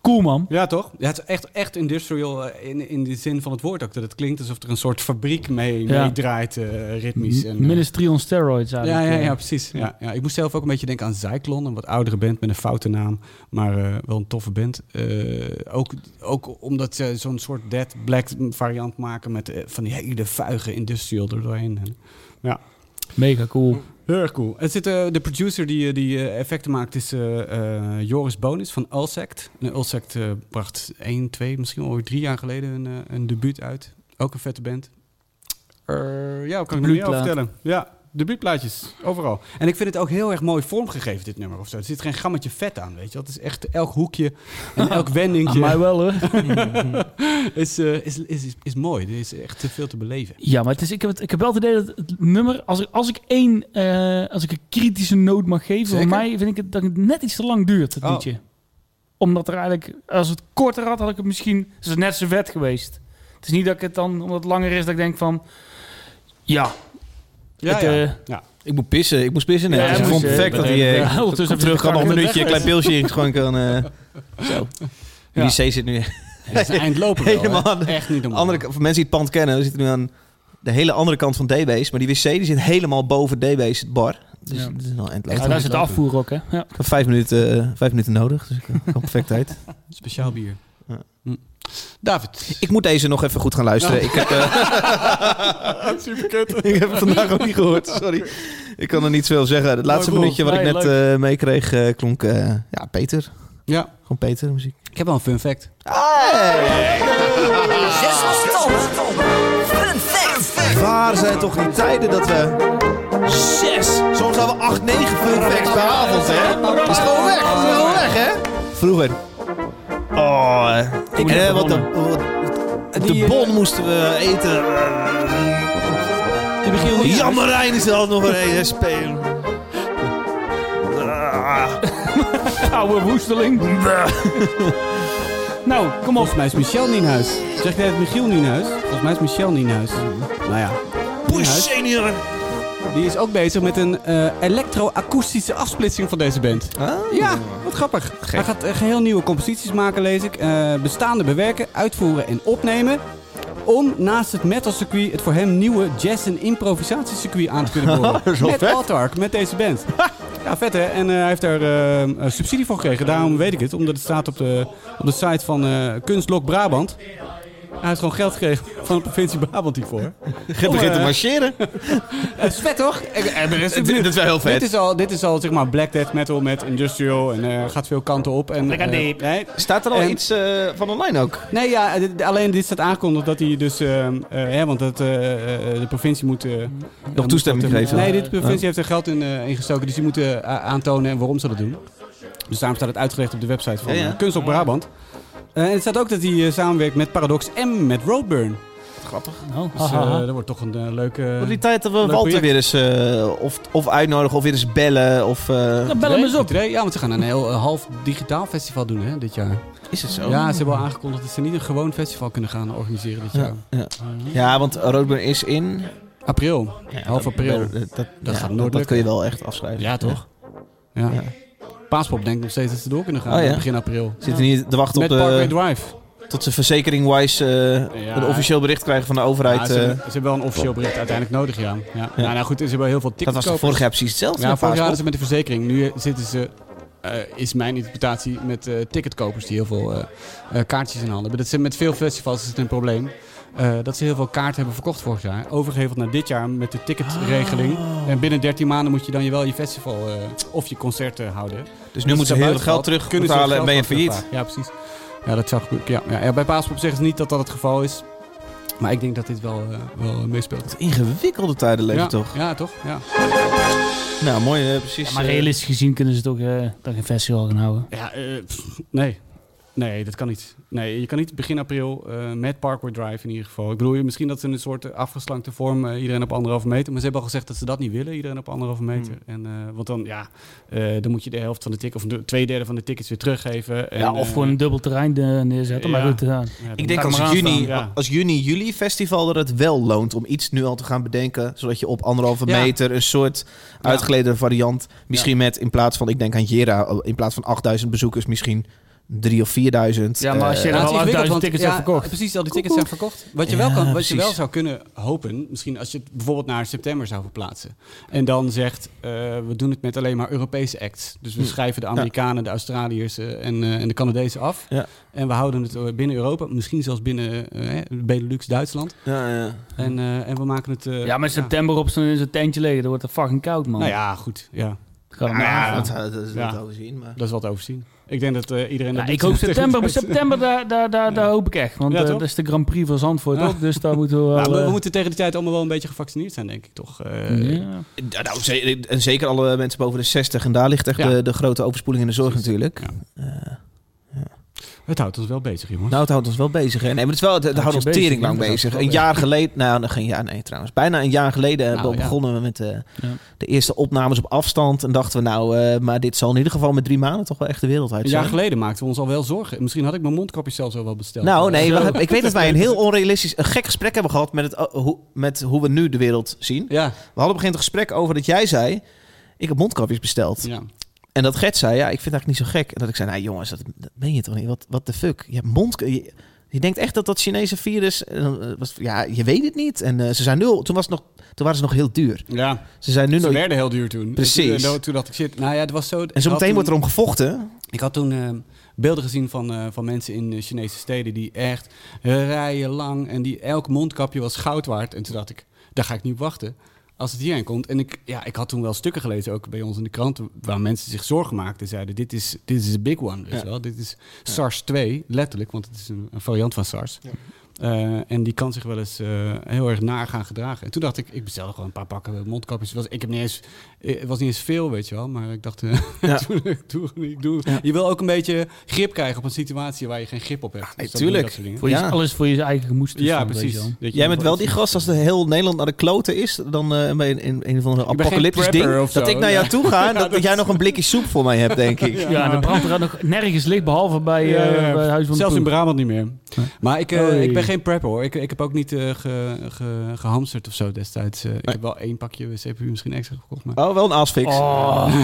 Speaker 3: cool man.
Speaker 1: Ja, toch? Ja, het is echt, echt industrial eh, in, in de zin van het woord ook. Dat het klinkt alsof er een soort fabriek mee,
Speaker 3: Ja.
Speaker 1: meedraait, eh, ritmisch. En, eh,
Speaker 3: Ministry on steroids
Speaker 1: ja,
Speaker 3: eigenlijk.
Speaker 1: ja,
Speaker 3: eh.
Speaker 1: ja, precies. Ja, ja. Ik moest zelf ook een beetje denken aan Zyklon. Een wat oudere band met een foute naam. Maar eh, wel een toffe band. Eh, ook, ook omdat ze zo'n soort Dead Black variant maken... met eh, van die hele vuige industrial er doorheen. En, ja,
Speaker 3: Mega cool.
Speaker 1: Heel erg cool. Er zit, eh, de producer die, eh, die eh, effecten maakt is eh, eh, Joris Bonis van Ulsect. En Ulsect eh, bracht 1, 2, misschien wel drie jaar geleden een, eh, een debuut uit. Ook een vette band. Eh, ja, wat kan ik nog meer over
Speaker 3: Debuutplaat.
Speaker 1: vertellen? Ja, debuutplaatjes, overal. En ik vind het ook heel erg mooi vormgegeven, dit nummer of zo. Er zit geen gammetje vet aan, weet je. wel. Het is echt elk hoekje en (laughs) elk
Speaker 3: Aan mij
Speaker 1: wendingje
Speaker 3: wel hoor.
Speaker 1: (laughs) is, eh, is, is, is, is mooi. Er is echt te veel te beleven.
Speaker 3: Ja, maar het is, ik, heb het, ik heb wel het idee dat het nummer, als ik, als ik één, eh, als ik een kritische noot mag geven,
Speaker 1: Zeker.
Speaker 3: voor mij vind ik het dat het net iets te lang duurt, het
Speaker 1: Oh.
Speaker 3: liedje. Omdat er eigenlijk, als het korter had, had ik het misschien, is het net zo vet geweest. Het is niet dat ik het dan, omdat het langer is, dat ik denk van, ja.
Speaker 1: Ja,
Speaker 3: het,
Speaker 1: ja.
Speaker 3: eh,
Speaker 2: Ik moet pissen, ik moest pissen. Nee,
Speaker 3: Ja,
Speaker 2: dus
Speaker 3: hij
Speaker 2: ik
Speaker 3: moest,
Speaker 2: vond het
Speaker 3: eh,
Speaker 2: perfect dat
Speaker 3: beneden.
Speaker 2: hij...
Speaker 3: Ja,
Speaker 2: eh,
Speaker 3: ondertussen
Speaker 2: komt
Speaker 3: even
Speaker 2: terug, kan nog een
Speaker 3: de
Speaker 2: minuutje, een klein
Speaker 3: kracht
Speaker 2: pilsje in gewoon kan... eh, zo. Jullie C zit nu
Speaker 1: Het is een eind lopen (laughs) wel, hè.
Speaker 2: Helemaal aan de
Speaker 1: Echt niet normaal.
Speaker 2: andere, of mensen die het pand kennen, we zitten nu aan de hele andere kant van DB's. Maar die wc die zit helemaal boven DB's het bar. Dus
Speaker 3: Ja.
Speaker 2: dat is wel eind
Speaker 3: ja,
Speaker 2: leeg.
Speaker 3: daar zit de afvoer ook, hè. Ja.
Speaker 2: Ik heb vijf minuten, eh, vijf minuten nodig, dus ik eh, kan perfect uit.
Speaker 1: Speciaal bier.
Speaker 2: Ja.
Speaker 1: Hm. David.
Speaker 2: Ik moet deze nog even goed gaan luisteren. Ik, heb, eh, (laughs) ik heb het vandaag ook niet gehoord, sorry. Ik kan er niet veel zeggen. Het laatste
Speaker 1: Mooi
Speaker 2: minuutje wat ik
Speaker 3: Nee,
Speaker 2: net eh, meekreeg eh, klonk... eh, ja, Peter.
Speaker 1: Ja,
Speaker 2: Gewoon Peter muziek.
Speaker 1: ik heb wel een fun fact.
Speaker 6: Zes losse tanden. Fun fact.
Speaker 2: Waar zijn toch die tijden dat we... Zes! Soms hadden we acht, negen fun facts per avond, hè? Dat is gewoon weg, dat is gewoon weg, hè? Vroeger. Oh, eh, ik
Speaker 3: heb
Speaker 2: eh, wat de,
Speaker 3: gewonnen.
Speaker 2: wat- de bon moesten we eten. Jammerijn is er altijd nog een eh, spelen. Ah,
Speaker 3: Oude woesteling. nou, kom op.
Speaker 1: Volgens mij is Michel Nienhuis. Zeg jij het Michiel Nienhuis? Volgens mij is Michel Nienhuis. Nou ja.
Speaker 2: Push
Speaker 1: Nienhuis.
Speaker 2: senior.
Speaker 1: Die is ook bezig met een eh elektroakoestische afsplitsing van deze band. Ja, wat grappig. Hij gaat eh, geheel nieuwe composities maken, lees ik. Eh, bestaande bewerken, uitvoeren en opnemen. Om naast het metalcircuit het voor hem nieuwe jazz- en improvisatiecircuit aan te (laughs) kunnen boren.
Speaker 2: is wel
Speaker 1: met
Speaker 2: vet.
Speaker 1: Autark, met deze (laughs) band. Ja, vet hè? En eh, hij heeft daar eh, eh, subsidie voor gekregen. Daarom weet ik het. Omdat het staat op de, op de site van eh Kunstlok Brabant. Hij heeft gewoon geld gekregen van de provincie Brabant hiervoor.
Speaker 2: Je begint te marcheren.
Speaker 1: (laughs) Het is vet toch? Ik- eh, maar is
Speaker 2: Dit dit is wel heel
Speaker 1: dit
Speaker 2: vet.
Speaker 1: is al, dit is al zeg maar black death metal met industrial en eh, gaat veel kanten op. En,
Speaker 3: Lekker
Speaker 1: eh,
Speaker 3: diep.
Speaker 1: nee,
Speaker 2: Staat er al
Speaker 1: En-
Speaker 2: iets eh, van online ook?
Speaker 1: nee, ja, eh, d- alleen dit staat aangekondigd dat hij dus, ehm, eh, hè, want dat, eh, eh, de provincie moet... eh, moet
Speaker 2: toestemming
Speaker 1: dat, eh,
Speaker 2: geven.
Speaker 1: Nee, de provincie heeft er geld in eh, ingestoken, dus die moeten eh, a- aantonen en waarom ze dat doen. Dus daarom staat het uitgelegd op de website van
Speaker 2: Ja,
Speaker 1: eh
Speaker 2: ja.
Speaker 1: Kunst op Brabant. Eh, en het staat ook dat hij eh, samenwerkt met Paradox M met Roadburn.
Speaker 3: Nou,
Speaker 1: Dus eh,
Speaker 3: haha.
Speaker 1: dat wordt toch een eh, leuke...
Speaker 2: Op die tijd dat we
Speaker 1: Leuk
Speaker 2: Walter
Speaker 1: project.
Speaker 2: weer eens eh, of, of uitnodigen of weer eens bellen. Of, eh,
Speaker 3: Dan bel hem eens op.
Speaker 1: Entree. Ja, want ze gaan een heel eh, half digitaal festival doen hè, dit jaar.
Speaker 2: is het zo?
Speaker 1: Ja, ze hebben al aangekondigd dat ze niet een gewoon festival kunnen gaan organiseren dit jaar.
Speaker 2: Ja, want Roadburn is in...
Speaker 1: April. Half april.
Speaker 2: Dat, dat, ja,
Speaker 1: gaat nooit
Speaker 2: dat,
Speaker 1: lukken.
Speaker 2: kun je wel echt afschrijven.
Speaker 1: Ja, toch? Ja.
Speaker 2: Ja.
Speaker 1: Paaspop denkt nog steeds dat ze door kunnen gaan
Speaker 2: Oh, ja. eh,
Speaker 1: begin april.
Speaker 2: Zitten hier te wachten
Speaker 1: Met
Speaker 2: op
Speaker 1: Parkway
Speaker 2: de,
Speaker 1: Drive.
Speaker 2: tot ze verzekering-wise eh,
Speaker 1: Ja.
Speaker 2: een officieel bericht krijgen van de overheid.
Speaker 1: Ja, ze,
Speaker 2: eh.
Speaker 1: hebben, ze hebben wel een officieel bericht uiteindelijk nodig, ja. ja. Nou, nou goed, ze hebben heel veel
Speaker 2: dat
Speaker 1: tickets
Speaker 2: was toch vorig jaar precies hetzelfde?
Speaker 1: Ja,
Speaker 2: met
Speaker 1: vorig jaar hadden
Speaker 2: Paaspop?
Speaker 1: ze met de verzekering. Nu eh, zitten ze, eh, is mijn interpretatie, met eh, ticketkopers die heel veel eh, eh, kaartjes in handen hebben. Dat ze met veel festivals is het een probleem. eh, dat ze heel veel kaarten hebben verkocht vorig jaar. Overgeheveld naar dit jaar met de ticketregeling. En binnen 13 maanden moet je dan je wel je festival eh, of je concert eh, houden.
Speaker 2: Dus nu moeten ze heel het geld terug
Speaker 1: kunnen ze
Speaker 2: betalen en
Speaker 1: het
Speaker 2: ben je
Speaker 1: geld
Speaker 2: failliet.
Speaker 1: terugvragen. Ja, precies. Ja, dat zou gebeuren. Ja, ja. Ja, bij Paaspop zeggen ze niet dat dat het geval is. Maar ik denk dat dit wel, eh, wel meespeelt.
Speaker 2: Ingewikkelde tijden leven
Speaker 1: ja,
Speaker 2: toch?
Speaker 1: Ja, toch? Ja.
Speaker 2: Nou, mooi eh, precies.
Speaker 3: Maar
Speaker 2: eh,
Speaker 3: realistisch gezien kunnen ze toch eh, dan geen festival gaan houden.
Speaker 1: Ja, eh, pff, nee. Nee, dat kan niet. Nee, je kan niet begin april eh, met Parkway Drive in ieder geval. Ik bedoel, je- misschien dat ze in een soort eh, afgeslankte vorm eh, iedereen op anderhalve meter. Maar ze hebben al gezegd dat ze dat niet willen, iedereen op anderhalve meter. En, eh, want dan, ja, eh, dan moet je de helft van de tickets, of de twee derde van de tickets weer teruggeven. En,
Speaker 3: ja, of gewoon een dubbel terrein eh, neerzetten. Maar
Speaker 1: ja.
Speaker 3: goed, ja.
Speaker 1: eh, ja, dan
Speaker 2: Ik denk
Speaker 1: moet je
Speaker 2: als
Speaker 1: maar
Speaker 2: juni,
Speaker 1: aanstaan, ja.
Speaker 2: als juni, juli festival dat het wel loont om iets nu al te gaan bedenken. Zodat je op anderhalve
Speaker 1: Ja.
Speaker 2: meter een soort uitgeleden variant. Misschien met in plaats van, ik denk aan Jera, in plaats van 8000 bezoekers misschien 3 of 4000.
Speaker 3: Ja, maar als je
Speaker 2: Eh,
Speaker 1: Ja,
Speaker 3: er
Speaker 1: het is
Speaker 3: al
Speaker 1: ingewikkeld,
Speaker 3: 8000
Speaker 1: want-
Speaker 3: tickets
Speaker 1: ja,
Speaker 3: hebt verkocht.
Speaker 1: Precies, al die tickets zijn verkocht. Wat je, wel,
Speaker 2: Ja,
Speaker 1: kan, wat je wel
Speaker 2: precies.
Speaker 1: zou kunnen hopen, misschien als je het bijvoorbeeld naar september zou verplaatsen. En dan zegt, eh, we doen het met alleen maar Europese acts. Dus
Speaker 2: Hm.
Speaker 1: we schrijven de Amerikanen, de Australiërs eh, en, eh, en de Canadezen af.
Speaker 2: Ja.
Speaker 1: En we houden het eh, binnen Europa, misschien zelfs binnen eh, hè, Benelux, Duitsland.
Speaker 2: ja, ja.
Speaker 1: En, eh, en we maken het... eh,
Speaker 3: Ja, maar in september op zo'n in zo'n tentje liggen, dan wordt het fucking koud, man.
Speaker 1: Nou ja, goed. Ja,
Speaker 3: Ga er maar aan.
Speaker 2: Nou Ja, dat, eh, dat, dat
Speaker 1: Ja.
Speaker 2: hadden we zien. Maar.
Speaker 1: dat is wat overzien. Ik denk dat eh, iedereen...
Speaker 3: Ja,
Speaker 1: dat
Speaker 3: ik
Speaker 1: doet.
Speaker 3: hoop
Speaker 1: (laughs)
Speaker 3: september, september daar, daar, daar, daar hoop ik echt. Want
Speaker 1: Ja,
Speaker 3: eh,
Speaker 1: toch?
Speaker 3: dat is de Grand Prix van Zandvoort
Speaker 1: Ja.
Speaker 3: ook, dus daar moeten we wel...
Speaker 1: Nou, we, we
Speaker 3: eh,
Speaker 1: moeten tegen die tijd allemaal wel een beetje gevaccineerd zijn, denk ik, toch? Eh,
Speaker 3: ja.
Speaker 2: Ja, Nou, ze- en zeker alle mensen boven de 60. En daar ligt echt
Speaker 1: Ja.
Speaker 2: de, de grote overspoeling in de zorg natuurlijk.
Speaker 1: Ja.
Speaker 2: Eh,
Speaker 1: Het houdt ons wel bezig, jongens.
Speaker 2: nou, het houdt ons wel bezig. Hè? Nee, maar het, is wel, het, het
Speaker 3: Houdt
Speaker 2: houdt
Speaker 3: je
Speaker 2: ons
Speaker 3: bezig,
Speaker 2: tering lang
Speaker 3: ja, dat
Speaker 2: bezig.
Speaker 3: is
Speaker 2: Een
Speaker 3: wel, ja.
Speaker 2: jaar geleden, nou, nog geen jaar, nee trouwens. Bijna een jaar geleden hebben we
Speaker 1: Nou, ja.
Speaker 2: begonnen we met eh, de eerste opnames op afstand. En dachten we, nou, eh, maar dit zal in ieder geval met drie maanden toch wel echt de wereld uit
Speaker 1: Een
Speaker 2: zijn.
Speaker 1: jaar geleden maakten we ons al wel zorgen. Misschien had ik mijn mondkapjes zelfs al wel besteld.
Speaker 2: Nou, nee,
Speaker 1: Zo.
Speaker 2: we- ik weet dat wij een heel onrealistisch, een gek gesprek hebben gehad met, het, eh, hoe, met hoe we nu de wereld zien. We
Speaker 1: Ja,
Speaker 2: hadden op een gegeven moment een gesprek over dat jij zei, ik heb mondkapjes besteld.
Speaker 1: ja.
Speaker 2: En dat Gert zei, ja, ik vind het eigenlijk niet zo gek. En dat ik zei, nou jongens, dat, dat ben je toch niet? Wat wat de fuck? Je hebt mond... Je, je denkt echt dat dat Chinese virus... en dan, eh, was, ja, je weet het niet. En eh, ze zijn nu al- Toen, was het nog, toen waren ze nog heel duur.
Speaker 1: ja.
Speaker 2: Ze zijn nu
Speaker 1: ze
Speaker 2: nog...
Speaker 1: werden heel duur toen.
Speaker 2: Precies.
Speaker 1: En toen, toen dacht ik, shit, nou ja, het was zo...
Speaker 2: En zo meteen wordt
Speaker 1: er.
Speaker 2: erom gevochten.
Speaker 1: Ik had toen eh, beelden gezien van, eh, van mensen in eh, Chinese steden die echt rijen lang en die elk mondkapje was goud waard. En toen dacht ik, daar ga ik niet op wachten. Als het hierheen komt. En ik, ja, ik had toen wel stukken gelezen, ook bij ons in de kranten, waar mensen zich zorgen maakten. Zeiden, dit is, dit is een big one, weet je wel. Dit is SARS-2, letterlijk, want het is een, een variant van SARS. Eh, en die kan zich wel eens eh, heel erg naar gaan gedragen. En toen dacht ik, ik bestelde gewoon een paar pakken mondkapjes. Het Was, ik heb niet eens, eh, het was niet eens veel, weet je wel. Maar ik dacht, eh, (laughs)
Speaker 2: Ja.
Speaker 1: doe, het, doe, het niet, doe het. Je wil ook een beetje grip krijgen op een situatie waar je geen grip op hebt.
Speaker 2: Ah,
Speaker 1: Dus
Speaker 2: nee,
Speaker 1: dan doe je
Speaker 2: tuurlijk.
Speaker 1: dat soort dingen.
Speaker 3: Voor je,
Speaker 2: Ja.
Speaker 3: Alles voor je eigen gemoedstoestand.
Speaker 1: Ja,
Speaker 3: weet
Speaker 1: precies.
Speaker 3: je wel.
Speaker 1: Dat je-
Speaker 2: Jij bent wel die gast, als de heel Nederland naar de kloten is, dan eh ben je in een van de
Speaker 1: ben geen
Speaker 2: apocalyptisch
Speaker 1: prepper
Speaker 2: ding.
Speaker 1: of
Speaker 2: Dat
Speaker 1: zo,
Speaker 2: ik naar
Speaker 1: ja.
Speaker 2: jou toe
Speaker 1: (laughs)
Speaker 2: ga en dat, dat jij nog een blikje soep voor mij hebt, denk ik.
Speaker 3: Ja, en de brand er nog nergens licht, behalve bij,
Speaker 1: nou. Ja,
Speaker 3: eh,
Speaker 1: ja, ja.
Speaker 3: bij Huis van de
Speaker 1: Zelfs in
Speaker 3: Ploeg.
Speaker 1: Brabant niet meer. Maar ik, eh,
Speaker 3: Oei.
Speaker 1: ik ben geen prepper hoor. Ik, ik heb ook niet eh, ge, ge- gehamsterd of zo destijds. Eh, ik heb wel één pakje CPU misschien extra gekocht. Maar...
Speaker 2: Oh, wel een asfix.
Speaker 3: Oh.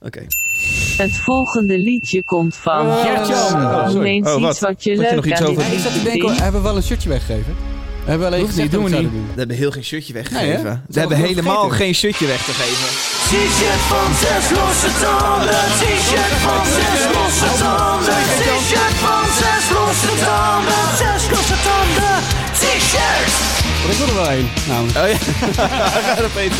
Speaker 2: Oké.
Speaker 5: Het volgende liedje komt van.
Speaker 1: Oh, Gert-Jan. Oh, sorry.
Speaker 5: Noem eens
Speaker 2: Oh, wat?
Speaker 5: iets wat je
Speaker 2: Had je nog
Speaker 5: leuk
Speaker 2: iets
Speaker 5: aan dit
Speaker 2: over-
Speaker 1: Ik zat te denken,
Speaker 5: ding.
Speaker 1: hebben we wel een shirtje weggegeven? We hebben alleen
Speaker 3: Hoeft
Speaker 1: gezegd
Speaker 3: niet,
Speaker 1: dat we
Speaker 3: doen
Speaker 1: het
Speaker 3: we
Speaker 1: zouden doen.
Speaker 2: We hebben heel geen shirtje weggegeven.
Speaker 1: Nee, hè?
Speaker 2: we hebben
Speaker 1: wel
Speaker 2: helemaal
Speaker 1: vergeten.
Speaker 2: geen shirtje weg te geven.
Speaker 4: T-shirt van zes losse tanden, t-shirt van zes losse tanden, t-shirt van zes losse tanden, zes losse tanden, t-shirt!
Speaker 1: Ik wil er wel één. Nou, namelijk.
Speaker 2: Oh ja, (laughs) Ga erop eten.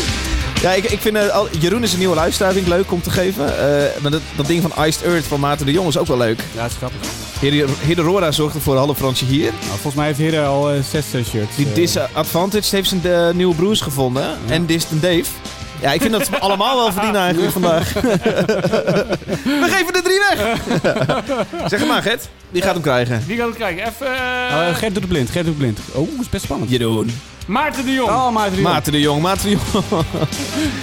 Speaker 2: Ja, ik, ik vind eh, al, Jeroen is een nieuwe luisteraar, vind ik leuk om te geven. Eh, maar dat, dat ding van Iced Earth van Maarten de Jong is ook wel leuk.
Speaker 1: Ja, dat is grappig.
Speaker 2: Hidde- Hidde Rora zorgde voor een halve Fransje hier.
Speaker 1: Nou, volgens mij heeft Hidde al eh, zes eh, shirts.
Speaker 2: Die
Speaker 1: eh.
Speaker 2: Disadvantage heeft zijn eh, nieuwe broers gevonden. En Distant Dave. Ja, ik vind dat ze allemaal wel verdienen eigenlijk
Speaker 1: (laughs)
Speaker 2: vandaag. We geven er drie
Speaker 1: (laughs)
Speaker 2: weg! zeg het maar, Gert. Die gaat hem krijgen.
Speaker 3: Wie gaat het krijgen? Even... eh,
Speaker 1: Eh, Gert doet de blind, Gert doet de blind. Oh, is best spannend.
Speaker 2: Jeroen.
Speaker 3: Maarten de Jong.
Speaker 1: Oh, Maarten. Jeroen.
Speaker 2: Maarten de Jong, Maarten de Jong.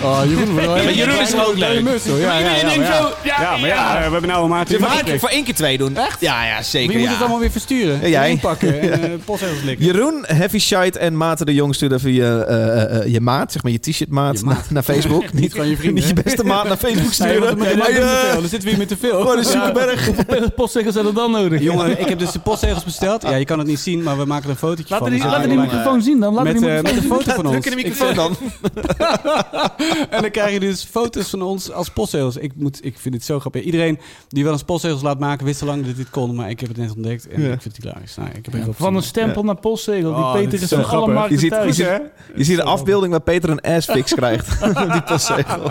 Speaker 1: Oh, Jeroen, wel,
Speaker 2: Maar Jeroen is ook leuk.
Speaker 1: Musel. Ja, ja, ja,
Speaker 3: Iedereen
Speaker 1: maar
Speaker 3: denkt
Speaker 1: ja.
Speaker 3: zo, ja,
Speaker 1: Ja, maar
Speaker 3: ja.
Speaker 1: ja, eh, we hebben nou een Maarten.
Speaker 2: Voor één,
Speaker 1: Maarten.
Speaker 2: keer- voor één keer twee doen. Echt? Ja, ja, zeker.
Speaker 1: Wie moet
Speaker 2: ja.
Speaker 1: het allemaal weer versturen?
Speaker 2: Ja, jij.
Speaker 1: En Inpakken en eh, postzegels likken.
Speaker 2: Jeroen, Heavy Shite en Maarten de Jong sturen even je, eh, eh, eh, je maat, zeg maar je t-shirt maat,
Speaker 1: Je
Speaker 2: Naar, naar
Speaker 1: (laughs)
Speaker 2: Facebook.
Speaker 1: Niet van je vrienden,
Speaker 2: Niet je beste maat naar Facebook
Speaker 1: Nee, want dan-
Speaker 2: sturen.
Speaker 1: dan-
Speaker 2: Hey,
Speaker 1: dan-
Speaker 2: eh, oh,
Speaker 1: dan- dan zitten we hier met te veel.
Speaker 2: Wat een zoeke berg.
Speaker 3: Hoeveel postzegels hebben we dan nodig?
Speaker 1: (laughs) Jongen, ik heb dus de postzegels besteld. Ja, je kan het niet zien, maar we maken er een fotootje
Speaker 3: Laat
Speaker 1: van.
Speaker 3: er die,
Speaker 1: Dus
Speaker 3: laat er die
Speaker 1: online.
Speaker 3: microfoon zien dan. Laat er
Speaker 1: met,
Speaker 3: die
Speaker 1: eh,
Speaker 3: microfoon (laughs)
Speaker 1: met een
Speaker 3: zien.
Speaker 1: foto van ons.
Speaker 2: (laughs) Druk in de microfoon dan.
Speaker 1: En dan krijg je dus foto's van ons als postzegels. Ik, moet, ik vind het zo grappig. Iedereen die wel eens postzegels laat maken, wist al lang dat dit kon. Maar ik heb het net ontdekt en
Speaker 2: Ja.
Speaker 1: ik vind het hilarisch. Nou, ik heb er heel veel
Speaker 3: Van een
Speaker 1: zin
Speaker 3: stempel naar postzegel. Die
Speaker 1: Oh, (laughs) dit
Speaker 3: Peter
Speaker 1: is
Speaker 3: is
Speaker 1: zo
Speaker 3: van alle
Speaker 1: grappig.
Speaker 3: markten
Speaker 2: Je ziet-
Speaker 3: thuis.
Speaker 2: je ziet- Je ziet een afbeelding waar Peter een assfix
Speaker 1: (laughs)
Speaker 2: krijgt. (laughs) die postzegel.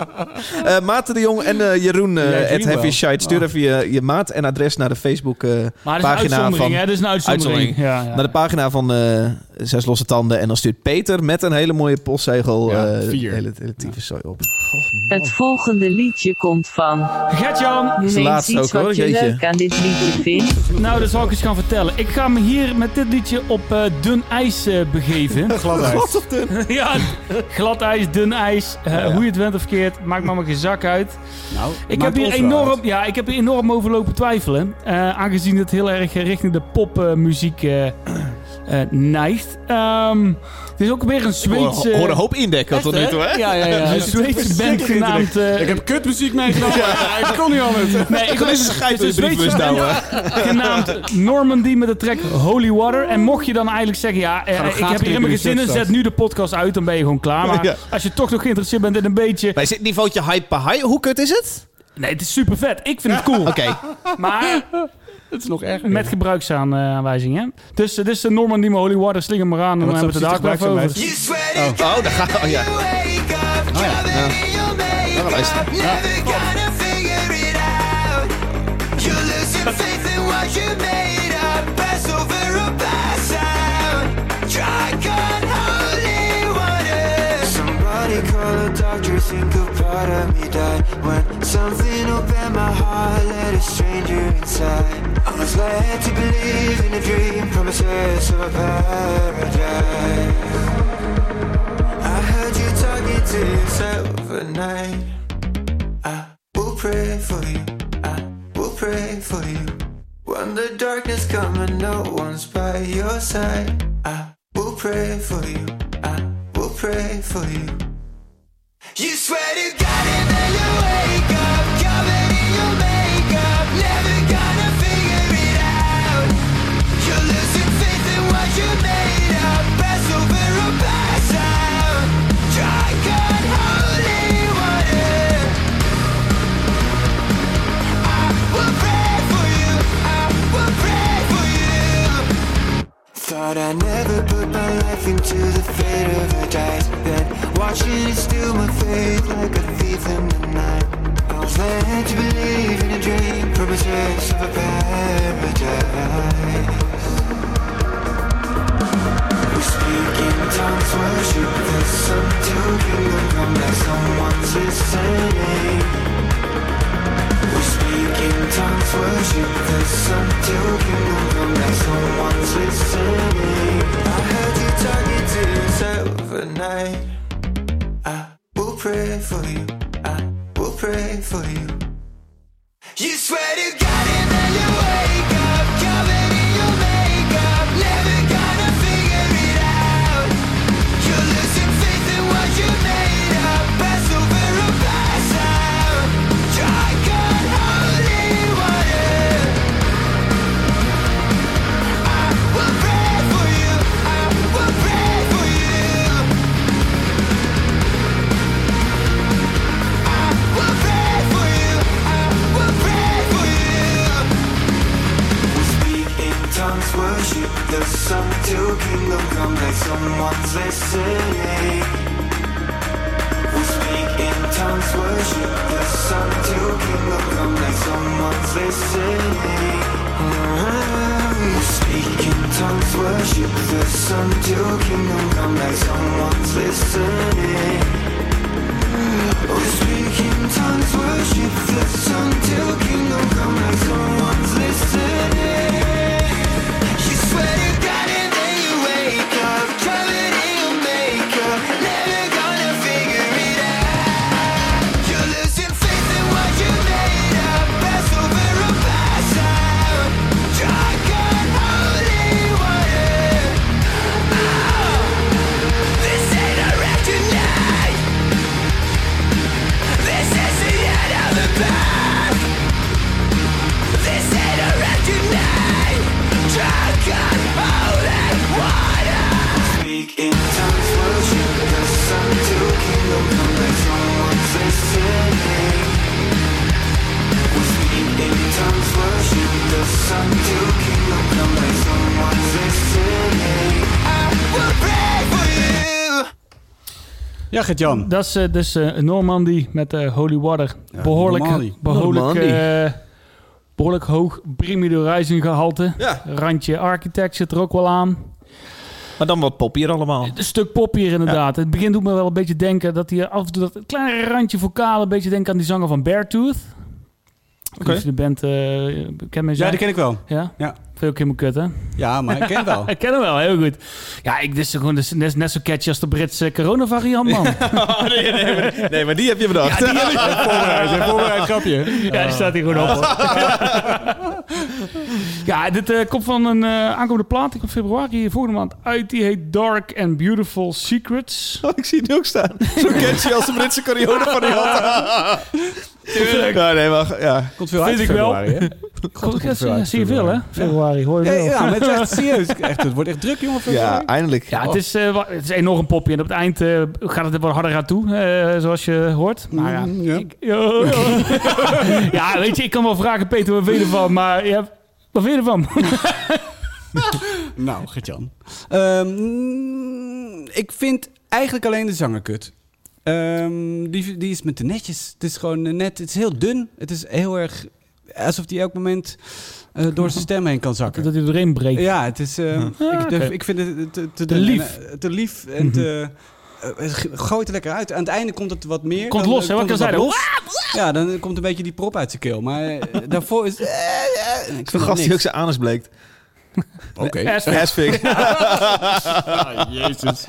Speaker 2: Eh Maarten de Jong en eh, Jeroen,
Speaker 1: Ja,
Speaker 2: eh
Speaker 1: Jeroen
Speaker 2: het Heavy
Speaker 1: wel.
Speaker 2: Shite. Stuur
Speaker 1: Oh.
Speaker 2: even je, je maat en adres naar de Facebook eh,
Speaker 3: maar dat is een
Speaker 2: pagina
Speaker 3: uitzondering,
Speaker 2: van...
Speaker 3: hè? Dat is een uitzondering.
Speaker 2: Uitzondering.
Speaker 3: Ja, ja.
Speaker 2: Naar de pagina van eh, Zes Losse Tanden. En dan stuurt Peter met een hele mooie postzegel...
Speaker 1: Ja,
Speaker 2: eh,
Speaker 1: vier.
Speaker 2: hele, hele tyfus zooi op.
Speaker 5: Het volgende liedje komt van.
Speaker 3: Gert-Jan,
Speaker 5: Noem
Speaker 2: Oh. de
Speaker 5: eens
Speaker 2: laatste ook,
Speaker 5: iets
Speaker 2: hoor,
Speaker 5: wat je
Speaker 2: jeetje.
Speaker 5: leuk aan dit liedje vindt.
Speaker 3: nou dat zal ik eens gaan vertellen. Ik ga me hier met dit liedje op eh, dun ijs eh,
Speaker 2: (laughs)
Speaker 3: begeven.
Speaker 1: aan.
Speaker 2: Wat op de...
Speaker 3: (laughs) ja, glad ijs, dun ijs. eh,
Speaker 2: Ja, ja.
Speaker 3: Hoe je het went of keert, maakt maar maar geen zak uit.
Speaker 1: Nou,
Speaker 3: Ik heb,
Speaker 1: maakt
Speaker 3: hier
Speaker 1: ons wel
Speaker 3: enorm,
Speaker 1: uit.
Speaker 3: ja, ik heb hier enorm over lopen twijfelen. eh, aangezien het heel erg eh, richting de popmuziek eh eh, neigt. Ehm, het is ook weer een Zweedse...
Speaker 2: Hoor, hoor een hoop indekken tot nu toe, eh, hè?
Speaker 3: (laughs) Ja, ja,
Speaker 1: dus-
Speaker 3: ja. Een Zweedse band
Speaker 1: verschrikkelijk
Speaker 3: genaamd... eh,
Speaker 1: Ik heb kutmuziek meegenomen. Ja, ik kon niet anders.
Speaker 3: Nee, ik
Speaker 2: Toen is een schijf
Speaker 3: het is
Speaker 2: in de
Speaker 3: een
Speaker 2: brievenbus
Speaker 3: Zweedse band
Speaker 2: douwen.
Speaker 3: genaamd Normandy met de track Holy Water. En mocht je dan eigenlijk zeggen, ja, eh,
Speaker 1: Ga nog
Speaker 3: ik
Speaker 1: gaten
Speaker 3: heb hier in
Speaker 1: knippen in
Speaker 3: mijn
Speaker 1: de
Speaker 3: gezinnen,
Speaker 1: shirtstad.
Speaker 3: zet nu de podcast uit, dan ben je gewoon klaar. Maar
Speaker 2: Ja.
Speaker 3: als je toch nog geïnteresseerd bent in een beetje...
Speaker 2: Bij zit niveautje hype per hype. Hoe kut is het?
Speaker 3: Nee, het is super vet. Ik vind het cool.
Speaker 2: Oké.
Speaker 3: Maar
Speaker 1: (laughs) Het is nog erger.
Speaker 3: met gebruiksaanwijzingen. Dus dit is de Normandy met Holy Water, slinger maar aan. En dan
Speaker 1: wat
Speaker 3: hebben we
Speaker 1: zijn
Speaker 3: het daar ook wel
Speaker 1: precies de
Speaker 3: even over.
Speaker 1: gebruiksaanwijzingen?
Speaker 6: You sweat it,
Speaker 2: Oh, daar gaat... Oh ja.
Speaker 6: wake up,
Speaker 1: Oh ja.
Speaker 6: covered in your
Speaker 4: Oh.
Speaker 2: Gaan we
Speaker 6: makeup.
Speaker 2: luisteren.
Speaker 6: Never gonna figure it out. You're losing faith in what you made up. Pass over or pass out. Drunk on holy water. Somebody call a doctor. Think a part of me died when something opened my heart. Let a stranger inside. I was led to believe in a dream, promises of a paradise. I heard you talking to yourself at night. I will pray for you. I will pray for you. When the darkness comes and no one's by your side, I will pray for you. I will pray for you. You swear to God and then you wake up, covered in your makeup, never gonna figure it out. You're losing faith in what you made up. Pass over or pass out. Drunk on holy water. I will pray for you. I will pray for you. Thought I never put my life into the fate of a dice. Then watching it steal my faith like a thief in the night. I was led to believe in a dream, promises of a paradise. We speak in tongues, worship the sun till kingdom come. That someone's listening. We speak in tongues, worship the sun till kingdom come. That someone's listening. I heard you talking to yourself at night. I will pray for you. I will pray for you. You swear to God and then you wake up covered in your makeup, never gonna figure it out. You're losing faith in what you made up, pass over or pass out. Try God. summer to kingdom come like someone's listening. We'll speak in tongues, worship the sun till kingdom come like someone's listening. We'll speak in tongues, worship the sun till kingdom come like someone's listening. We'll speak in tongues, worship the sun till kingdom come like someone's listening. You swear you got it, then you wake up, covered in makeup, never gonna figure it out. You're losing faith in what you made up, pass over and pass out. Drunk on holy water. Oh, This ain't a regular night. This is the end of the path. This ain't a regular night. Drunk on holy water. Speak in tongues, worship the sun till kingdom come. Like someone's listening. We speak in tongues, worship the sun till kingdom come. Like someone's listening. I will pray for you.
Speaker 1: Ja, Gert-Jan.
Speaker 3: Dat is eh, dus eh Normandy met eh, Holy Water.
Speaker 1: Normandy.
Speaker 3: behoorlijk, behoorlijk,
Speaker 2: Normandy.
Speaker 3: eh, behoorlijk hoog Brimidorizing gehalte.
Speaker 2: Ja.
Speaker 3: Randje Architect zit er ook wel aan.
Speaker 2: Maar dan wat pop hier (laughs) allemaal.
Speaker 3: Een stuk pop hier inderdaad. Het begin doet me wel een beetje denken dat hij af en toe dat kleine randje vocale een beetje denkt aan die zanger van Beartooth. Ik weet niet of je de band eh bekend mee
Speaker 1: Ja,
Speaker 3: zijn.
Speaker 1: die ken ik wel.
Speaker 3: Ja?
Speaker 1: Ja.
Speaker 3: Veel keer moet kut, hè?
Speaker 1: Ja, maar ik ken wel.
Speaker 3: Ik ken hem wel, heel goed. Ja, ik, dit is gewoon dit is net, net zo catchy als de Britse coronavariant, (laughs) man.
Speaker 2: nee, nee, maar, (laughs) nee, maar die heb je bedacht. (laughs)
Speaker 1: voorbereid, een voorbereid grapje.
Speaker 3: Ja, die staat hier gewoon op. hoor. (laughs) ja, dit eh, komt van een eh, aankomende plaat. Die komt februari volgende maand uit. Die heet Dark and Beautiful Secrets.
Speaker 1: Oh,
Speaker 2: ik zie die ook staan. Zo catchy als de Britse carrière van die hand. Tuurlijk. Ja, nee, maar ja.
Speaker 1: Komt veel
Speaker 3: Vind
Speaker 1: uit
Speaker 3: ik
Speaker 1: in februari, hè?
Speaker 3: Goed,
Speaker 1: veel
Speaker 3: ja,
Speaker 1: uit,
Speaker 3: zie je veel, hè?
Speaker 1: februari.
Speaker 3: Februari,
Speaker 1: (laughs)
Speaker 3: hoor
Speaker 1: Ja,
Speaker 3: wel.
Speaker 1: ja, maar het is echt serieus. Echt, het wordt echt druk, jongen.
Speaker 2: Ja,
Speaker 1: februari.
Speaker 2: eindelijk.
Speaker 1: Oh.
Speaker 2: Oh.
Speaker 3: Ja, het is, eh, wa- het is enorm een popje. En op het eind eh, gaat het er wat harder aan toe, eh, zoals je hoort.
Speaker 2: Ah,
Speaker 3: Maar ja,
Speaker 1: Mm, ja.
Speaker 3: ik- ja, (laughs) ja. Ja, weet je, ik kan wel vragen, Peter, wat vind je ervan? Maar ja, wat vind je ervan?
Speaker 1: Nou, Gert-Jan. Ehm, ik vind eigenlijk alleen de zanger kut. Ehm, die, die is met de netjes. Het is gewoon eh, net... Het is heel dun. Het is heel erg... Alsof die elk moment eh, door zijn stem heen kan zakken.
Speaker 3: Dat hij doorheen breekt.
Speaker 1: Ja, het is. eh,
Speaker 3: Ah,
Speaker 1: ik, durf-
Speaker 3: oké.
Speaker 1: ik vind het te, te,
Speaker 3: Te
Speaker 1: en,
Speaker 3: lief. Mhm.
Speaker 1: eh, te lief en te. eh, het g- gooit er lekker uit. Aan het einde komt het wat meer.
Speaker 3: Komt
Speaker 1: dan,
Speaker 3: los,
Speaker 1: eh,
Speaker 3: hè, wat
Speaker 1: komt
Speaker 3: ik
Speaker 1: het
Speaker 3: al
Speaker 1: wat los. Ja, dan komt een beetje die prop uit zijn keel. Maar
Speaker 3: (laughs)
Speaker 1: eh, daarvoor is. eh, eh, ik vind
Speaker 2: Zo'n
Speaker 1: het
Speaker 2: gast die ook
Speaker 1: niks.
Speaker 2: zijn anus bleekt.
Speaker 1: Oké.
Speaker 3: Ass-
Speaker 2: Aspik.
Speaker 1: Jezus.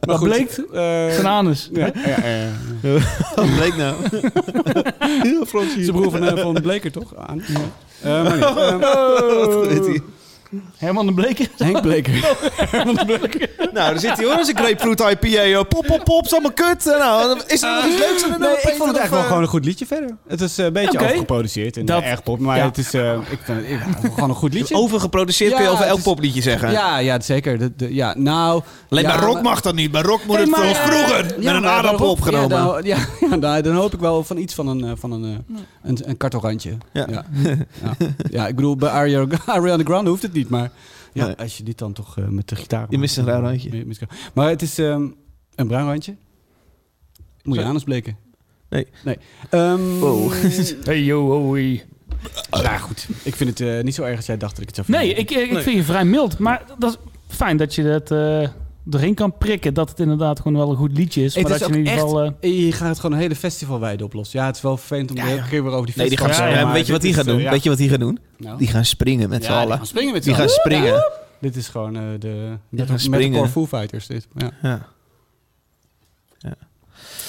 Speaker 3: Wat bleekt?
Speaker 1: eh,
Speaker 3: Zijn anus.
Speaker 1: ja, ja, ja, ja.
Speaker 2: Wat bleek (laughs) nou? Heel Frans
Speaker 1: Zijn
Speaker 2: hier.
Speaker 1: broer van, eh, van Bleker,
Speaker 3: (laughs)
Speaker 1: toch? Aan. Eh, maar
Speaker 3: Oh.
Speaker 1: niet. Eh,
Speaker 2: Wat weet hij?
Speaker 3: Herman de Bleker.
Speaker 1: Henk Bleker.
Speaker 3: Oh,
Speaker 2: Nou, daar zit hij hoor, dat is een grapefruit IPA. hoor. Pop, pop, pop, is allemaal kut. Eh, Nou, is er nog iets leuks aan de
Speaker 1: Nee,
Speaker 2: nummer,
Speaker 1: ik vond het
Speaker 2: Peter,
Speaker 1: eigenlijk wel
Speaker 2: of, eh?
Speaker 1: gewoon een goed liedje verder. Het is eh, een beetje
Speaker 3: Oké.
Speaker 1: overgeproduceerd en
Speaker 3: Dat-
Speaker 1: erg pop. Maar
Speaker 3: ja. Oh,
Speaker 1: het is eh, ik vind het, ik vind het gewoon een goed
Speaker 2: eh,
Speaker 1: liedje.
Speaker 2: Overgeproduceerd kun je
Speaker 1: Ja,
Speaker 2: over
Speaker 1: het
Speaker 2: elk
Speaker 1: is-
Speaker 2: popliedje zeggen.
Speaker 1: Ja, ja, zeker. De, de- ja, nou,
Speaker 2: Alleen
Speaker 1: ja,
Speaker 2: bij rock
Speaker 1: maar-
Speaker 2: mag dat niet. Bij rock moet
Speaker 3: Nee,
Speaker 2: het
Speaker 3: maar,
Speaker 2: zoals
Speaker 3: eh,
Speaker 2: vroeger.
Speaker 1: Ja,
Speaker 2: met
Speaker 1: maar
Speaker 2: een
Speaker 1: bij
Speaker 2: aardappel
Speaker 1: rock-
Speaker 2: opgenomen.
Speaker 1: Ja, dan, ja, (laughs) ja, dan- dan hoop ik wel van iets van een, eh, van een, eh, een, een kartelrandje.
Speaker 2: Ja.
Speaker 1: Ja. Ja. Ja. ik bedoel, bij (laughs) Ari- Ariana Grande hoeft het niet, maar ja,
Speaker 2: Nee.
Speaker 1: als je dit dan toch eh, met de gitaar...
Speaker 2: Je mist een rauw randje.
Speaker 1: Mi- mist- Maar het is ehm, een bruin randje. Moet je
Speaker 2: Zo.
Speaker 1: anus bleken.
Speaker 2: Nee. Oh.
Speaker 1: nee. Ehm, (laughs)
Speaker 2: Wow.
Speaker 3: Hey, yo, ho, hey.
Speaker 1: Nou goed, ik vind het eh, niet zo erg als jij dacht dat ik het zou vinden.
Speaker 3: Nee, ik, ik vind je vrij mild. Maar dat is fijn dat je dat eh erin kan prikken. Dat het inderdaad gewoon wel een goed liedje is.
Speaker 1: Het
Speaker 3: maar
Speaker 1: is
Speaker 3: dat je in
Speaker 1: ook
Speaker 3: ieder geval... eh,
Speaker 1: Je gaat het gewoon een hele festivalweide oplossen. Ja, het is wel vervelend om de hele keer weer over die
Speaker 2: Nee, die
Speaker 1: festival
Speaker 2: gaat
Speaker 3: Ja,
Speaker 2: zo.
Speaker 3: ja,
Speaker 2: Eh,
Speaker 1: maar
Speaker 2: Weet je wat
Speaker 1: dit
Speaker 2: die gaat
Speaker 1: is, eh,
Speaker 2: doen?
Speaker 1: ja.
Speaker 2: Weet je wat die gaat doen?
Speaker 1: Nou.
Speaker 2: Die gaan springen met z'n
Speaker 1: Ja, die
Speaker 2: allen.
Speaker 1: gaan springen met z'n
Speaker 2: Die gaan
Speaker 1: allen.
Speaker 2: springen.
Speaker 1: Dit is gewoon eh, de
Speaker 2: gaan
Speaker 1: met, met
Speaker 2: springen.
Speaker 1: de core Foo Fighters. Dit. Ja.
Speaker 2: Ja.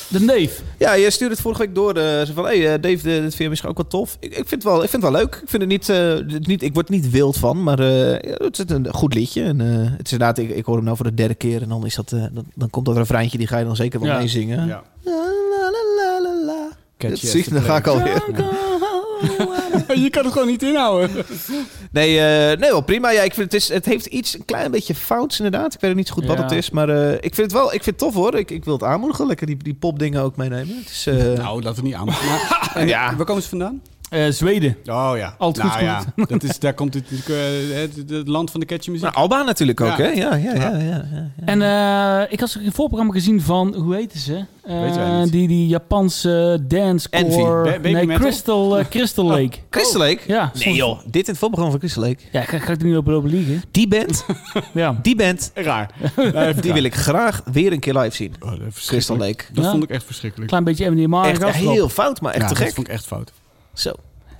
Speaker 3: de neef.
Speaker 2: Ja, je stuurde het vorige week door. eh, zo van, hey, eh, Dave, eh, dit vind je misschien ook wel tof. Ik, ik, vind het wel, ik vind het wel leuk. Ik, vind het niet, eh, het niet, ik word er niet wild van, maar eh, ja, het is een goed liedje. En, eh, het is inderdaad, ik, ik hoor hem nou voor de derde keer. En dan, is dat, eh, dan, dan komt dat refreintje, die ga je dan zeker wel
Speaker 3: Ja.
Speaker 2: meezingen.
Speaker 1: Ja.
Speaker 2: La, la, la, la, la.
Speaker 1: Catchy eh.
Speaker 2: Het
Speaker 1: as
Speaker 2: ziet-
Speaker 1: the
Speaker 2: dan ga ik
Speaker 1: plague.
Speaker 2: alweer.
Speaker 1: (laughs) Je kan het gewoon niet inhouden.
Speaker 2: (laughs) Nee, eh, nee, wel prima. Ja, ik vind het, is, het heeft iets, een klein beetje fouts inderdaad. Ik weet ook niet zo goed wat
Speaker 3: Ja.
Speaker 2: het is. Maar eh, ik vind het wel ik vind het tof hoor. Ik, ik wil het aanmoedigen. Lekker die, die popdingen ook meenemen. Het is, eh, (laughs)
Speaker 1: Nou, laten we niet aan. Maar, en
Speaker 2: Ja.
Speaker 1: Waar komen ze vandaan?
Speaker 3: Eh, Zweden.
Speaker 1: Oh ja.
Speaker 3: Altijd goed
Speaker 1: Nou ja,
Speaker 2: (laughs)
Speaker 1: dat is, daar komt het, natuurlijk, eh, het, het land van de catchy-muziek.
Speaker 2: Nou, Alba natuurlijk ook,
Speaker 1: Ja.
Speaker 2: hè? Ja, ja, ja. ja, ja.
Speaker 3: En eh, ik had een voorprogramma gezien van, hoe heette ze? Eh,
Speaker 1: Weten wij niet.
Speaker 3: Die, die Japanse dancecore.
Speaker 1: Envy. Ba- baby
Speaker 3: nee,
Speaker 1: metal?
Speaker 3: Crystal, eh, Crystal Lake.
Speaker 2: Crystal Lake?
Speaker 3: Oh. Ja.
Speaker 2: Nee joh, dit in het voorprogramma van Crystal Lake.
Speaker 3: Ja, ga, ga ik er niet op lopen liegen.
Speaker 2: Die
Speaker 1: (laughs)
Speaker 2: band,
Speaker 3: Ja.
Speaker 2: die band,
Speaker 1: Raar. Nou, even
Speaker 2: die
Speaker 1: raar.
Speaker 2: wil ik graag weer een keer live zien.
Speaker 1: Oh, dat is
Speaker 2: Crystal
Speaker 1: verschrikkelijk.
Speaker 2: Lake.
Speaker 1: Dat
Speaker 3: Ja.
Speaker 1: vond ik echt verschrikkelijk.
Speaker 3: Klein beetje M&M MDMA.
Speaker 2: Echt
Speaker 3: eraf.
Speaker 2: heel fout, maar echt
Speaker 1: Ja,
Speaker 2: te
Speaker 1: Dat
Speaker 2: gek.
Speaker 1: vond ik echt fout.
Speaker 2: Zo.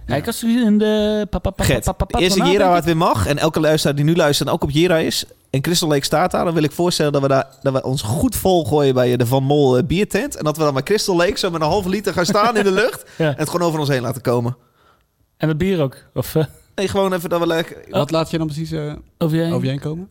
Speaker 3: Ja, ik had zoiets in de... pa- pa- pa-
Speaker 2: Gert,
Speaker 3: pa- pa- pa-
Speaker 2: is
Speaker 3: pa-
Speaker 2: een
Speaker 3: na-
Speaker 2: Jera waar het weer mag. En elke luisteraar die nu luistert en ook op Jera is. En Crystal Lake staat daar. Dan wil ik voorstellen dat we, daar, dat we ons goed volgooien bij eh, de Van Mol eh, biertent. En dat we dan met Crystal Lake zo met een halve liter gaan staan
Speaker 3: (laughs)
Speaker 2: in de lucht.
Speaker 3: Ja.
Speaker 2: En het gewoon over ons heen laten komen.
Speaker 3: En dat bier ook. Of, eh,
Speaker 2: Nee, gewoon even dat we lekker...
Speaker 1: Wat laat je dan precies eh,
Speaker 3: of jij?
Speaker 1: over je heen komen?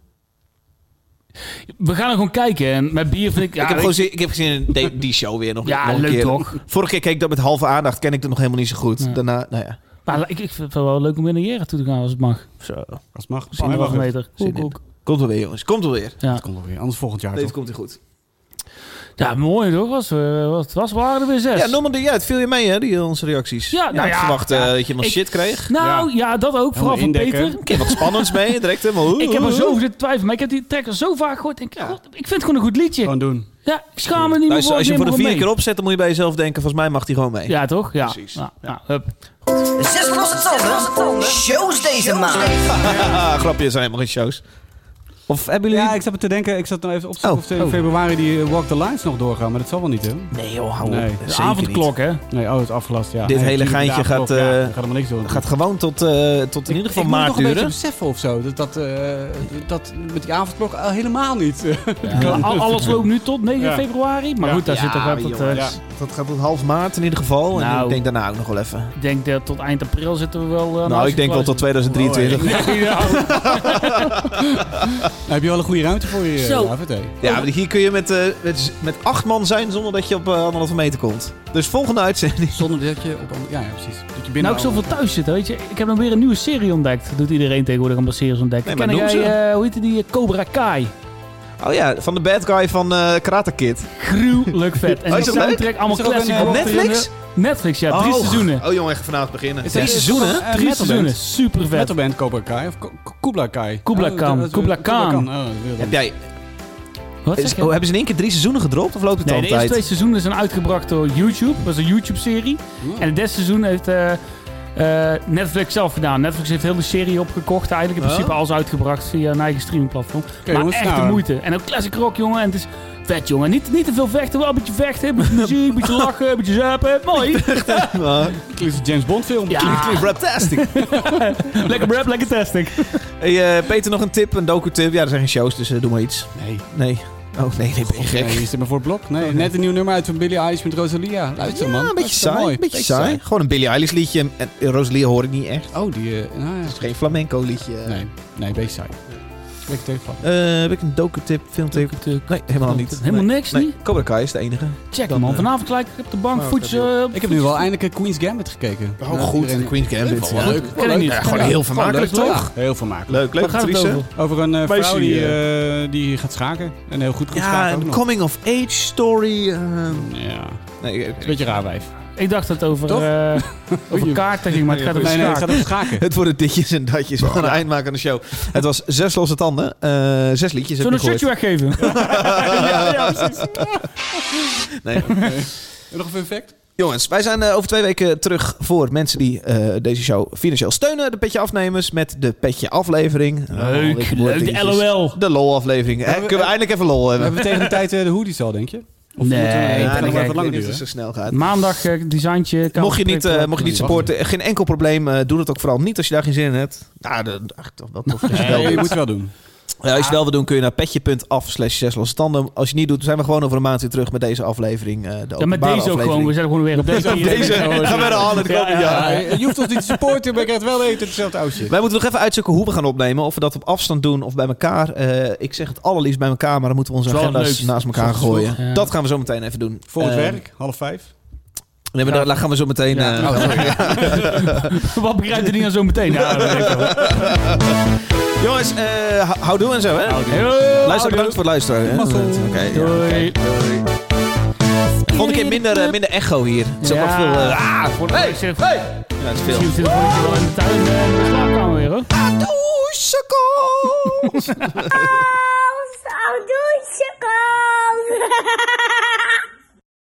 Speaker 3: We gaan er gewoon kijken. En met bier vind ik... Ja,
Speaker 2: ik, heb gewoon zin, ik heb gezien in de-
Speaker 3: (laughs)
Speaker 2: die show weer nog,
Speaker 3: Ja,
Speaker 2: nog een
Speaker 3: leuk
Speaker 2: keer.
Speaker 3: toch?
Speaker 2: Vorige keer keek ik dat met halve aandacht. Ken ik dat nog helemaal niet zo goed.
Speaker 3: Ja.
Speaker 2: Daarna, nou ja.
Speaker 3: Maar ik, ik vind het wel leuk om weer naar Jera toe te gaan als het mag.
Speaker 2: Zo.
Speaker 1: Als het Oh, mag.
Speaker 3: Zin in
Speaker 1: Maar wacht even.
Speaker 3: meter.
Speaker 2: Zin
Speaker 3: Koek,
Speaker 2: in.
Speaker 3: koek.
Speaker 2: Komt wel weer jongens. Komt wel weer.
Speaker 3: Ja.
Speaker 1: Dat komt wel weer. Anders volgend jaar
Speaker 2: Deze
Speaker 1: toch?
Speaker 2: komt hij goed.
Speaker 3: ja, mooi toch? Was, eh, wat was, waren er weer zes.
Speaker 2: Ja, Norman, ja, het viel je mee hè, die, eh, onze reacties.
Speaker 3: Ja, nou
Speaker 2: ik
Speaker 3: ja,
Speaker 2: verwacht eh,
Speaker 3: ja.
Speaker 2: dat je nog
Speaker 3: Ik-
Speaker 2: shit
Speaker 3: (laughs)
Speaker 2: kreeg.
Speaker 3: Nou, ja. dat ook. Vooral van
Speaker 1: indekken.
Speaker 3: Peter.
Speaker 2: Ik heb wat spannends mee, direct helemaal.
Speaker 3: Ik heb er
Speaker 2: Nou,
Speaker 3: zo over zitten twijfelen. Maar ik heb die track al zo vaak gehoord. Ik, God, ik vind het gewoon een goed liedje.
Speaker 1: Gewoon doen.
Speaker 3: Ja, ik schaam me niet meer
Speaker 2: Luister,
Speaker 3: voor.
Speaker 2: als je
Speaker 3: ik
Speaker 2: hem voor
Speaker 3: neem
Speaker 2: de vierde
Speaker 3: hem
Speaker 2: keer
Speaker 3: mee.
Speaker 2: opzet, dan moet je bij jezelf denken, volgens mij mag die gewoon mee.
Speaker 3: Ja, toch? Ja.
Speaker 2: Precies.
Speaker 3: Ja, ja, hup.
Speaker 9: Zes losse tanden. Shows deze maand.
Speaker 2: (laughs) Ah, grapjes zijn helemaal geen shows. Of hebben jullie...
Speaker 1: Ja, ik zat me te denken. Ik zat nou even op te zoeken
Speaker 2: Oh.
Speaker 1: of ze in
Speaker 2: Oh.
Speaker 1: februari die eh, Walk the Lines nog doorgaan. Maar dat zal wel niet, hè?
Speaker 2: Nee joh, hou
Speaker 1: Nee.
Speaker 2: op.
Speaker 1: De
Speaker 3: De
Speaker 2: Zeker
Speaker 3: avondklok, hè?
Speaker 1: Nee, oh, het is afgelast, ja.
Speaker 2: Dit
Speaker 1: Nee,
Speaker 2: hele
Speaker 1: vier
Speaker 2: geintje
Speaker 1: dagen
Speaker 2: gaat,
Speaker 1: nog, ja,
Speaker 2: eh,
Speaker 1: dan gaat helemaal niks doen.
Speaker 2: niet. Gaat gewoon tot, eh, tot in ieder geval
Speaker 1: ik moet
Speaker 2: maart
Speaker 1: nog een beetje
Speaker 2: duren.
Speaker 1: beseffen of zo. Dat, dat, eh, dat met die avondklok al helemaal niet. eh.
Speaker 3: Ja, al- alles loopt nu tot 9
Speaker 1: Ja.
Speaker 3: februari. Maar
Speaker 1: Ja.
Speaker 3: goed, daar zit toch
Speaker 2: Ja,
Speaker 3: wel tot...
Speaker 2: jongens.
Speaker 3: eh,
Speaker 2: Dat gaat tot half maart in ieder geval. En
Speaker 3: Nou.
Speaker 2: ik denk daarna ook nog wel even.
Speaker 3: Ik denk dat tot eind april zitten we wel... eh, naast
Speaker 2: nou, ik
Speaker 3: de
Speaker 2: denk wel tot
Speaker 3: kluis.
Speaker 1: Oh,
Speaker 2: 2023. (laughs)
Speaker 1: Nou, heb je wel een goede ruimte voor je,
Speaker 3: Zo.
Speaker 1: David? hè?
Speaker 2: Ja, maar hier kun je met, eh, met, met acht man zijn zonder dat je op eh, anderhalve meter komt. Dus volgende uitzending. (laughs)
Speaker 1: Zonder dat je op... Ja, ja, precies. Dat je binnen
Speaker 3: Nou, ik zoveel thuis zitten, weet je. Ik heb dan weer een nieuwe serie ontdekt. Dat doet iedereen tegenwoordig allemaal series ontdekt.
Speaker 2: Nee, maar
Speaker 3: Ken
Speaker 2: noem
Speaker 3: jij,
Speaker 2: ze.
Speaker 3: eh, hoe heette die, eh, Cobra Kai?
Speaker 2: Oh ja, van de bad guy van eh Karate Kid.
Speaker 3: Gruwelijk vet. En
Speaker 2: Oh,
Speaker 3: die
Speaker 2: is dat leuk?
Speaker 3: soundtrack, allemaal
Speaker 1: Is er ook
Speaker 3: classic.
Speaker 1: een, eh,
Speaker 2: Op
Speaker 3: rock
Speaker 2: Netflix?
Speaker 3: erin. Netflix, ja. Drie
Speaker 2: Oh,
Speaker 3: seizoenen.
Speaker 2: Oh jongen, echt vanavond beginnen.
Speaker 1: Is
Speaker 2: Drie
Speaker 1: dat-
Speaker 2: seizoenen?
Speaker 1: Eh,
Speaker 3: Drie
Speaker 1: metalband.
Speaker 3: seizoenen. Super vet.
Speaker 1: Metalband Cobra Kai of Ko- Ko- Kubla Kai?
Speaker 3: Kubla
Speaker 1: Oh,
Speaker 3: Khan,
Speaker 1: dat is-
Speaker 3: Kubla Khan.
Speaker 1: Oh, dat wil ik
Speaker 2: Heb
Speaker 1: niet.
Speaker 2: jij,
Speaker 3: Wat
Speaker 2: is-
Speaker 3: zeg je?
Speaker 2: oh, hebben ze in één keer drie seizoenen gedropt of loopt het
Speaker 3: Nee, de eerste
Speaker 2: altijd?
Speaker 3: twee seizoenen zijn uitgebracht door YouTube. Dat was een YouTube-serie. En het derde seizoen heeft eh, eh, Netflix zelf gedaan. Netflix heeft heel de serie opgekocht. Eigenlijk in principe
Speaker 2: Oh.
Speaker 3: alles uitgebracht via een eigen streamingplatform. maar
Speaker 1: jongens,
Speaker 3: echt
Speaker 1: nou.
Speaker 3: de moeite. En ook classic rock, jongen. En het is vet, jongen. Niet, niet te veel vechten. Wel een beetje vechten. Een beetje muziek. Een beetje lachen. Een beetje zuipen. Mooi.
Speaker 2: (laughs) Ah,
Speaker 1: Het is een James Bond film.
Speaker 3: Ja.
Speaker 2: klinkt Raptastic.
Speaker 3: lekker rap, lekker testing.
Speaker 2: hey, eh, Peter, nog een tip, een docu-tip. Ja, er zijn geen shows, dus eh, doe maar iets.
Speaker 1: Nee.
Speaker 2: Nee. Oh nee, nee, ben je gek. Oh,
Speaker 1: Nee, je zit maar voor het blok. Nee, net een nieuw nummer uit van Billie Eilish met Rosalia. Luister
Speaker 2: ja,
Speaker 1: man.
Speaker 2: een beetje
Speaker 1: Hartstikke
Speaker 2: saai.
Speaker 1: mooi.
Speaker 2: Een beetje saai. Gewoon een Billie Eilish liedje. En eh, Rosalie hoor ik niet echt.
Speaker 1: Oh, die... eh, nou ja.
Speaker 2: Het is geen flamenco liedje.
Speaker 1: Nee, nee, een beetje saai. Lekker telefoon.
Speaker 2: Eh, heb ik een docu-tip, filmtip? Nee, helemaal niet.
Speaker 3: Helemaal
Speaker 2: Nee.
Speaker 3: niks,
Speaker 2: Nee,
Speaker 3: niet?
Speaker 2: Cobra Kai is de enige.
Speaker 3: Check
Speaker 2: Dan,
Speaker 3: man.
Speaker 2: eh,
Speaker 3: Vanavond gelijk op de bank.
Speaker 2: oh,
Speaker 3: Voetjes.
Speaker 2: oké,
Speaker 3: eh,
Speaker 1: Ik heb nu wel eindelijk eh, Queen's Gambit gekeken.
Speaker 2: Oh,
Speaker 1: Nou,
Speaker 2: goed.
Speaker 1: iedereen-
Speaker 2: Queen's Gambit.
Speaker 1: Wel
Speaker 2: ja.
Speaker 1: leuk.
Speaker 3: ken ik niet.
Speaker 2: Ja, gewoon heel vermakelijk,
Speaker 1: Gewoon leuk,
Speaker 2: toch?
Speaker 1: Ja, heel vermakelijk.
Speaker 2: Leuk, leuk.
Speaker 3: Waar gaat het
Speaker 2: actrice.
Speaker 3: over?
Speaker 1: Over een eh,
Speaker 2: Meisje
Speaker 1: vrouw die,
Speaker 2: die,
Speaker 1: eh, die gaat schaken. En heel goed kan
Speaker 2: Ja,
Speaker 1: schaken. ook
Speaker 2: een
Speaker 1: nog.
Speaker 2: coming of age story. ehm,
Speaker 1: Ja, het
Speaker 2: nee,
Speaker 1: is
Speaker 2: ik-
Speaker 1: een beetje raar wijf.
Speaker 3: Ik dacht dat het over,
Speaker 1: Toch?
Speaker 3: eh, over kaarten ging, maar het gaat
Speaker 1: Nee,
Speaker 3: over
Speaker 1: nee, het gaat
Speaker 3: schaak.
Speaker 1: over schaken.
Speaker 2: het worden ditjes en datjes. We gaan een eind maken aan de show. Het was zes losse tanden. eh, zes liedjes heb
Speaker 3: Zullen
Speaker 2: je
Speaker 3: we een shirtje
Speaker 2: gehoord.
Speaker 3: weggeven? ja, ja, precies.
Speaker 2: Nee.
Speaker 1: Nog een fun fact?
Speaker 2: Jongens, wij zijn eh, over twee weken terug voor mensen die eh, deze show financieel steunen. De Petje Afnemers met de Petje Aflevering. Allemaal
Speaker 3: Leuk,
Speaker 2: weer
Speaker 3: leuk. De
Speaker 2: dingetjes.
Speaker 3: LOL.
Speaker 2: De LOL aflevering. Hè,
Speaker 1: we-
Speaker 2: kunnen we eindelijk even LOL hebben?
Speaker 1: We hebben tegen de tijd eh, de hoodies al, denk je? Of moeten
Speaker 3: Nee,
Speaker 1: we-
Speaker 3: ik
Speaker 1: het
Speaker 3: ben
Speaker 1: kan nog wel
Speaker 3: gek.
Speaker 2: ik
Speaker 1: wat
Speaker 2: weet
Speaker 1: langer
Speaker 2: niet of het
Speaker 1: duren.
Speaker 2: zo snel gaat.
Speaker 3: Maandag eh, designtje. kabel
Speaker 2: Mocht je, niet, eh,
Speaker 3: prikken.
Speaker 2: mocht je niet
Speaker 1: Nee,
Speaker 2: supporten, geen enkel probleem. eh, doe dat ook vooral niet als je daar geen zin in hebt. Nou, dat, ach, toch wel tof. als je het wel
Speaker 1: Nee,
Speaker 2: doet.
Speaker 1: je moet het wel doen.
Speaker 2: Ja, als je het wel wil doen, kun je naar petje.af slash zes losse tanden. Als je niet doet, zijn we gewoon over een maand weer terug met deze aflevering. eh, de
Speaker 3: ja, met
Speaker 2: openbare
Speaker 3: deze ook
Speaker 2: aflevering.
Speaker 3: gewoon. We zijn gewoon weer op deze.
Speaker 1: Op deze.
Speaker 2: Gaan we er al het komende
Speaker 3: Ja,
Speaker 2: jaar.
Speaker 1: Ja, je hoeft ons niet te supporten, maar je krijgt wel eten hetzelfde oudje.
Speaker 2: Wij moeten nog even uitzoeken hoe we gaan opnemen. Of we dat op afstand doen of bij elkaar. Eh, ik zeg het allerliefst bij elkaar, maar dan moeten we onze
Speaker 3: Is wel het
Speaker 2: agenda's
Speaker 3: leukst.
Speaker 2: naast elkaar
Speaker 3: Soms
Speaker 2: gooien.
Speaker 3: vroeg, ja.
Speaker 2: Dat gaan we zo meteen even doen.
Speaker 1: Voor het
Speaker 2: Eh,
Speaker 1: werk, half vijf.
Speaker 2: Nee, maar daar gaan we zo meteen...
Speaker 1: Ja.
Speaker 2: eh,
Speaker 3: Oh. Wat begrijpt er niet aan zo meteen? Ja, dat weet ik wel.
Speaker 2: Jongens, eh, hou- houdoe en zo, hè?
Speaker 3: Yo,
Speaker 2: Luister,
Speaker 3: houdoe.
Speaker 2: bedankt voor het luisteren. hè?
Speaker 1: Mazzel.
Speaker 2: Oké, ja, oké.
Speaker 3: Doei.
Speaker 2: Doei.
Speaker 9: Ski
Speaker 2: Volgende keer minder, eh, minder echo hier. Het is ook
Speaker 3: Ja.
Speaker 2: wel veel... eh, ah, voor de
Speaker 3: Hey, hey.
Speaker 2: Ja, het is veel.
Speaker 3: Misschien zit het volgende keer wel in de tuin eh, in de slaapkamer weer hoor.
Speaker 2: Doei, sukkel!